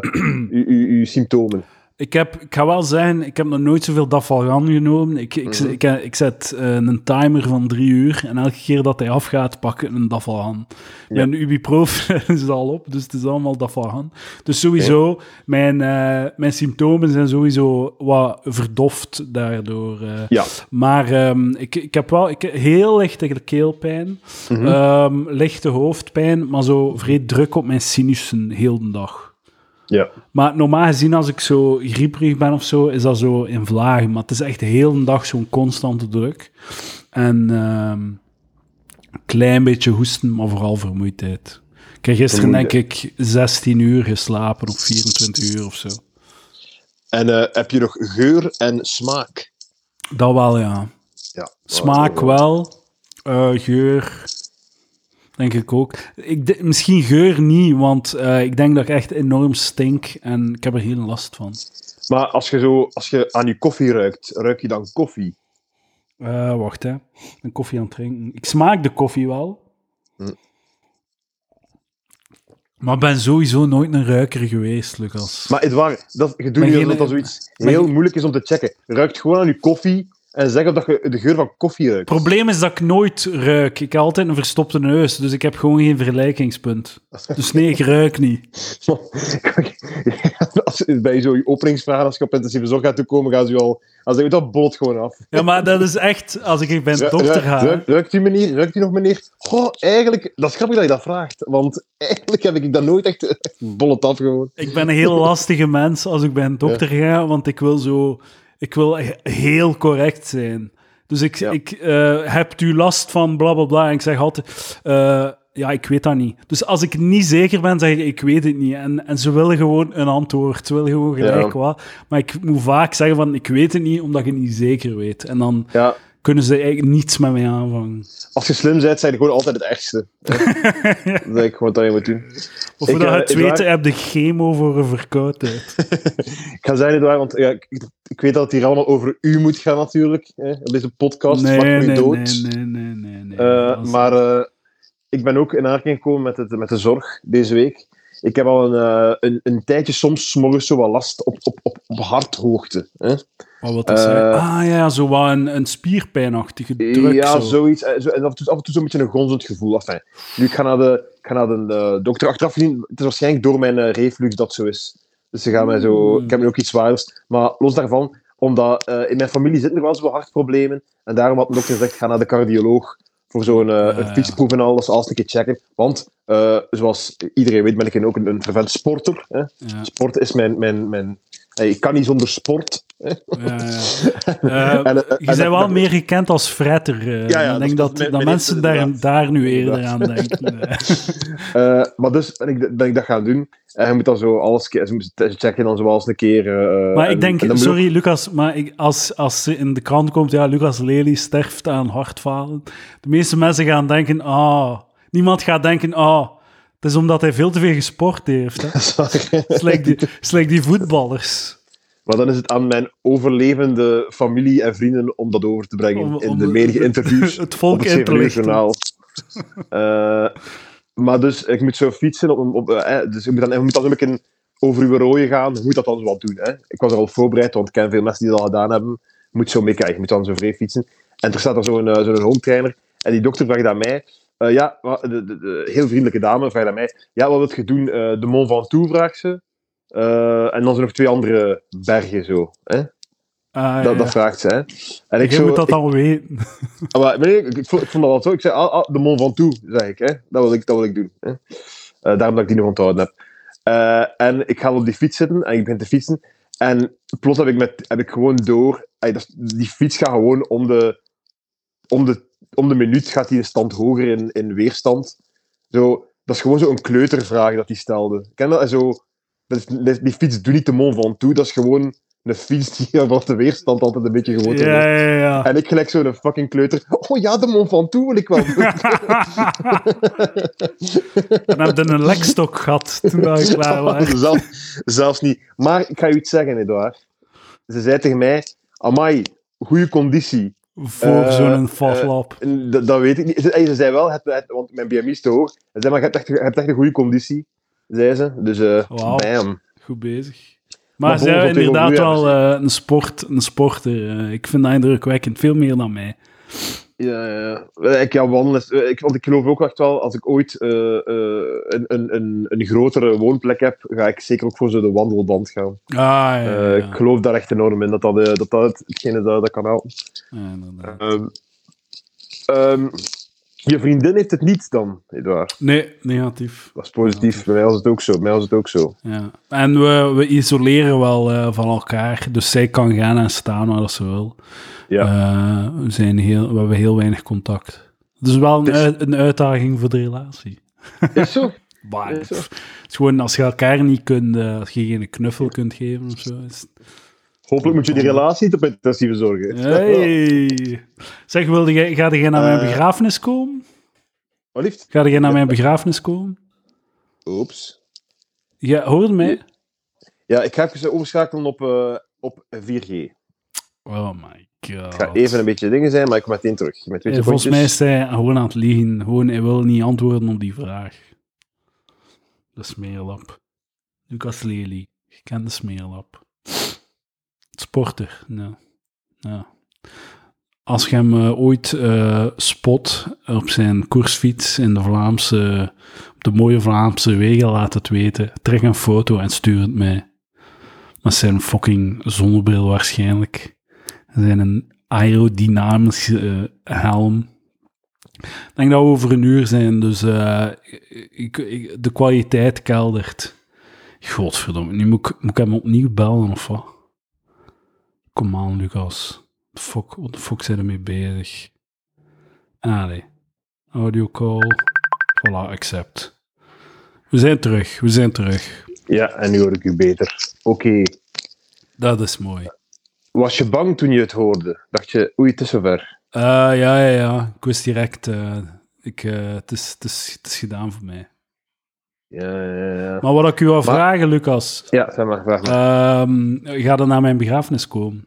[SPEAKER 6] uw uw- uw symptomen.
[SPEAKER 2] Ik, heb, ik ga wel zeggen, ik heb nog nooit zoveel Dafalgan genomen. Ik, ik,
[SPEAKER 6] Mhm.
[SPEAKER 2] ik, ik zet eh, een timer van drie uur en elke keer dat hij afgaat, pak ik een Dafalgan. Mijn Ubiprof is al op, dus het is allemaal Dafalgan. Dus sowieso, mijn, eh, mijn symptomen zijn sowieso wat verdoft daardoor. eh.
[SPEAKER 6] Ja.
[SPEAKER 2] Maar ehm, ik, ik heb wel ik, heel lichte keelpijn,
[SPEAKER 6] Mhm.
[SPEAKER 2] ehm, lichte hoofdpijn, maar zo vrij druk op mijn sinussen heel de dag.
[SPEAKER 6] Ja.
[SPEAKER 2] Maar normaal gezien, als ik zo grieperig ben of zo, is dat zo in vlagen. Maar het is echt de hele dag zo'n constante druk. En ehm klein beetje hoesten, maar vooral vermoeidheid. Ik heb gisteren denk ik 16 uur geslapen of 24 uur of zo.
[SPEAKER 6] En eh, heb je nog geur en smaak?
[SPEAKER 2] Dat wel, ja.
[SPEAKER 6] Ja.
[SPEAKER 2] Smaak wel. Eh, geur. Denk ik ook. Ik, de- misschien geur niet, want eh, ik denk dat ik echt enorm stink en ik heb er heel last van.
[SPEAKER 6] Maar als je, zo, als je aan je koffie ruikt, ruik je dan koffie?
[SPEAKER 2] Eh, wacht, hè. Een koffie aan het drinken. Ik smaak de koffie wel.
[SPEAKER 6] Hm.
[SPEAKER 2] Maar ik ben sowieso nooit een ruiker geweest, Lucas.
[SPEAKER 6] Maar Edouard, dat, je doet
[SPEAKER 2] Maar
[SPEAKER 6] nu
[SPEAKER 2] geen-
[SPEAKER 6] alsof dat zoiets
[SPEAKER 2] maar
[SPEAKER 6] heel
[SPEAKER 2] geen-
[SPEAKER 6] moeilijk is om te checken. Ruikt gewoon aan je koffie en zeg of dat je de geur van koffie ruikt.
[SPEAKER 2] Het probleem is dat ik nooit ruik. Ik heb altijd een verstopte neus, dus ik heb gewoon geen vergelijkingspunt. Dus nee, ik ruik niet.
[SPEAKER 6] als, bij zo'n openingsvraag, als je op intensieve zorg gaat toekomen, gaan ze je al... Dan zeggen dat bot gewoon af.
[SPEAKER 2] Ja, maar dat is echt... Als ik bij een
[SPEAKER 6] Ru-
[SPEAKER 2] dokter
[SPEAKER 6] ruikt-
[SPEAKER 2] ga...
[SPEAKER 6] ruikt- Ruikt u meneer? Ruikt u nog meneer? Goh, eigenlijk... Dat is grappig dat je dat vraagt, want eigenlijk heb ik dat nooit echt, echt bollet af gewoon.
[SPEAKER 2] Ik ben een heel lastige mens als ik bij een dokter ga, want ik wil zo... Ik wil he- heel correct zijn. Dus ik,
[SPEAKER 6] Ja.
[SPEAKER 2] ik eh, heb u last van bla bla bla. En ik zeg altijd, eh, ja, ik weet dat niet. Dus als ik niet zeker ben, zeg ik, ik weet het niet. En, en ze willen gewoon een antwoord. Ze willen gewoon gelijk
[SPEAKER 6] Ja.
[SPEAKER 2] wat. Maar ik moet vaak zeggen van, ik weet het niet, omdat je niet zeker weet. En dan
[SPEAKER 6] Ja,
[SPEAKER 2] kunnen ze eigenlijk niets met mij aanvangen.
[SPEAKER 6] als je slim bent, zijn je gewoon altijd het ergste. dat is ik gewoon dat je moet doen.
[SPEAKER 2] Of
[SPEAKER 6] Ik,
[SPEAKER 2] dat
[SPEAKER 6] eh,
[SPEAKER 2] je het
[SPEAKER 6] Edouard-
[SPEAKER 2] weten, heb de chemo voor een verkoudheid.
[SPEAKER 6] Ik ga zeggen, Edouard, want ja, ik, ik weet dat het hier allemaal over u moet gaan natuurlijk. Hè, op deze podcast, vlak voor
[SPEAKER 2] nee,
[SPEAKER 6] u
[SPEAKER 2] nee,
[SPEAKER 6] dood.
[SPEAKER 2] nee, nee, nee, nee, nee.
[SPEAKER 6] Eh,
[SPEAKER 2] Dat is-
[SPEAKER 6] maar eh, ik ben ook in aanraking gekomen met, het, met de zorg deze week. Ik heb al een, eh, een, een tijdje soms 's morgens zo wat last op, op, op, op harthoogte. Hè?
[SPEAKER 2] Oh, wat is hij?
[SPEAKER 6] Eh,
[SPEAKER 2] Ah ja, zo wat een, een spierpijnachtige druk.
[SPEAKER 6] Ja,
[SPEAKER 2] zo.
[SPEAKER 6] zoiets. eh, zo, en af en toe, af en toe zo'n beetje een gonzend gevoel. Enfin, nu, ik ga naar de, ik ga naar de eh, dokter achteraf gezien. Het is waarschijnlijk door mijn eh, reflux dat zo is. Dus ze gaan mij zo...
[SPEAKER 2] Mm.
[SPEAKER 6] Ik heb nu ook iets zwaarders. Maar los daarvan, omdat eh, in mijn familie zitten er wel eens wel hartproblemen. En daarom had mijn dokter gezegd, ga naar de cardioloog. Voor zo'n eh,
[SPEAKER 2] Ah, Ja,
[SPEAKER 6] een
[SPEAKER 2] ja.
[SPEAKER 6] fietsproef en al, dat ze alles een keer checken. Want, eh, zoals iedereen weet, ben ik ook een, een fervent sporter. Hè?
[SPEAKER 2] Ja,
[SPEAKER 6] Sport is mijn... mijn, mijn eh, ik kan niet zonder sport.
[SPEAKER 2] ja, ja. Eh,
[SPEAKER 6] En, eh,
[SPEAKER 2] je
[SPEAKER 6] en
[SPEAKER 2] bent
[SPEAKER 6] dat-
[SPEAKER 2] wel meer gekend als fretter. eh.
[SPEAKER 6] Ja, ja,
[SPEAKER 2] ik denk
[SPEAKER 6] dat-
[SPEAKER 2] dat,
[SPEAKER 6] dat-
[SPEAKER 2] dat
[SPEAKER 6] met-
[SPEAKER 2] mensen
[SPEAKER 6] met-
[SPEAKER 2] daar,
[SPEAKER 6] inderdaad.
[SPEAKER 2] daar nu eerder aan
[SPEAKER 6] Inderdaad.
[SPEAKER 2] denken. eh.
[SPEAKER 6] Eh, maar dus ben ik, ben ik dat gaan doen. En je moet dan zo alles ke- ze moeten checken, dan zo alles een keer. eh,
[SPEAKER 2] maar
[SPEAKER 6] en-
[SPEAKER 2] ik denk,
[SPEAKER 6] en dan moet
[SPEAKER 2] sorry Lucas, maar ik, als, als ze in de krant komt, ja, Lucas Lely sterft aan hartfalen. De meeste mensen gaan denken, ah, niemand gaat denken, ah, het is omdat hij veel te veel gesport heeft. Hè. Het
[SPEAKER 6] ook-
[SPEAKER 2] is like die, het is like die voetballers.
[SPEAKER 6] maar dan is het aan mijn overlevende familie en vrienden om dat over te brengen
[SPEAKER 2] Om-
[SPEAKER 6] in
[SPEAKER 2] om
[SPEAKER 6] de
[SPEAKER 2] de-
[SPEAKER 6] menige
[SPEAKER 2] de-
[SPEAKER 6] interviews.
[SPEAKER 2] het volk
[SPEAKER 6] op het
[SPEAKER 2] in te
[SPEAKER 6] zeven uur
[SPEAKER 2] lichten.
[SPEAKER 6] journaal. Eh, maar dus, ik moet zo fietsen. Op, een- op, eh, eh, dus ik moet dan, ik moet dan een beetje over uw rooien gaan. Je moet dat dan wat doen. Hè? Ik was er al voorbereid, want ik ken veel mensen die dat al gedaan hebben. Je moet zo meekijken. Je moet dan zo vreemd fietsen. En er staat dan zo'n eh, zo'n home trainer. En die dokter vraagt aan mij... eh, ja, wa- de, de, de heel vriendelijke dame vraagt aan mij... Ja, wat wil je doen? Eh, de Mont Ventoux, vraagt ze. Eh, en dan zijn er nog twee andere bergen, zo. Hè?
[SPEAKER 2] Ah,
[SPEAKER 6] Dat,
[SPEAKER 2] ja.
[SPEAKER 6] dat vraagt ze, hè. En
[SPEAKER 2] Je
[SPEAKER 6] zo,
[SPEAKER 2] moet dat
[SPEAKER 6] ik-
[SPEAKER 2] dan weten.
[SPEAKER 6] Ah, maar, nee, ik, ik vond, ik vond dat wel zo. Ik zei, ah, ah, de Mont Ventoux, zeg ik. Hè? Dat, wil ik. dat wil ik doen. Hè? Eh, daarom dat ik die nog onthouden heb. Eh, en ik ga op die fiets zitten en ik begin te fietsen. En plots heb ik, met, heb ik gewoon door... ey, dat is- die fiets gaat gewoon om de, om de, om de minuut gaat die een stand hoger in, in weerstand. Zo, dat is gewoon zo'n kleutervraag dat die stelde. Ken dat? En Zo, dat is- dat is- die fiets doet niet de Mont Ventoux. Dat is gewoon een fiets die waarvan de weerstand altijd een beetje groter wordt.
[SPEAKER 2] Ja, ja, ja.
[SPEAKER 6] En ik gelijk zo'n fucking kleuter. Oh ja, de Mont Ventoux wil ik wel doen.
[SPEAKER 2] Dan heb je een lekstok gehad toen dat ik klaar was.
[SPEAKER 6] zelfs, zelfs niet. Maar ik ga je iets zeggen, Edouard. Ze zei tegen mij, amai, goede conditie.
[SPEAKER 2] Voor
[SPEAKER 6] Eh,
[SPEAKER 2] zo'n
[SPEAKER 6] eh,
[SPEAKER 2] faslap.
[SPEAKER 6] En dat, dat weet ik niet. Ze, en ze zei wel, het, het- want mijn BMI is te hoog. Ze zei, maar je hebt echt, je hebt echt een goede conditie, zei ze. Dus eh
[SPEAKER 2] Wauw.
[SPEAKER 6] bam.
[SPEAKER 2] Goed bezig. Maar ze
[SPEAKER 6] volgens
[SPEAKER 2] zijn
[SPEAKER 6] wat tegen
[SPEAKER 2] inderdaad
[SPEAKER 6] nu
[SPEAKER 2] wel
[SPEAKER 6] hebben
[SPEAKER 2] eh, een, sport, een sporter. eh. ik vind dat indrukwekkend, veel meer dan mij.
[SPEAKER 6] Ja, ja, ja. Eh, Ik, ja, wandelen is- ik, want ik geloof ook echt wel, als ik ooit eh, eh, een, een, een, een grotere woonplek heb, ga ik zeker ook voor zo de wandelband gaan.
[SPEAKER 2] Ah, ja, ja,
[SPEAKER 6] Eh,
[SPEAKER 2] ja.
[SPEAKER 6] ik geloof daar echt enorm in, dat dat, eh, dat, dat hetgene dat, dat kan helpen.
[SPEAKER 2] Ja, inderdaad.
[SPEAKER 6] Ehm, ehm, je vriendin heeft het niet dan, Edouard.
[SPEAKER 2] Nee, negatief.
[SPEAKER 6] Dat is positief. Bij mij was het ook zo. Bij mij was het ook zo.
[SPEAKER 2] Ja. En we, we isoleren wel eh, van elkaar, dus zij kan gaan en staan waar dat ze wil.
[SPEAKER 6] Ja.
[SPEAKER 2] Eh, we, zijn heel, we hebben heel weinig contact. Dus wel een,
[SPEAKER 6] Dus-
[SPEAKER 2] uit- een uitdaging voor de relatie.
[SPEAKER 6] Is zo.
[SPEAKER 2] Maar
[SPEAKER 6] Is zo.
[SPEAKER 2] pff, het is gewoon als je elkaar niet kunt, eh, als je geen knuffel kunt geven of zo. Is...
[SPEAKER 6] Hopelijk moet je die relatie niet op intensieve zorgen.
[SPEAKER 2] Hey. Zeg, wilde jij, ga jij naar mijn
[SPEAKER 6] Eh.
[SPEAKER 2] begrafenis komen?
[SPEAKER 6] Wat liefst?
[SPEAKER 2] Ga jij naar mijn begrafenis komen?
[SPEAKER 6] Oeps.
[SPEAKER 2] Ja, hoorde mij?
[SPEAKER 6] Ja, ik ga even overschakelen op, eh, op 4G.
[SPEAKER 2] Oh my god.
[SPEAKER 6] Het gaat even een beetje dingen zijn, maar ik kom meteen terug. Met
[SPEAKER 2] Eh,
[SPEAKER 6] witte
[SPEAKER 2] Volgens mij
[SPEAKER 6] pontjes.
[SPEAKER 2] is hij gewoon aan het liegen. Gewoon, hij wil niet antwoorden op die vraag. De smeerlap. Lucas Lely. Gekende smeerlap. Sporter. Ja. Ja. Als je hem eh, ooit eh, spot op zijn koersfiets in de Vlaamse, op de mooie Vlaamse wegen, laat het weten. Trek een foto en stuur het mij. Met zijn fucking zonnebril waarschijnlijk. En zijn een aerodynamische eh, helm. Ik denk dat we over een uur zijn, dus eh, ik, ik- de kwaliteit keldert. Godverdomme, nu moet ik, moet ik hem opnieuw bellen of wat? Kom aan, Lucas. Fuck, wat de fuck zijn we mee bezig? Allee. Audio call. Voilà, accept. We zijn terug, we zijn terug.
[SPEAKER 6] Ja, en nu hoor ik u beter. Oké.
[SPEAKER 2] Dat is mooi.
[SPEAKER 6] Was je bang toen je het hoorde? Dacht je, oei, het is zover.
[SPEAKER 2] Eh, ja, ja, ja. Ik wist direct. eh, ik, eh, het, is, het, is, het is gedaan voor mij.
[SPEAKER 6] Ja, ja, ja.
[SPEAKER 2] Maar wat ik u wil
[SPEAKER 6] Maar-
[SPEAKER 2] vragen, Lucas.
[SPEAKER 6] Ja, zeg maar, vraag maar.
[SPEAKER 2] ehm, ga dan naar mijn begrafenis komen?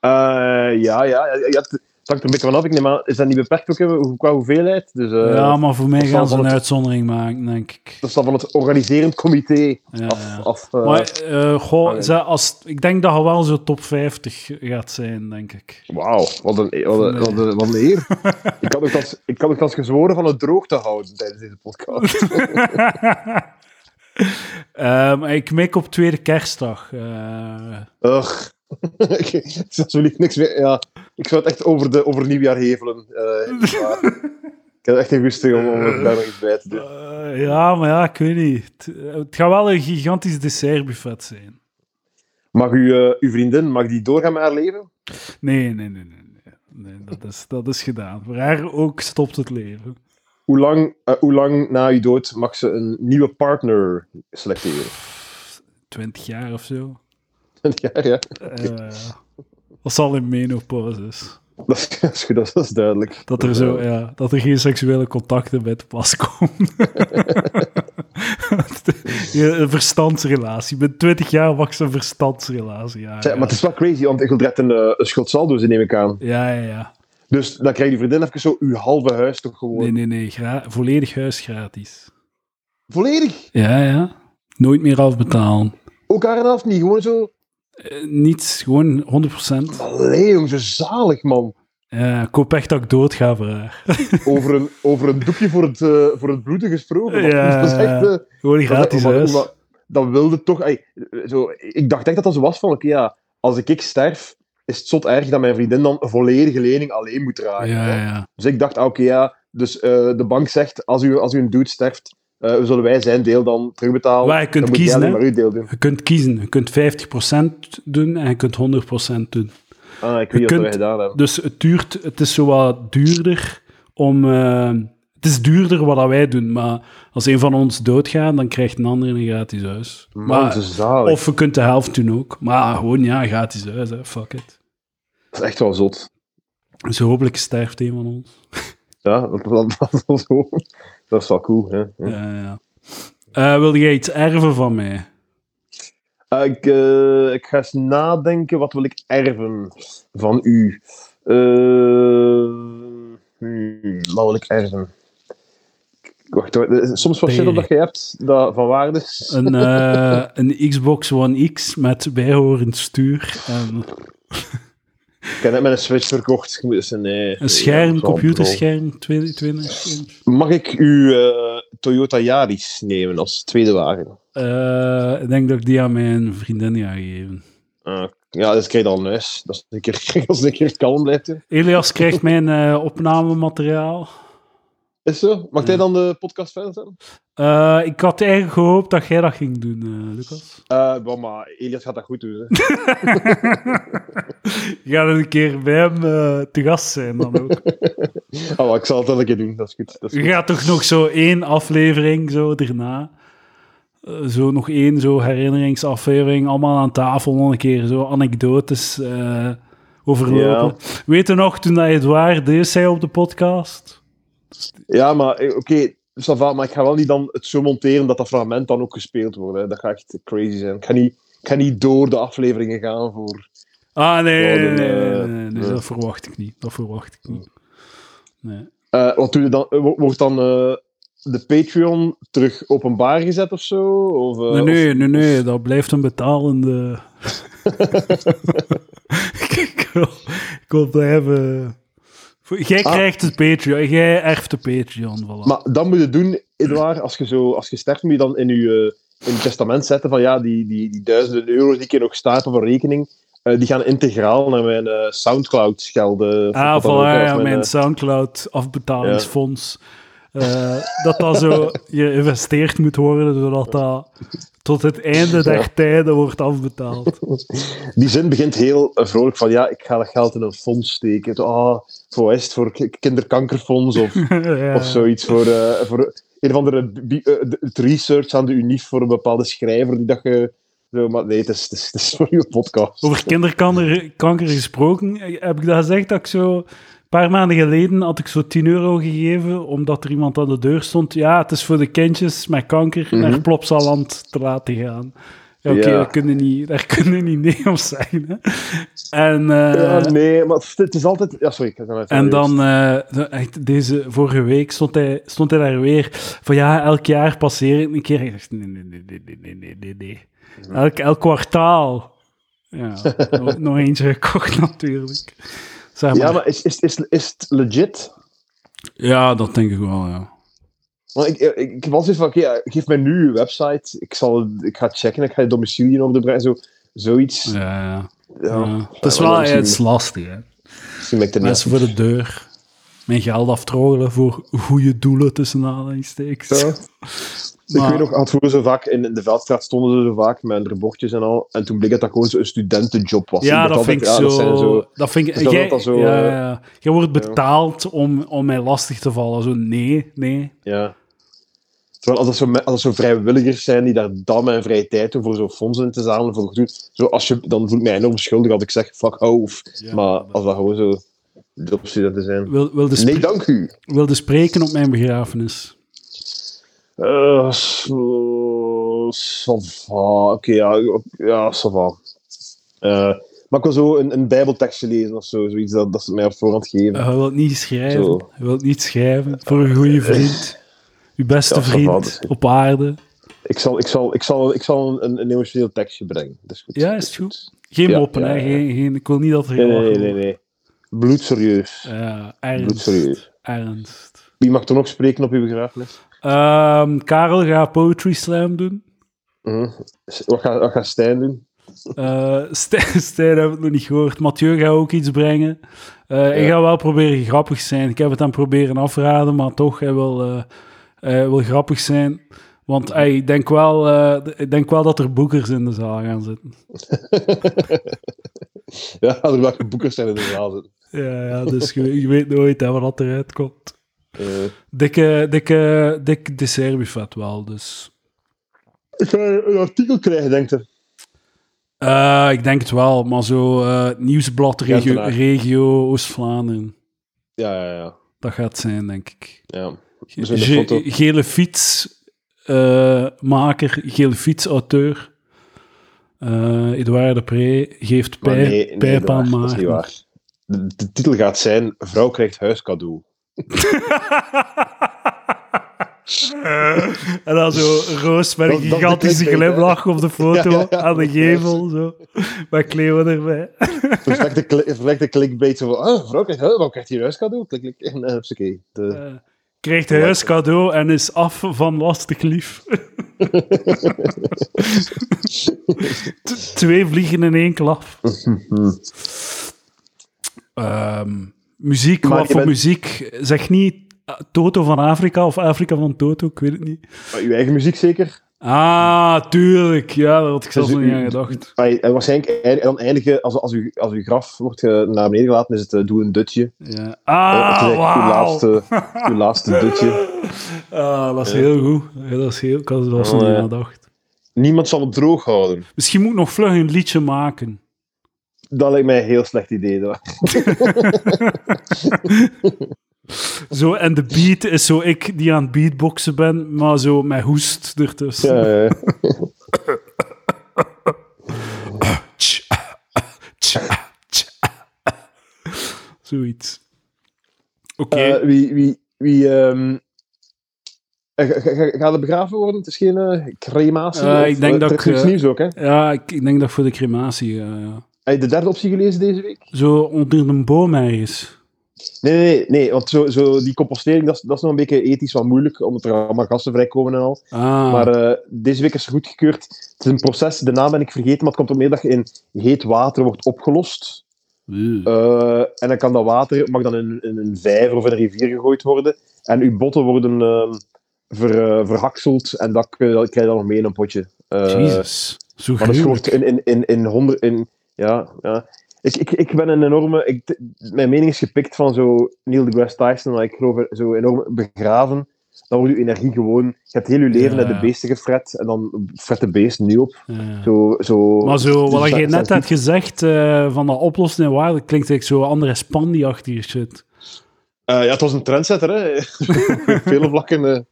[SPEAKER 6] Eh, ja, ja, ja, ja, ja, het hangt er een beetje vanaf. Ik neem aan, is dat niet beperkt ook eh, qua hoeveelheid? Dus, eh,
[SPEAKER 2] ja, maar voor mij
[SPEAKER 6] dat zal
[SPEAKER 2] gaan ze
[SPEAKER 6] van
[SPEAKER 2] een
[SPEAKER 6] het-
[SPEAKER 2] uitzondering maken, denk ik.
[SPEAKER 6] Dat is dan van het organiserend comité
[SPEAKER 2] Ja, ja.
[SPEAKER 6] af. af eh,
[SPEAKER 2] maar eh, goh,
[SPEAKER 6] oké.
[SPEAKER 2] ze- als, ik denk dat je wel zo top 50 gaat zijn, denk ik.
[SPEAKER 6] Wauw, wat een, wat een, wat een, wat een eer. ik, had ook als, ik had ook als gezworen van het droog te houden tijdens deze podcast.
[SPEAKER 2] Ehm, ik mik op tweede kerstdag. eh.
[SPEAKER 6] Ugh. ik ik zou zo lief niks meer... Ja, ik zou het echt over, de, over nieuwjaar hevelen. eh, echt waar. ik heb echt geen rust om, om er daar nog iets bij te doen.
[SPEAKER 2] Eh, ja, maar ja, ik weet niet. Het, het gaat wel een gigantisch dessertbuffet zijn.
[SPEAKER 6] Mag u, eh, uw vriendin, mag die doorgaan met haar leven?
[SPEAKER 2] Nee, nee, nee, nee. nee. Nee, dat, is, dat is gedaan. Voor haar ook stopt het leven.
[SPEAKER 6] Hoe lang, eh, hoe lang na uw dood mag ze een nieuwe partner selecteren?
[SPEAKER 2] Twintig jaar of zo.
[SPEAKER 6] ja, ja.
[SPEAKER 2] Eh dat zal in menopauze is.
[SPEAKER 6] Dat is, dat is goed, dat is, dat is duidelijk.
[SPEAKER 2] Dat er, zo, ja, dat er geen seksuele contacten bij te pas komen. Je- een verstandsrelatie. Met twintig jaar was een verstandsrelatie. Ja,
[SPEAKER 6] Zeg,
[SPEAKER 2] ja.
[SPEAKER 6] maar het is wel crazy, want ik wil direct een, eh, een schot saldo's in, neem ik aan.
[SPEAKER 2] ja, ja, ja.
[SPEAKER 6] Dus dan krijg je vriendin even zo uw halve huis toch gewoon.
[SPEAKER 2] Nee, nee, nee. Gra- volledig huis gratis.
[SPEAKER 6] Volledig.
[SPEAKER 2] Ja, ja. Nooit meer afbetalen.
[SPEAKER 6] Ook haar en half niet. Gewoon zo.
[SPEAKER 2] Eh, niets, gewoon 100%.
[SPEAKER 6] Allee, jong, zo zalig, man.
[SPEAKER 2] Ja, ik hoop echt dat ik dood ga voor haar.
[SPEAKER 6] Over een, over een doekje voor het, eh, voor het bloeden gesproken. man.
[SPEAKER 2] Ja.
[SPEAKER 6] Dat is echt. eh,
[SPEAKER 2] Gewoon
[SPEAKER 6] dat is echt-
[SPEAKER 2] gratis
[SPEAKER 6] maar-
[SPEAKER 2] huis.
[SPEAKER 6] maar Dat wilde toch. ey, zo, ik dacht echt dat dat zo was van. Oké, ja, als ik, ik sterf, is het zot erg dat mijn vriendin dan een volledige lening alleen moet dragen.
[SPEAKER 2] Ja,
[SPEAKER 6] hè.
[SPEAKER 2] ja.
[SPEAKER 6] Dus ik dacht, ah, oké, ja. Dus eh, de bank zegt: als u, als u een dude sterft, eh, zullen wij zijn deel dan terugbetalen.
[SPEAKER 2] Waar je kunt
[SPEAKER 6] Ah, dan moet jij
[SPEAKER 2] kiezen,
[SPEAKER 6] alleen
[SPEAKER 2] hè.
[SPEAKER 6] maar uw deel doen.
[SPEAKER 2] Je kunt kiezen. Je kunt 50% doen en je kunt 100% doen.
[SPEAKER 6] Ah, ik
[SPEAKER 2] Je
[SPEAKER 6] weet niet wat wij
[SPEAKER 2] kunt-
[SPEAKER 6] gedaan hebben.
[SPEAKER 2] Dus het duurt, het is zo wat duurder om... eh, het is duurder wat dat wij doen, maar als een van ons doodgaat, dan krijgt een ander een gratis huis.
[SPEAKER 6] Man, dus
[SPEAKER 2] Maar-
[SPEAKER 6] zo zalig.
[SPEAKER 2] of je kunt de helft doen ook. Maar gewoon, ja, gratis huis, hè. fuck it.
[SPEAKER 6] Dat is echt wel zot.
[SPEAKER 2] Dus hopelijk sterft een van ons.
[SPEAKER 6] Ja, dat, dat, dat, is wel zo. dat is wel cool. Hè?
[SPEAKER 2] Ja, ja. Eh, wil jij iets erven van mij?
[SPEAKER 6] Eh, ik, eh, ik ga eens nadenken, wat wil ik erven van u? Eh, hmm, wat wil ik erven? Wacht, hoor, er is soms wat
[SPEAKER 2] Nee.
[SPEAKER 6] shit op dat je hebt dat van waarde is.
[SPEAKER 2] Een, eh, een Xbox One X met bijhorend stuur en
[SPEAKER 6] Ik heb net mijn Switch verkocht. Ik moet dus een, eh,
[SPEAKER 2] een scherm,
[SPEAKER 6] ja,
[SPEAKER 2] computerscherm, 20 20 inch.
[SPEAKER 6] Mag ik uw eh, Toyota Yaris nemen als tweede wagen?
[SPEAKER 2] Eh, ik denk dat ik die aan mijn vriendin ga geven.
[SPEAKER 6] Ah, ja, dat krijg je al een huis. Dat is een keer, als het een keer kalm blijft. hè.
[SPEAKER 2] Elias krijgt mijn eh, opnamemateriaal.
[SPEAKER 6] Is zo? Mag jij
[SPEAKER 2] Ja.
[SPEAKER 6] dan de podcast verder zetten?
[SPEAKER 2] Eh, ik had eigenlijk gehoopt dat jij dat ging doen, eh, Lucas.
[SPEAKER 6] Eh, wel, maar Elias gaat dat goed doen. Hè.
[SPEAKER 2] Je gaat een keer bij hem eh, te gast zijn dan ook.
[SPEAKER 6] Ah, wel, ik zal het wel een keer doen. Dat is goed. Dat is
[SPEAKER 2] Je
[SPEAKER 6] goed.
[SPEAKER 2] gaat toch nog zo één aflevering zo daarna. eh, zo nog één zo herinneringsaflevering. Allemaal aan tafel nog een keer zo anekdotes eh, overlopen. Weet je nog toen dat Edouard deed zei op de podcast?
[SPEAKER 6] Ja, maar eh, oké. ça va, maar ik ga wel niet dan het zo monteren dat dat fragment dan ook gespeeld wordt. Hè. Dat gaat echt crazy zijn. Ik ga, niet, ik ga niet door de afleveringen gaan voor...
[SPEAKER 2] Ah nee,
[SPEAKER 6] Ja,
[SPEAKER 2] nee,
[SPEAKER 6] dan,
[SPEAKER 2] nee, nee,
[SPEAKER 6] eh,
[SPEAKER 2] nee, nee,
[SPEAKER 6] ja.
[SPEAKER 2] dat verwacht ik niet. Dat verwacht ik niet. Nee.
[SPEAKER 6] Eh, wat doe je dan? Eh, wo- Wordt dan eh, de Patreon terug openbaar gezet of zo? Of, eh,
[SPEAKER 2] Nee,
[SPEAKER 6] of-
[SPEAKER 2] nee, nee, nee, dat blijft een betalende. ik, wil, ik wil blijven. Jij
[SPEAKER 6] Ah.
[SPEAKER 2] krijgt het Patreon, jij erft de Patreon. Voilà.
[SPEAKER 6] Maar dat moet je doen, Edouard, als je, zo, als je sterft, moet je dan in je, eh, in je testament zetten van ja, die, die, die duizenden euro die ik hier nog staat op een rekening, eh, die gaan integraal naar mijn eh, Soundcloud schelden.
[SPEAKER 2] Ah,
[SPEAKER 6] Of wat dan ook,
[SPEAKER 2] voilà,
[SPEAKER 6] hè, of
[SPEAKER 2] ja, mijn
[SPEAKER 6] eh,
[SPEAKER 2] Soundcloud-afbetalingsfonds. Eh, dat dat zo geïnvesteerd moet worden, zodat dat tot het einde der tijden wordt afbetaald.
[SPEAKER 6] die zin begint heel eh, vrolijk van ja, ik ga dat geld in een fonds steken. Het- Ah, voor is het, voor ki- kinderkankerfonds of,
[SPEAKER 2] Ja.
[SPEAKER 6] of zoiets. Voor, eh, voor een of andere bi- eh, de- het research aan de UNIF voor een bepaalde schrijver die dat je... Zo, maar nee, het is, het is, het is voor je podcast.
[SPEAKER 2] Over kinderkanker kanker gesproken, eh, heb ik dat gezegd dat ik zo... Een paar maanden geleden had ik zo 10 euro gegeven, omdat er iemand aan de deur stond. Ja, het is voor de kindjes met kanker naar
[SPEAKER 6] Mhm.
[SPEAKER 2] Plopsaland te laten gaan. Ja, oké,
[SPEAKER 6] Ja.
[SPEAKER 2] daar kunnen niet, daar kunnen niet nee op zeggen. Hè. En, eh,
[SPEAKER 6] Ja, nee, maar het- het is altijd... Ja, sorry, ik heb het
[SPEAKER 2] En dan, eh, de- echt, deze vorige week stond hij, stond hij daar weer van ja, elk jaar passeer ik een keer. Ik dacht, nee, nee, nee, nee, nee, nee, nee, nee, nee. Elk, elk kwartaal. Ja, nog, nog eentje gekocht natuurlijk. Zeg maar.
[SPEAKER 6] Ja, maar is, is, is, is het legit?
[SPEAKER 2] Ja, dat denk ik wel, ja.
[SPEAKER 6] Want ik, eh, ik, ik was even van, oké, ja, geef mij nu uw website. Ik, zal, ik ga checken, ik ga je domicilie in orde brengen. Zo, zoiets.
[SPEAKER 2] ja, ja.
[SPEAKER 6] Ja,
[SPEAKER 2] Ja. Het is
[SPEAKER 6] maar
[SPEAKER 2] wel
[SPEAKER 6] misschien-
[SPEAKER 2] het is lastig, hè.
[SPEAKER 6] Misschien ben ik er niet.
[SPEAKER 2] Mensen voor de deur. Mijn geld aftroggelen voor goede doelen tussen aanhalingstekens.
[SPEAKER 6] Ja.
[SPEAKER 2] Maar-
[SPEAKER 6] Ik weet nog, had vroeger zo vaak, in in de veldstraat stonden ze zo vaak met hun bordjes en al. En toen bleek dat dat gewoon zo'n studentenjob was.
[SPEAKER 2] Ja,
[SPEAKER 6] dacht
[SPEAKER 2] dat vind ik
[SPEAKER 6] altijd, ja, dat
[SPEAKER 2] zo,
[SPEAKER 6] zijn zo.
[SPEAKER 2] Dat vind ik...
[SPEAKER 6] Dus dat
[SPEAKER 2] jij,
[SPEAKER 6] dat dan zo,
[SPEAKER 2] ja,
[SPEAKER 6] eh,
[SPEAKER 2] ja. jij wordt betaald om, om mij lastig te vallen. Zo, nee, nee.
[SPEAKER 6] Ja. Terwijl als dat, zo, me- als dat zo vrijwilligers zijn die daar dan en vrije tijd doen voor zo'n fondsen in te zamelen, voor goed, zo als je, dan voel ik mij enorm schuldig als ik zeg fuck off.
[SPEAKER 2] Ja,
[SPEAKER 6] maar als dat gewoon zo jobstudenten zijn.
[SPEAKER 2] Wil, wilde, spre-
[SPEAKER 6] Nee, dank u.
[SPEAKER 2] wilde spreken op mijn begrafenis.
[SPEAKER 6] Eh, s- eh, ça va. Oké, ja, ja, ça va. Eh, maar ik wil zo een, een bijbeltekstje lezen of zo, zoiets dat, dat ze mij op voorhand geven.
[SPEAKER 2] Hij wil het Eh, niet schrijven.
[SPEAKER 6] Zo.
[SPEAKER 2] Hij wil het niet schrijven. Voor een goede vriend. Uw beste
[SPEAKER 6] Ja,
[SPEAKER 2] vriend
[SPEAKER 6] verhaal.
[SPEAKER 2] op aarde.
[SPEAKER 6] Ik zal, ik zal, ik zal, ik zal een- een, een emotioneel tekstje brengen. Dat is goed.
[SPEAKER 2] Ja, is het goed? Geen
[SPEAKER 6] Ja,
[SPEAKER 2] moppen,
[SPEAKER 6] ja,
[SPEAKER 2] hè.
[SPEAKER 6] ja.
[SPEAKER 2] Geen, geen, ik wil niet dat er
[SPEAKER 6] Nee, nee,
[SPEAKER 2] gelachen
[SPEAKER 6] nee, nee.
[SPEAKER 2] wordt.
[SPEAKER 6] nee. Bloedserieus.
[SPEAKER 2] Ja, Eh, ernst.
[SPEAKER 6] Bloedserieus.
[SPEAKER 2] Ernst.
[SPEAKER 6] Wie mag toen ook spreken op uw begrafenis?
[SPEAKER 2] Ehm, Karel gaat Poetry Slam doen.
[SPEAKER 6] Mhm. S- Wat gaat wat gaat Stijn doen?
[SPEAKER 2] Eh, Stijn, Stijn heb ik nog niet gehoord. Mathieu gaat ook iets brengen. Eh, Ik ga wel proberen grappig zijn. Ik heb het aan proberen afraden, maar toch, hij wil, eh, hij wil grappig zijn. Want ey, ik, denk wel, eh, ik denk wel dat er boekers in de zaal gaan zitten.
[SPEAKER 6] ja, er welke boekers zijn in de zaal zitten.
[SPEAKER 2] Ja, ja dus je, je weet nooit hè, wat eruit komt.
[SPEAKER 6] Eh,
[SPEAKER 2] Dikke, dikke, dik dessertbuffet wel, dus...
[SPEAKER 6] ik ga een artikel krijgen, denk ik.
[SPEAKER 2] Eh, ik denk het wel, maar zo eh, nieuwsblad regio,
[SPEAKER 6] Gentenaar.
[SPEAKER 2] regio Oost-Vlaanderen.
[SPEAKER 6] Ja, ja, ja.
[SPEAKER 2] Dat gaat het zijn, denk ik.
[SPEAKER 6] ja.
[SPEAKER 2] Ge-
[SPEAKER 6] Dus in de
[SPEAKER 2] ge-
[SPEAKER 6] foto.
[SPEAKER 2] gele fietsmaker, maker, gele fietsauteur. Eh Edouard de Pre geeft
[SPEAKER 6] Maar
[SPEAKER 2] pij,
[SPEAKER 6] nee, nee,
[SPEAKER 2] pijp
[SPEAKER 6] dat,
[SPEAKER 2] aan
[SPEAKER 6] dat is
[SPEAKER 2] Maarten.
[SPEAKER 6] niet waar. De, de titel gaat zijn: Vrouw krijgt huiscadeau.
[SPEAKER 2] Eh, En dan zo Roos met een
[SPEAKER 6] Dat- dat
[SPEAKER 2] gigantische
[SPEAKER 6] betekent, hè.
[SPEAKER 2] glimlach op de foto
[SPEAKER 6] Ja, ja, ja.
[SPEAKER 2] aan de gevel, zo. Met Cleo erbij.
[SPEAKER 6] Perfecte, kli- perfecte clickbait. Zo van, ah, vrouw krijgt, huh, waarom krijgt hij een huiscadeau? Klik, klik. En dat is oké. De-
[SPEAKER 2] Eh, krijgt hij huis cadeau en is af van lastig lief. T- Twee vliegen in één klap. Ehm, muziek,
[SPEAKER 6] Maar
[SPEAKER 2] wat
[SPEAKER 6] je
[SPEAKER 2] voor
[SPEAKER 6] bent-
[SPEAKER 2] muziek? Zeg niet eh, Toto van Afrika of Afrika van Toto, ik weet het niet.
[SPEAKER 6] Maar Uw eigen muziek zeker?
[SPEAKER 2] Ah, tuurlijk. Ja, daar had ik zelfs
[SPEAKER 6] Dus
[SPEAKER 2] nog
[SPEAKER 6] u-
[SPEAKER 2] niet aan gedacht.
[SPEAKER 6] Maar je- en waarschijnlijk eind- dan eindigen, als, als, uw, als uw graf wordt eh, naar beneden gelaten, is het eh, doe een dutje.
[SPEAKER 2] Ja.
[SPEAKER 6] Eh, het is
[SPEAKER 2] Ah,
[SPEAKER 6] eigenlijk uw
[SPEAKER 2] wauw.
[SPEAKER 6] laatste, uw laatste dutje.
[SPEAKER 2] Ah, dat is heel goed. Ja, dat is heel, ik had er zelfs nog niet
[SPEAKER 6] Oh,
[SPEAKER 2] aan
[SPEAKER 6] ja.
[SPEAKER 2] gedacht.
[SPEAKER 6] Niemand zal het droog houden.
[SPEAKER 2] Misschien moet ik nog vlug een liedje maken.
[SPEAKER 6] Dat lijkt mij een heel slecht idee. Dat.
[SPEAKER 2] Zo, en de beat is zo ik die aan het beatboxen ben, maar zo met hoest ertussen.
[SPEAKER 6] Ja, ja, ja.
[SPEAKER 2] Tsch, tsch, tsch. Zoiets. Oké.
[SPEAKER 6] Eh, wie wie, wie ehm, eh, ga- ga- gaat het begraven worden? Het is geen eh, crematie.
[SPEAKER 2] Eh,
[SPEAKER 6] of-
[SPEAKER 2] ik denk
[SPEAKER 6] eh,
[SPEAKER 2] dat
[SPEAKER 6] er
[SPEAKER 2] ik,
[SPEAKER 6] is niks
[SPEAKER 2] eh,
[SPEAKER 6] nieuws ook, hè?
[SPEAKER 2] Ja, ik, ik denk dat voor de crematie. ja, ja.
[SPEAKER 6] Heb je de derde optie gelezen deze week?
[SPEAKER 2] Zo onder een boom ergens.
[SPEAKER 6] Nee, nee, nee, nee, want zo, zo die compostering, dat is, dat is nog een beetje ethisch wat moeilijk, omdat er allemaal gassen vrijkomen en al.
[SPEAKER 2] Ah,
[SPEAKER 6] Maar eh, deze week is er goedgekeurd. Het is een proces, de naam ben ik vergeten, maar het komt op middag in heet water wordt opgelost.
[SPEAKER 2] eh,
[SPEAKER 6] Eh, en dan kan dat water mag dan in, in een vijver of in een rivier gegooid worden. En uw botten worden ehm, ver, eh, verhakseld en dat, kun je- dat krijg je dan nog mee in een potje. Eh,
[SPEAKER 2] Jezus. Zo
[SPEAKER 6] maar dat is gewoon
[SPEAKER 2] gruwelijk.
[SPEAKER 6] in, in, in, in honderd... In, ja, ja. Ik, ik, ik ben een enorme... Ik, mijn mening is gepikt van zo Neil deGrasse Tyson, maar ik geloof er zo enorm begraven. Dan wordt uw energie gewoon... Je hebt heel je
[SPEAKER 2] Ja.
[SPEAKER 6] leven naar de beesten gefret en dan fret de beest nu op.
[SPEAKER 2] Ja.
[SPEAKER 6] Zo, zo,
[SPEAKER 2] Maar zo, wat
[SPEAKER 6] dus
[SPEAKER 2] je net
[SPEAKER 6] dat- dat-
[SPEAKER 2] hebt gezegd eh, van dat oplossen en waarde, klinkt eigenlijk zo andere Spandi-achtige shit.
[SPEAKER 6] Eh, ja, het was een trendsetter, hè. Op Vele vlakken. eh.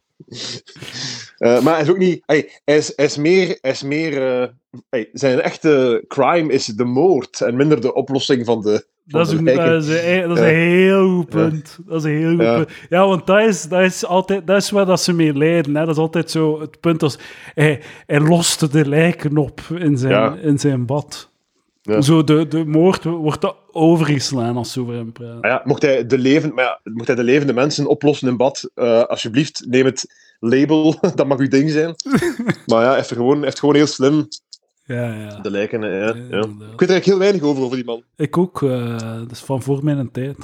[SPEAKER 6] Eh, maar hij is ook niet... Hey, hij, is, hij is meer... Hij is meer eh, hey, zijn echte crime is de moord en minder de oplossing van de... van
[SPEAKER 2] Dat is,
[SPEAKER 6] de
[SPEAKER 2] een,
[SPEAKER 6] lijken.
[SPEAKER 2] dat, is een, e- dat is
[SPEAKER 6] Ja.
[SPEAKER 2] een heel goed punt. Dat is een heel goed
[SPEAKER 6] Ja.
[SPEAKER 2] punt. Ja, want dat is, dat is altijd dat is waar dat ze mee lijden. Hè. Dat is altijd zo het punt als hij, hij loste de lijken op in zijn,
[SPEAKER 6] Ja.
[SPEAKER 2] in zijn bad.
[SPEAKER 6] Ja.
[SPEAKER 2] Zo de, de moord wordt dat overgeslaan als ze over hem praten.
[SPEAKER 6] Maar ja, mocht hij de levende, maar ja, mocht hij de levende mensen oplossen in bad, eh, alsjeblieft, neem het label, dat mag uw ding zijn. maar ja, hij heeft gewoon, hij heeft gewoon heel slim
[SPEAKER 2] Ja, ja.
[SPEAKER 6] de lijken. eh, ja, ja.
[SPEAKER 2] inderdaad.
[SPEAKER 6] Ik weet er eigenlijk heel weinig over, over die man.
[SPEAKER 2] Ik ook. eh, dat is van voor mijn tijd.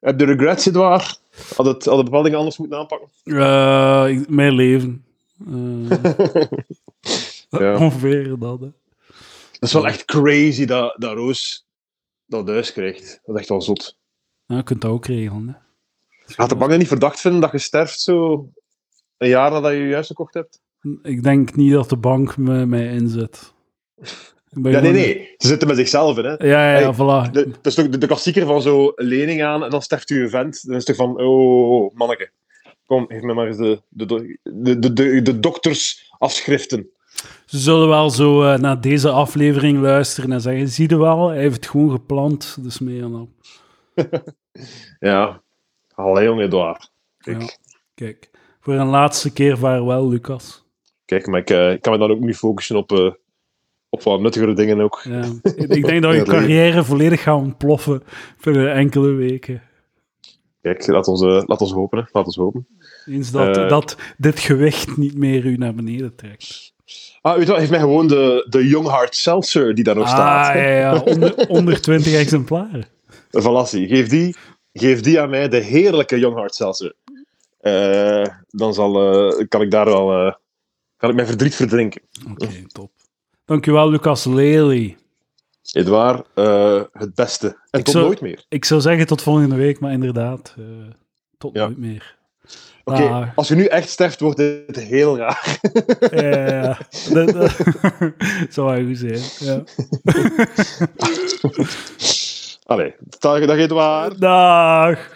[SPEAKER 6] Heb je regrets, Edouard? Had het, had het bepaalde dingen anders moeten aanpakken?
[SPEAKER 2] Eh, ik- mijn leven. Eh,
[SPEAKER 6] Ja.
[SPEAKER 2] Ongeveer dat. hè.
[SPEAKER 6] Dat is wel echt crazy dat, dat Roos dat thuis krijgt. Dat is echt wel zot.
[SPEAKER 2] Ja, je kunt dat ook regelen. Hè.
[SPEAKER 6] Gaat de bank dat niet verdacht vinden dat je sterft zo een jaar nadat je je huis gekocht hebt?
[SPEAKER 2] Ik denk niet dat de bank me, mij inzet. Ik ben
[SPEAKER 6] Ja, nee,
[SPEAKER 2] gewoon-
[SPEAKER 6] nee. Ze zitten met zichzelf in, hè.
[SPEAKER 2] Ja, ja, ja,
[SPEAKER 6] Hey,
[SPEAKER 2] voilà.
[SPEAKER 6] De, dat is toch de, de klassieker van zo een lening aan en dan sterft u een vent. Dan is het toch van, oh, oh, oh, manneke. Kom, geef me maar eens de, de, de, de, de, de doktersafschriften.
[SPEAKER 2] Ze zullen wel zo eh, naar deze aflevering luisteren en zeggen: Zie je wel, hij heeft het gewoon gepland. Dus meer dan. op."
[SPEAKER 6] Ja. Allee, jongen, Edouard. Ik-
[SPEAKER 2] Ja. Kijk, voor een laatste keer vaarwel, Lucas.
[SPEAKER 6] Kijk, maar ik eh, ik kan me dan ook nu focussen op, eh, op wat nuttigere dingen ook.
[SPEAKER 2] Ja. ik ik denk dat je
[SPEAKER 6] Ja, dat-
[SPEAKER 2] carrière volledig gaat ontploffen voor eh, enkele weken.
[SPEAKER 6] Kijk, laat ons, eh, laat ons hopen, hè. Laat ons hopen.
[SPEAKER 2] Eens dat,
[SPEAKER 6] Eh.
[SPEAKER 2] dat dit gewicht niet meer u naar beneden trekt.
[SPEAKER 6] Ah, weet je wat? Heeft mij gewoon de, de Young Heart Seltzer die daar nog
[SPEAKER 2] Ah,
[SPEAKER 6] staat.
[SPEAKER 2] ja, ja, onder, onder 20 exemplaren.
[SPEAKER 6] Van Lassie, geef die, geef die aan mij, de heerlijke Young Heart Seltzer. Eh, dan zal, eh, kan ik daar wel... eh, kan ik mijn verdriet verdrinken.
[SPEAKER 2] Oké, top. Dankjewel, Lucas Lely.
[SPEAKER 6] Edouard, eh, het beste. En
[SPEAKER 2] Ik
[SPEAKER 6] tot
[SPEAKER 2] zou-
[SPEAKER 6] nooit meer.
[SPEAKER 2] Ik zou zeggen tot volgende week, maar inderdaad, eh, tot
[SPEAKER 6] Ja.
[SPEAKER 2] nooit meer.
[SPEAKER 6] Oké,
[SPEAKER 2] Ah.
[SPEAKER 6] als je nu echt sterft, wordt dit heel raar.
[SPEAKER 2] Ja, ja, ja. Dat, dat zou wel goed zijn. Ja.
[SPEAKER 6] Allee, dag, dag Edouard.
[SPEAKER 2] Dag!